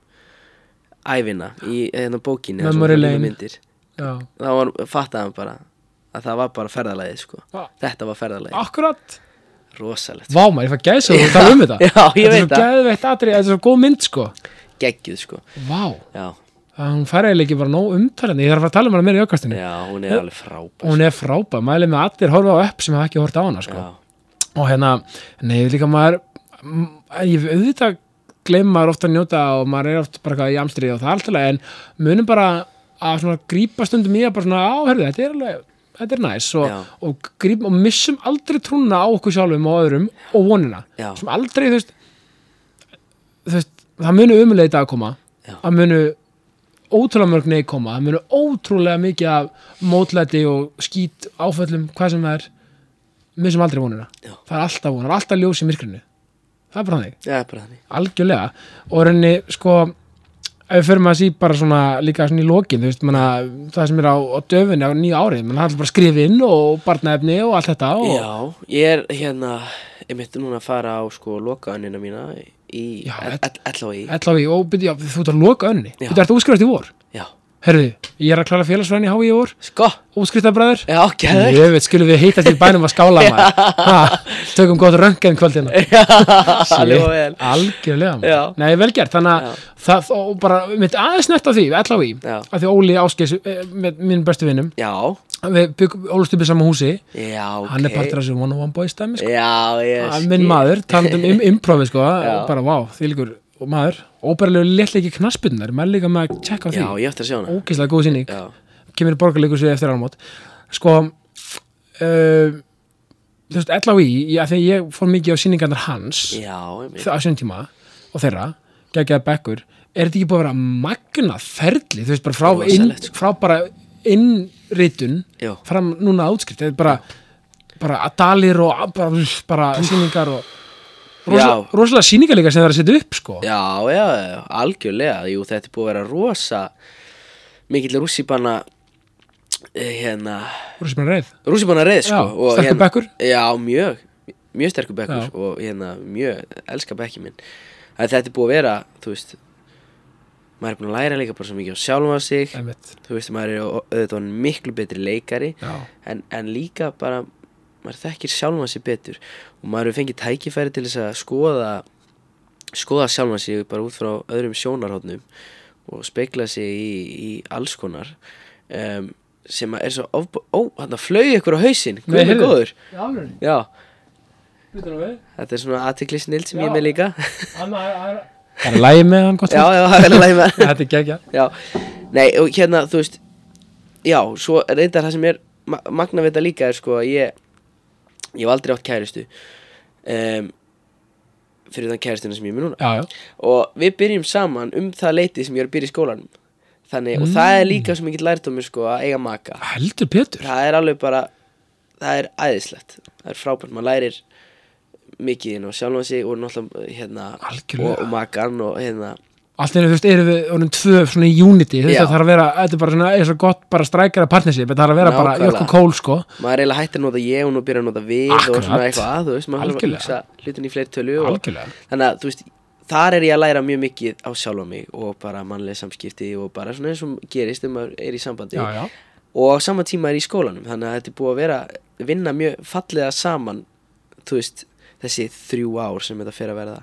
Speaker 2: ævina í hérna bókinni
Speaker 1: Memory
Speaker 2: þar sem hann er með
Speaker 1: lane.
Speaker 2: myndir.
Speaker 1: já,
Speaker 2: þá var, fattaði hann bara að það var bara ferðalagið sko
Speaker 1: Já.
Speaker 2: þetta var ferðalagið,
Speaker 1: akkurat
Speaker 2: rosalegt
Speaker 1: Vá maður, ég fæ gæsa þú að tala um þetta
Speaker 2: Já,
Speaker 1: Þetta er
Speaker 2: ég veit
Speaker 1: svo
Speaker 2: það.
Speaker 1: geðveitt atrið, þetta er svo góð mynd sko
Speaker 2: geggjuð sko,
Speaker 1: Vá,
Speaker 2: já,
Speaker 1: það hún fær eiginlega ekki bara nóg umtalandi Ég þarf að fara að tala um hana meira í aukastinu
Speaker 2: já, hún er alveg frábær
Speaker 1: Hún er frábæð, mælið með allir horfa á upp sem hafa ekki horta á hana sko
Speaker 2: já,
Speaker 1: Og hérna, nei líka maður m- Ég auðvitað gleym maður ofta að njóta og maður er oft bara eitthvað í amstrið og það er alltaf leið, en munum bara að svona grípa stundum í að bara svona áhörðu, þetta er alveg þetta er næs og,
Speaker 2: Já.
Speaker 1: og, gríp, og missum aldrei trúna á okkur sjálfum og öðrum og vonina
Speaker 2: Já.
Speaker 1: sem aldrei, þú veist, þú veist það munu umulegið dag að koma
Speaker 2: Já.
Speaker 1: það munu ótrúlega mörg neið koma það munu ótrúlega mikið af mótlæti og skít áföllum hvað sem það er, missum aldrei vonina
Speaker 2: Já.
Speaker 1: það er alltaf vonar, alltaf ljós í myrkrinu það er bara þannig
Speaker 2: já, bara þannig
Speaker 1: algjörlega og reyni sko ef við förum að sí bara svona líka svona í lokin þú veist, manna, það sem er á, á döfunni á nýju árið, mann hann bara að skrifa inn og barnaefni og allt þetta og
Speaker 2: Já, ég er hérna, ég mitt núna að fara á sko lokaðanina mína í
Speaker 1: Já,
Speaker 2: LOI.
Speaker 1: LHV og byrja, já, þú ert að loka önni
Speaker 2: Já.
Speaker 1: þú ert að útskrifast í vor,
Speaker 2: Já,
Speaker 1: herðu ég er að klára félagsfræðin í HÍ í vor,
Speaker 2: sko,
Speaker 1: útskriftabræður
Speaker 2: já, gæður.
Speaker 1: ég veit, skulum við heitast í bænum að skála maður ha, tökum gott röngan kvöldina
Speaker 2: Já, alveg vel.
Speaker 1: algjörlega
Speaker 2: Já.
Speaker 1: maður. nei, vel gert, þannig að það, og bara, mitt aðeins nett á því, LHV
Speaker 2: Já.
Speaker 1: að því Óli Áskeis, eh, með minn bestu vinnum
Speaker 2: Já,
Speaker 1: við byggum ólust upp í sama húsi
Speaker 2: já, ok.
Speaker 1: hann er partur af þessu one on one boys dæmi sko.
Speaker 2: Já, ég
Speaker 1: Hann er minn maður, talandum um improvi sko,
Speaker 2: Já.
Speaker 1: bara vá, þýlíkur maður óbærilegu léttlegi knaspunnar maður líka með að checka á
Speaker 2: Já,
Speaker 1: því,
Speaker 2: ég ætti að sjá hana.
Speaker 1: ógeðslega góð sýning
Speaker 2: Já,
Speaker 1: kemur í borgarleikus við eftir áramót sko uh, þú veist, LAV af því að ég fór mikið á sýningarnar hans
Speaker 2: já, ég mitt.
Speaker 1: á sínum tíma og þeirra, geggjaða bekkur er þetta ekki búið að vera magna ferli, þú veist, bara frá, inn,
Speaker 2: Rosalegt, sko.
Speaker 1: frá bara innritun
Speaker 2: Já,
Speaker 1: fram núna átskrift þetta er bara, bara dalir og bara, bara sýningar og rosalega,
Speaker 2: Já.
Speaker 1: rosalega sýningar líka sem það er að setja upp sko
Speaker 2: já, já, já, algjörlega. Jú, þetta er búið að vera rosa mikill rússipanna, hérna,
Speaker 1: rosalega reið
Speaker 2: rússipanna reið, sko.
Speaker 1: Já,
Speaker 2: og
Speaker 1: sterkur
Speaker 2: hérna-
Speaker 1: bekkur.
Speaker 2: Já, mjög, mjög sterkur bekkur
Speaker 1: Já.
Speaker 2: og hérna, mjög, elska bekki minn að þetta er búið að vera, þú veist maður er búin að læra líka bara svo mikið á sjálfum á sig,
Speaker 1: Einmitt.
Speaker 2: þú veist, maður er au- auðvitað orðinn miklu betri leikari
Speaker 1: já,
Speaker 2: en, en líka bara, maður þekkir sjálfum að sig betur og maður hefur fengið tækifæri til þess að skoða skoða sjálfum að sig bara út frá öðrum sjónarhóttnum og spekla sig í, í alls konar um, sem að er svo ofb... ó, hann að flög ykkur á hausinn,
Speaker 1: Nei,
Speaker 2: guð með
Speaker 1: heyrðu.
Speaker 2: góður
Speaker 1: alveg
Speaker 2: já,
Speaker 1: það
Speaker 2: Þetta er svona aðtiklisnild sem
Speaker 1: Já.
Speaker 2: ég er með líka
Speaker 1: er lægi með hann gott
Speaker 2: Já, já, það er alveg með
Speaker 1: þetta er geggja
Speaker 2: Já, nei, og hérna, þú veist Já, svo reyndar það sem er ma- magna við þetta líka er sko að ég ég hef aldrei átt kæristu um, fyrir þann kæristuna sem ég er með núna
Speaker 1: já, já,
Speaker 2: og við byrjum saman um það leiti sem ég er að byrja í skólanum þannig, og það er líka sem ég get lært á mér sko að eiga maka
Speaker 1: heldur Pétur
Speaker 2: það er alveg bara það er æðislegt, það er frábært maður lærir mikið inn á sjálfan sig og náttúrulega hérna
Speaker 1: Algjörlega.
Speaker 2: og, og makan og hérna
Speaker 1: allt einu, þú veist, erum við orðin tvö svona í unity, þú veist,
Speaker 2: Já.
Speaker 1: það þarf að vera þetta er bara svona, eins og gott bara strækara partnership þetta þarf að vera bara
Speaker 2: Nákvæmlega.
Speaker 1: jökku kól, sko
Speaker 2: maður er eiginlega hægt að nota ég og nú byrja að nota við og svona
Speaker 1: Akkurat.
Speaker 2: eitthvað að þú veist maður þarf að
Speaker 1: Algjörlega.
Speaker 2: hugsa hlutin í fleiri tölu og,
Speaker 1: algjörlega,
Speaker 2: þannig að þú veist þar er ég að læra mjög mikið á sjálfa mig og bara mannlega samskipti og bara svona eins og gerist þegar maður er í sambandi
Speaker 1: já, já,
Speaker 2: og á sama tíma er ég í skólanum þannig að þetta er búið að vera vinna mjög fallega saman þú veist þessi þrjú ár sem þetta fer að verða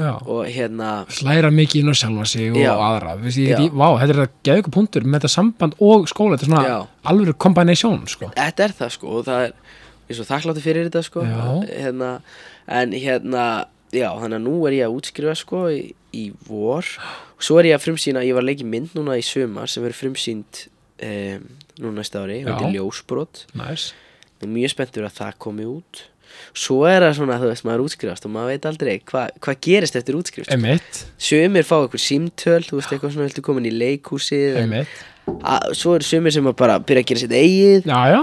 Speaker 1: já
Speaker 2: og hérna
Speaker 1: slæra mikið inn á sjálfa sig og
Speaker 2: Já.
Speaker 1: aðra Þú veist, ég get,
Speaker 2: Já.
Speaker 1: í- vá, þetta er að geða ykkur punktur með þetta samband og skóla, þetta er svona
Speaker 2: Já.
Speaker 1: alvöru kombinæsjón sko.
Speaker 2: þetta er það sko og það er, ég er svo þakklátti fyrir þetta sko
Speaker 1: Já.
Speaker 2: hérna, en hérna já, þannig að nú er ég að útskrifa sko í, í vor og svo er ég að frumsýna, ég var að leiki mynd núna í sumar sem verður frumsýnd um, núna næsta ári, hún
Speaker 1: Já.
Speaker 2: heitir Ljósbrot
Speaker 1: nice.
Speaker 2: og mjög spenntur að það komi út svo er það svona, þú veist, maður útskrifast og maður veit aldrei hvað hva gerist eftir útskrift sko.
Speaker 1: emitt,
Speaker 2: sumir fá eitthvað símtöl, þú veist, eitthvað svona viltu komin í leikhúsið en-
Speaker 1: emitt
Speaker 2: að- svo eru sumir sem að bara byrja að gera sitt eigið
Speaker 1: já, já,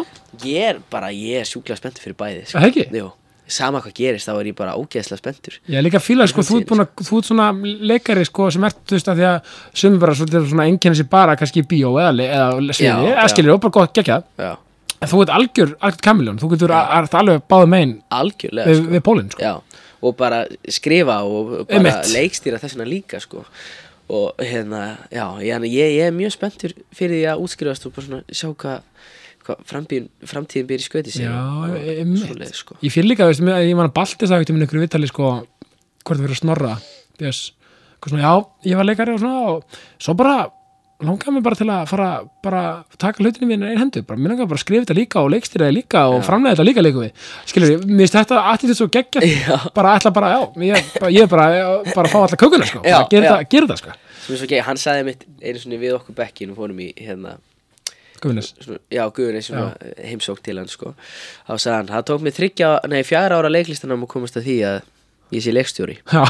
Speaker 2: Ég er bara, ég er sjúklega spenntur fyrir bæði sko.
Speaker 1: Er það ekki?
Speaker 2: Jú, sama hvað gerist, þá er ég bara ógeðslega spenntur
Speaker 1: ég er líka fíla sko, þú ert búin að, þú ert svona leikari sko, sem ert, þú veist, að því að sumir bara svolítið svona enginni sér bara kannski í bíó eða, le- eða sviði,
Speaker 2: Já,
Speaker 1: eða
Speaker 2: já.
Speaker 1: skilir og bara gott gegja,
Speaker 2: Já
Speaker 1: en þú ert algjör algjör kamiljón, þú getur að, að alveg báðu megin
Speaker 2: Algjörlega,
Speaker 1: við,
Speaker 2: sko
Speaker 1: við pólinn, sko
Speaker 2: Já, og bara skrifa og bara
Speaker 1: Einmitt.
Speaker 2: leikstýra þessuna líka, sko og hérna, já, ég, ég, ég er mjög spenntur fyrir því að útskrifast og bara svona sjá hvað hva framtíðin, framtíðin byrja í sköti sér
Speaker 1: Já,
Speaker 2: og- og
Speaker 1: einmitt.
Speaker 2: svoleiðis, sko.
Speaker 1: Ég fyrir líka, veist, ég man að Balti sagði um einhverju viðtali, sko, hvort það verið að snorra yes. svona, já, ég var leikari og svona og svo bara langaði mig bara til að fara bara taka hlutinu mínu einn hendu, bara mér langaði bara að skrifa þetta líka og leikstýra þetta líka og framlega þetta líka leikum við skilur við, mér finnst þetta attitút svo geggja
Speaker 2: Já.
Speaker 1: bara ætla bara, já, ég, ég er bara ég, bara að fá alla kökuna, sko,
Speaker 2: Já,
Speaker 1: bara gera
Speaker 2: já.
Speaker 1: þetta gera þetta, sko,
Speaker 2: Sem er svo ekki, hann sagði mitt einu svona við okkur bekkin og fórum í hérna
Speaker 1: Guðunis
Speaker 2: svona, já, Guðurinn svona heimsók til hann sko. þá sagði hann, það tók mig þryggja, nei, fjara ára leiklistanum að komast að því að ég sé leikstjóri
Speaker 1: Já,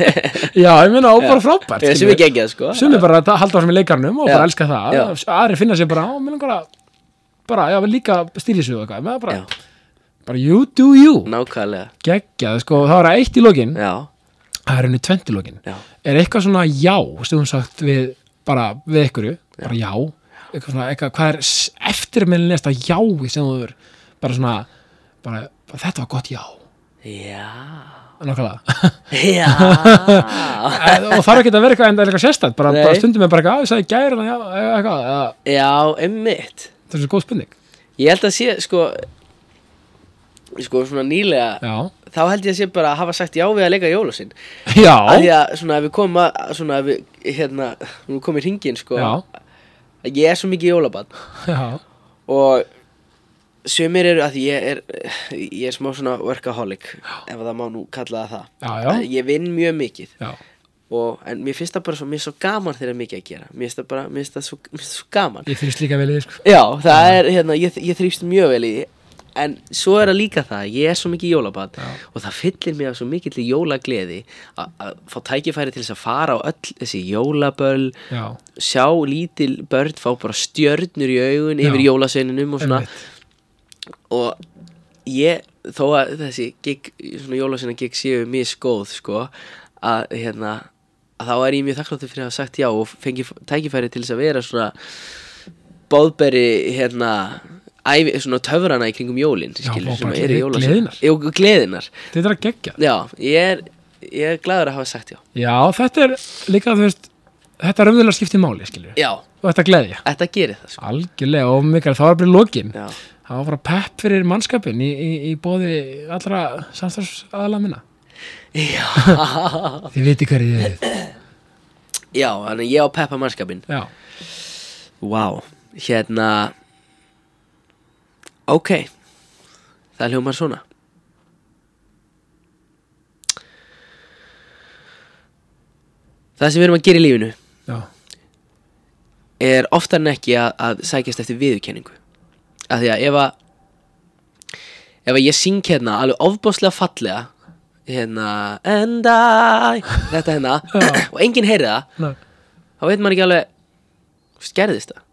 Speaker 1: já, ég meina, og bara frábært
Speaker 2: Eh, sem
Speaker 1: skilur
Speaker 2: er
Speaker 1: við.
Speaker 2: geggjað, sko
Speaker 1: sumir bara að halda á sem í leikarnum og
Speaker 2: Já.
Speaker 1: bara elska það,
Speaker 2: Já.
Speaker 1: aðri finna sér bara á, mér langar að bara, já, líka stýri sig og eitthvað, með bara,
Speaker 2: já,
Speaker 1: bara you do you,
Speaker 2: nákvæmlega,
Speaker 1: geggjað sko, það er eitt í lokin,
Speaker 2: já,
Speaker 1: það er henni tvent í lokin,
Speaker 2: já
Speaker 1: er eitthvað svona já stundum sagt við, bara við ykkur, bara já, eitthvað svona eitthvað, hvað er s- eftirminnilegasta já sem þú verður, bara svona bara, bara, þetta var gott já
Speaker 2: já,
Speaker 1: nákvæmlega,
Speaker 2: já
Speaker 1: og þarf ekki að vera eitthvað enda eitthvað sérstætt, bara,
Speaker 2: Nei.
Speaker 1: bara stundum er bara eitthvað, "Á, ég sagði gæri já, eitthvað, eða,
Speaker 2: já, einmitt
Speaker 1: það er svo góð spurning
Speaker 2: ég held að sé, sko sko, svona nýlega
Speaker 1: já,
Speaker 2: þá held ég að sé bara að hafa sagt já við að leika jólasinn
Speaker 1: já,
Speaker 2: að því að svona ef við komum að svona ef við hérna, nú erum við komum í ringin sko
Speaker 1: Já.
Speaker 2: að ég er svo mikið jólabann
Speaker 1: já,
Speaker 2: og sumir eru að því ég er ég er smá svona workaholic ef það má nú kalla það það
Speaker 1: Já, já.
Speaker 2: Að ég vinn mjög mikið
Speaker 1: já,
Speaker 2: og, en mér finnst það bara svo, mér er svo gaman þegar mikið að gera mér finnst það bara, mér finnst það svo, mér finnst það svo gaman
Speaker 1: ég finnst líka vel í því, sko.
Speaker 2: já, það er, hérna, ég, ég þrýfst mjög vel í því en svo er það líka það, ég er svo mikið jólabann og það fyllir mig af svo mikill jólagleði að að fá tækifæri til þess að fara á öll þessi jólaböll
Speaker 1: já,
Speaker 2: sjá lítil börn fá bara stjörnur í augun yfir
Speaker 1: Já.
Speaker 2: jólasveininum og svona og ég, þó að þessi gig, svona jólasveina gig séu misgóð sko, að hérna að þá er ég mjög þakkláttur fyrir að hafa sagt já og fengi tækifæri til þess að vera svona bóðberi hérna ævi, svona töfrana í kringum jólin
Speaker 1: Já,
Speaker 2: skilur,
Speaker 1: og
Speaker 2: sem
Speaker 1: bara
Speaker 2: eru
Speaker 1: gle-
Speaker 2: jólasveina
Speaker 1: gleðinar.
Speaker 2: Jú, gleðinar
Speaker 1: þetta er að gegja
Speaker 2: já, ég er, ég er gladur að hafa sagt já
Speaker 1: já, þetta er líka, þú veist þetta er auðvitað skiptið máli, skilur
Speaker 2: já,
Speaker 1: og þetta gleðja,
Speaker 2: þetta gerir það sko.
Speaker 1: algjörlega og mikil, þá er bara í lokin
Speaker 2: já,
Speaker 1: það var bara pepp fyrir mannskapin í, í, í bóði allra samstafsadala minna
Speaker 2: já.
Speaker 1: þið viti hverju þið eruð.
Speaker 2: Já, þannig að ég á Peppa mannskapin
Speaker 1: já,
Speaker 2: Vá, hérna Ok Það hljómar svona Það sem við erum að gera í lífinu
Speaker 1: já,
Speaker 2: er oftar en ekki að, að sækjast eftir viðurkenningu af því að ef að ef að ég syng hérna alveg ofbáslega fallega hérna and I þetta hérna
Speaker 1: Já.
Speaker 2: og enginn heyri það
Speaker 1: næ,
Speaker 2: þá veit maður ekki alveg skerðist það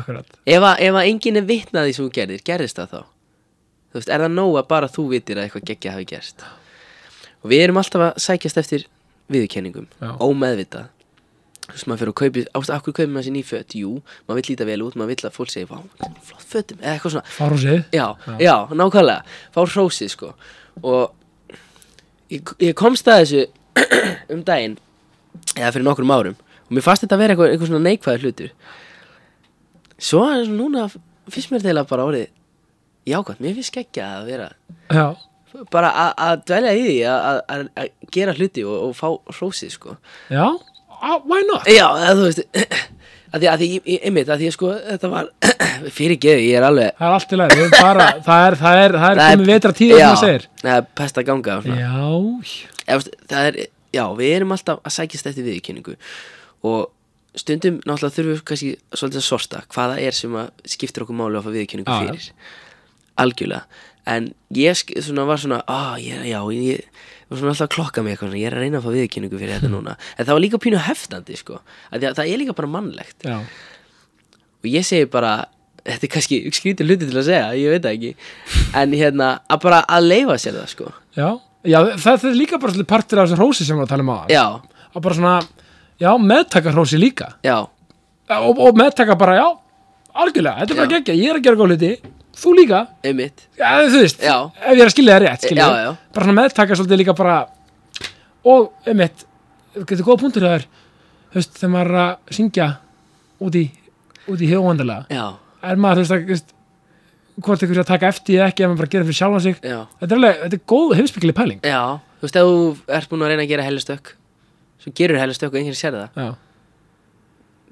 Speaker 1: akkurat
Speaker 2: Ef að, ef að enginn er vitnað því sem þú gerðir, gerðist það þá? Þú veist, er það nóg að bara þú vitir að eitthvað geggja hafi gerst? Og við erum alltaf að sækjast eftir viðurkenningum,
Speaker 1: Já.
Speaker 2: ómeðvitað. Þú veist, maður fyrir að kaupi, ást, akkur kaupir maður sér ný föt? Jú, maður vill líta vel út, maður vill að fólk segi, vá, flott fötum, eða eitthvað svona.
Speaker 1: fárhúsið,
Speaker 2: Já, já, nákvæmlega, fá hrósið, sko. Og ég, ég komst að þessu um daginn, eða fyrir nokkrum árum, og mér fannst þetta að vera eitthvað, eitthvað svona neikvæður hlutur. Svo er svona núna finnst mér þetta eiginlega bara orðið jákvæmt, mér finnst ekki að vera
Speaker 1: já,
Speaker 2: bara að- að dvelja í því að- að að- að gera hluti og, og fá hrósið sko.
Speaker 1: já ah, why not,
Speaker 2: Já, eða þú veist að því, að því, ég- einmitt, að því sko þetta var fyrir geðu, ég er alveg
Speaker 1: það er allt í lagi við erum bara, það er, það er, það er komið vetra tíð
Speaker 2: já,
Speaker 1: sem það segir,
Speaker 2: það er pest að ganga og svona.
Speaker 1: já
Speaker 2: Eða, veist, það er, já, við erum alltaf að sækjast eftir viðurkenningu og stundum náttúrulega þurfum við kannski svolítið að sorta hvaða er sem að skiptir okkur máli á að fá viðurkenningu
Speaker 1: Já, já.
Speaker 2: fyrir algjörlega, en ég sk- svona var svona, á, ég, já, ég var svona alltaf að klokka mig eitthvað, svona, ég er að reyna að fá viðurkenningu fyrir þetta núna, en það var líka pínu heftandi, sko, af því að það er líka bara mannlegt
Speaker 1: já,
Speaker 2: og ég segi bara þetta er kannski skrítið hluti til að segja, ég veit það ekki en hérna, að bara að leifa sér það, sko,
Speaker 1: Já, já það, það er líka bara svolítið partur af þessu hrósi sem við erum að tala um á
Speaker 2: já,
Speaker 1: og bara svona, já, meðtaka hrósi líka
Speaker 2: já
Speaker 1: og, og meðtaka bara, já, algjörlega þetta er bara
Speaker 2: Já.
Speaker 1: geggja, ég er að gera góð hluti þú líka,
Speaker 2: einmitt
Speaker 1: ja, þú veist
Speaker 2: Já.
Speaker 1: ef ég er að skilja það rétt, skilja
Speaker 2: Já, já.
Speaker 1: bara svona meðtaka svolítið líka bara og um eitt þetta er góða punktur það er þú veist, þegar maður er að syngja út í, út í hjóðvandilega
Speaker 2: já,
Speaker 1: er maður, þú veist, að, þú veist hvort ykkur sé að taka eftir eða ekki ef maður bara gera fyrir sjálfan sig
Speaker 2: já,
Speaker 1: þetta er alveg, þetta er góð heimspekileg pæling
Speaker 2: já þú veist, ef þú ert búin að reyna að gera hellistökk svo gerur hellistökk og einhvern sér það
Speaker 1: já.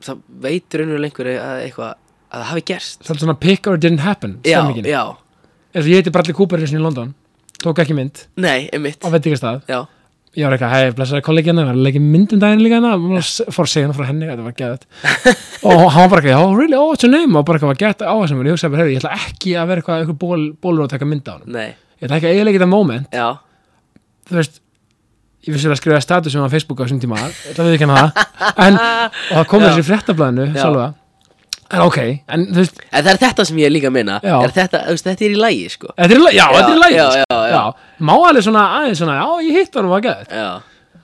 Speaker 2: þá veitur unnvöld einhverju að eitthvað að það hafi gerst
Speaker 1: það er svona pick or it didn't happen
Speaker 2: já,
Speaker 1: stemmingin.
Speaker 2: já,
Speaker 1: eins og ég heiti Bradley Cooper eins og í London tók ekki mynd
Speaker 2: nei, einmitt
Speaker 1: á veitingastað
Speaker 2: já,
Speaker 1: ég var eitthvað, hei, blessaði kollegjana, við erum að leggja mynd um daginn líka hana, hún var að fór að segja hana frá henni, þetta var gæðið. og hann var bara eitthvað, oh, really, oh, what's your name, og bara eitthvað var gætt á þessum, og ég hugsaði bara, heyrðu, ég ætla ekki að vera eitthvað, eitthvað ból, bólur að taka mynd á hann.
Speaker 2: nei,
Speaker 1: Ég ætla ekki að eiginlega geta moment,
Speaker 2: já,
Speaker 1: þú veist, ég vissi að skrifa statusum á Facebook á þessum tíma, ég ætla við ekki hana það, en, og það kom
Speaker 2: Já.
Speaker 1: þessi fréttablaðinu,
Speaker 2: Já.
Speaker 1: sjálfa, en ok, en þú veist,
Speaker 2: en það er þetta sem ég er líka að minna
Speaker 1: Já.
Speaker 2: er þetta, þú veist, þetta er í lægi, sko
Speaker 1: þetta er, í lagi- sko. já,
Speaker 2: Já,
Speaker 1: þetta er lægið,
Speaker 2: já, já, já.
Speaker 1: má alveg svona aðeins svona, já, ég hitt hann og var gæðið,
Speaker 2: já,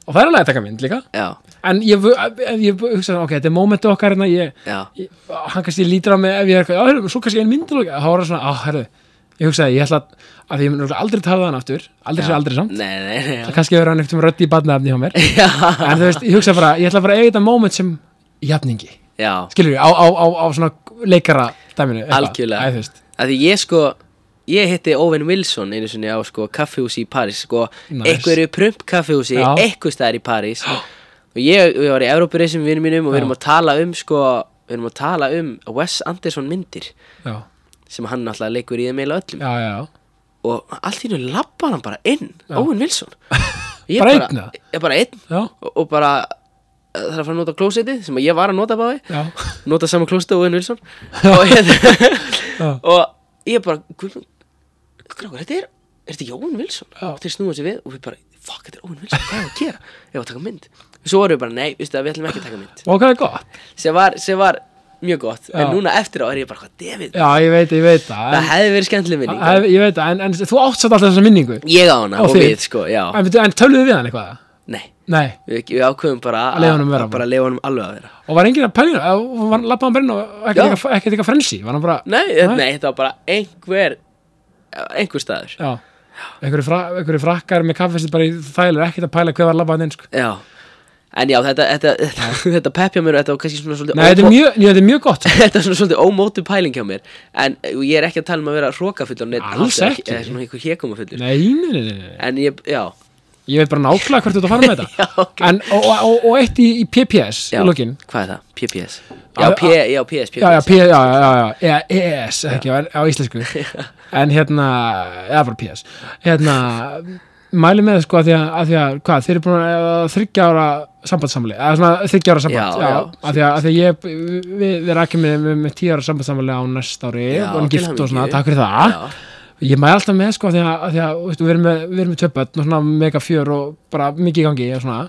Speaker 1: og það er alveg að taka mynd líka,
Speaker 2: já,
Speaker 1: en ég, ég, ég hugsa ok, þetta er mómentu okkar hérna, ég,
Speaker 2: já
Speaker 1: ég, hann kannski lítur á mig ef ég er eitthvað, já, heyrðu, svo kannski ein myndir og það var það svona, á, herðu, ég hugsaði, ég ætla að af því ég mun örugglega aldrei tala við hann aftur, aldrei sér aldrei samt,
Speaker 2: nei, nei, nei, já,
Speaker 1: það kannski verður hann eitthvað rödd í badnaefni hjá mér,
Speaker 2: já,
Speaker 1: en þú veist, ég hugsaði bara, ég ætla bara að eiga þetta moment sem jafningi,
Speaker 2: já.
Speaker 1: skilur við, á, á, á, á svona leikara dæminu,
Speaker 2: Algjörlega.
Speaker 1: Æ, þú veist,
Speaker 2: að því ég sko ég hitti Owen Wilson einu sinni á sko kaffihúsi í París sko
Speaker 1: Nice.
Speaker 2: einhverju prump kaffihúsi
Speaker 1: Já.
Speaker 2: eitthvað staðar í París og ég, ég var í Evrópureysum vinnum mínum og við
Speaker 1: Já.
Speaker 2: erum að tala um sko við erum að tala um Wes Anderson myndir
Speaker 1: já,
Speaker 2: sem hann alltaf leikur í þeim eila öllum
Speaker 1: já, já, já.
Speaker 2: og allt í nú lappar hann bara inn Owen Wilson Ég
Speaker 1: Bara einn, eða?
Speaker 2: ég bara einn
Speaker 1: Já,
Speaker 2: og, og bara eh, þarf að fara að nota klósitið sem að ég var að nota báði
Speaker 1: já,
Speaker 2: nota saman klósta og Owen Wilson og, hérna,
Speaker 1: Já.
Speaker 2: og ég bara guðmund, krákur, þetta er er þetta ekki Owen Wilson?
Speaker 1: Já.
Speaker 2: og þeir snúið sér við og við bara, fuck, þetta er Owen Wilson, hvað er að gera? ég var að taka mynd svo vorum við bara, nei, veistu það, við ætlum ekki að taka mynd
Speaker 1: og hvað er gott,
Speaker 2: sem var, sem var mjög gott
Speaker 1: Já.
Speaker 2: en núna eftir á er ég bara, hvað, David
Speaker 1: já, ég veit, ég veit það,
Speaker 2: það
Speaker 1: en,
Speaker 2: hefði verið skemmtileg minning
Speaker 1: hef, ég veit það, en, en þú átt satt alltaf þessa minningu, en,
Speaker 2: ég á hana
Speaker 1: Á
Speaker 2: og
Speaker 1: þig?
Speaker 2: við, sko, já
Speaker 1: veitu, en töluðu við hann eitthvað,
Speaker 2: nei,
Speaker 1: nei,
Speaker 2: við, við ákveðum bara
Speaker 1: Að leyfa honum vera bara.
Speaker 2: bara leiða honum alveg að vera
Speaker 1: og var enginn að pælja það, og var lappa hann brenna og
Speaker 2: Já.
Speaker 1: ekkert eitthvað- ekkert eitthvað frensi var hann bara,
Speaker 2: nei, nei. þetta var bara einhver einhver staður
Speaker 1: já einhverju, fra, einhverju frakkar með kaffesið bara í þælu ekkert að pæla hver var lappa hann inn sko.
Speaker 2: Já En já, þetta, þetta, þetta, þetta pepja mér og þetta var kannski svona svolítið
Speaker 1: nei, þetta er,
Speaker 2: ómó-
Speaker 1: mjög, njö, þetta er mjög gott
Speaker 2: Þetta er svona svolítið ómótu pæling hjá mér En eh, ég er ekki að tala um að vera hrókafull á neitt
Speaker 1: Alls
Speaker 2: hátt eða
Speaker 1: ekki.
Speaker 2: eða svona einhver hekumafullur
Speaker 1: nei, nei, nei, nei, nei.
Speaker 2: En ég, já,
Speaker 1: ég veit bara nákvæmlega hvert þú ert að fara með þetta
Speaker 2: já ok.
Speaker 1: en, og, og, og, og eitt í, í PPS
Speaker 2: já,
Speaker 1: í lokin
Speaker 2: Hvað er það? PPS Já,
Speaker 1: Að-
Speaker 2: P, já PS,
Speaker 1: já, já,
Speaker 2: PPS
Speaker 1: P, já, já, já, já, eða ES eða ekki, á, á íslensku en hérna, eða bara PS hérna, mæli með sko að því að, að, því að hvað, þeir eru búin að eða þriggja ára sambandsamli, eða svona þriggja ára samband,
Speaker 2: Já, já.
Speaker 1: að því að, að því að ég við, við rækjum með, með, með tíu ára sambandsamli á næsta ári,
Speaker 2: Já,
Speaker 1: og hann
Speaker 2: til
Speaker 1: gift og svona
Speaker 2: hamingju.
Speaker 1: takk fyrir það, ég mæli alltaf með sko að því að, að, því að veistu, við erum með, við erum með töpöld og svona mega fjör og bara mikið í gangi og svona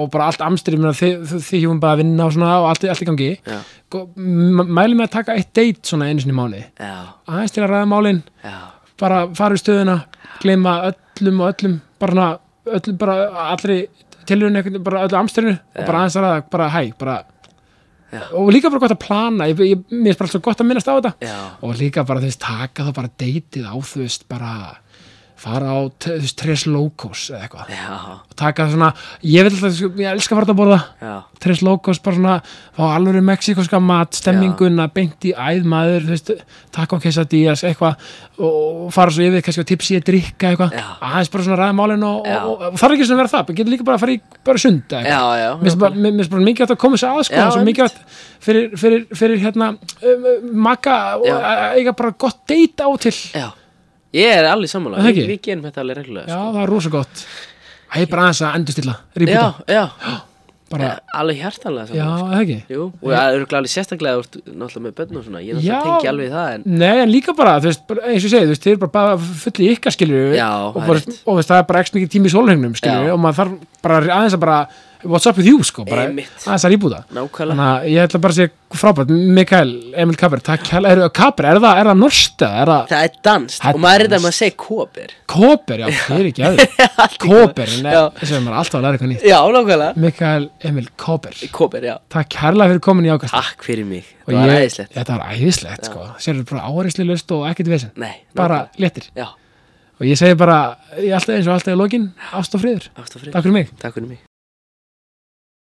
Speaker 1: og bara allt amstrið, ég meina, þið, þið, þið hjúum bara að vinna og svona og allt, allt í gangi
Speaker 2: Já, já,
Speaker 1: Sko, m- mæli með að taka eitt date svona einu sinni í mánuði
Speaker 2: já,
Speaker 1: aðeins til að ræða málin,
Speaker 2: já
Speaker 1: bara fara í stöðuna gleyma öllum og öllum bara, svona, öllum, bara allri tilurinn, bara öllu amsturinu og bara aðeins að ræða, bara hæ bara.
Speaker 2: Já.
Speaker 1: og líka bara gott að plana ég, ég, mér er bara svo gott að minnast á þetta
Speaker 2: Já,
Speaker 1: og líka bara þú veist, taka þá bara dateið á þú veist, bara fara á, t- þú veist, Tres Locos eða eitthvað,
Speaker 2: já,
Speaker 1: og taka svona ég veit alltaf, sko, ég elska að fara að borða
Speaker 2: já
Speaker 1: Tres Locos bara svona fá alveg mexikoska mat, stemminguna beint í æð maður, þú veist taco quesadillas, eitthvað og og fara svo yfir kannski á tipsi að drikka eitthvað
Speaker 2: Já.
Speaker 1: aðeins bara svona ræða málin og,
Speaker 2: Já.
Speaker 1: og, og, og þarf ekki svona að vera það, bara getur líka bara að fara í bara sund eða
Speaker 2: Já,
Speaker 1: eitthvað
Speaker 2: já
Speaker 1: Mér finnst bara- mér mér finnst bara mikið að koma sér að sko,
Speaker 2: Já,
Speaker 1: það er svo
Speaker 2: einmitt.
Speaker 1: mikið fyrir, fyrir, fyrir hérna um, um, maka og
Speaker 2: Já.
Speaker 1: að- að eiga bara gott date á til
Speaker 2: Já Ég er alveg sammála,
Speaker 1: Er það
Speaker 2: Vi-
Speaker 1: ekki?
Speaker 2: við gerum þetta alveg reglulega
Speaker 1: Já,
Speaker 2: sko.
Speaker 1: það er rosa gott Það er bara aðeins að endurstilla,
Speaker 2: Já,
Speaker 1: rýpa
Speaker 2: já,
Speaker 1: bara,
Speaker 2: alveg hjartalega
Speaker 1: já,
Speaker 2: sammála, sko.
Speaker 1: það ekki
Speaker 2: Jú, og það eru glæðið sérstaklega úr, náttúrulega með börn og svona, ég
Speaker 1: Já.
Speaker 2: náttúrulega tengi alveg það en
Speaker 1: Nei, en líka bara, þú veist, bara, eins og ég segi, þú veist, þið eru bara, bara fulli í ykkar, skilur
Speaker 2: Já,
Speaker 1: og,
Speaker 2: það er
Speaker 1: bara,
Speaker 2: rétt.
Speaker 1: og þú veist, það er bara ekki mikið tími í sólhengnum, skilur
Speaker 2: Já.
Speaker 1: og maður þarf bara aðeins að bara what's up with you, sko, bara
Speaker 2: Einmitt.
Speaker 1: aðeins að rýbúta
Speaker 2: nákvæmlega,
Speaker 1: Þannig að ég ætla bara að segja frábært, Mikael, Emil Kaper, takk kjæla, er, Kaper, er það, er það norsta, er það
Speaker 2: það er danst
Speaker 1: Það er
Speaker 2: og maður er þetta
Speaker 1: danskt.
Speaker 2: með að segja kópir
Speaker 1: Kóper, já, það er ekki aður,
Speaker 2: Allt í
Speaker 1: Kóper, en
Speaker 2: Já.
Speaker 1: þess að maður er alltaf að læra eitthvað nýtt,
Speaker 2: góðu. Já, nákvæmlega,
Speaker 1: Mikael, Emil Kóper,
Speaker 2: kópir, já
Speaker 1: takk kærlega fyrir komin í ákast
Speaker 2: Takk fyrir mig, það var æðislegt
Speaker 1: Þetta var æðislegt, sko, sér bara áherslu og ekkert vesen,
Speaker 2: Nei,
Speaker 1: bara
Speaker 2: nákvæmlega.
Speaker 1: léttir
Speaker 2: Já,
Speaker 1: og ég segi bara, ég alltaf eins og alltaf í lokin, ást og friður
Speaker 2: ást og frið,
Speaker 1: takk fyrir mig
Speaker 2: takk fyrir mig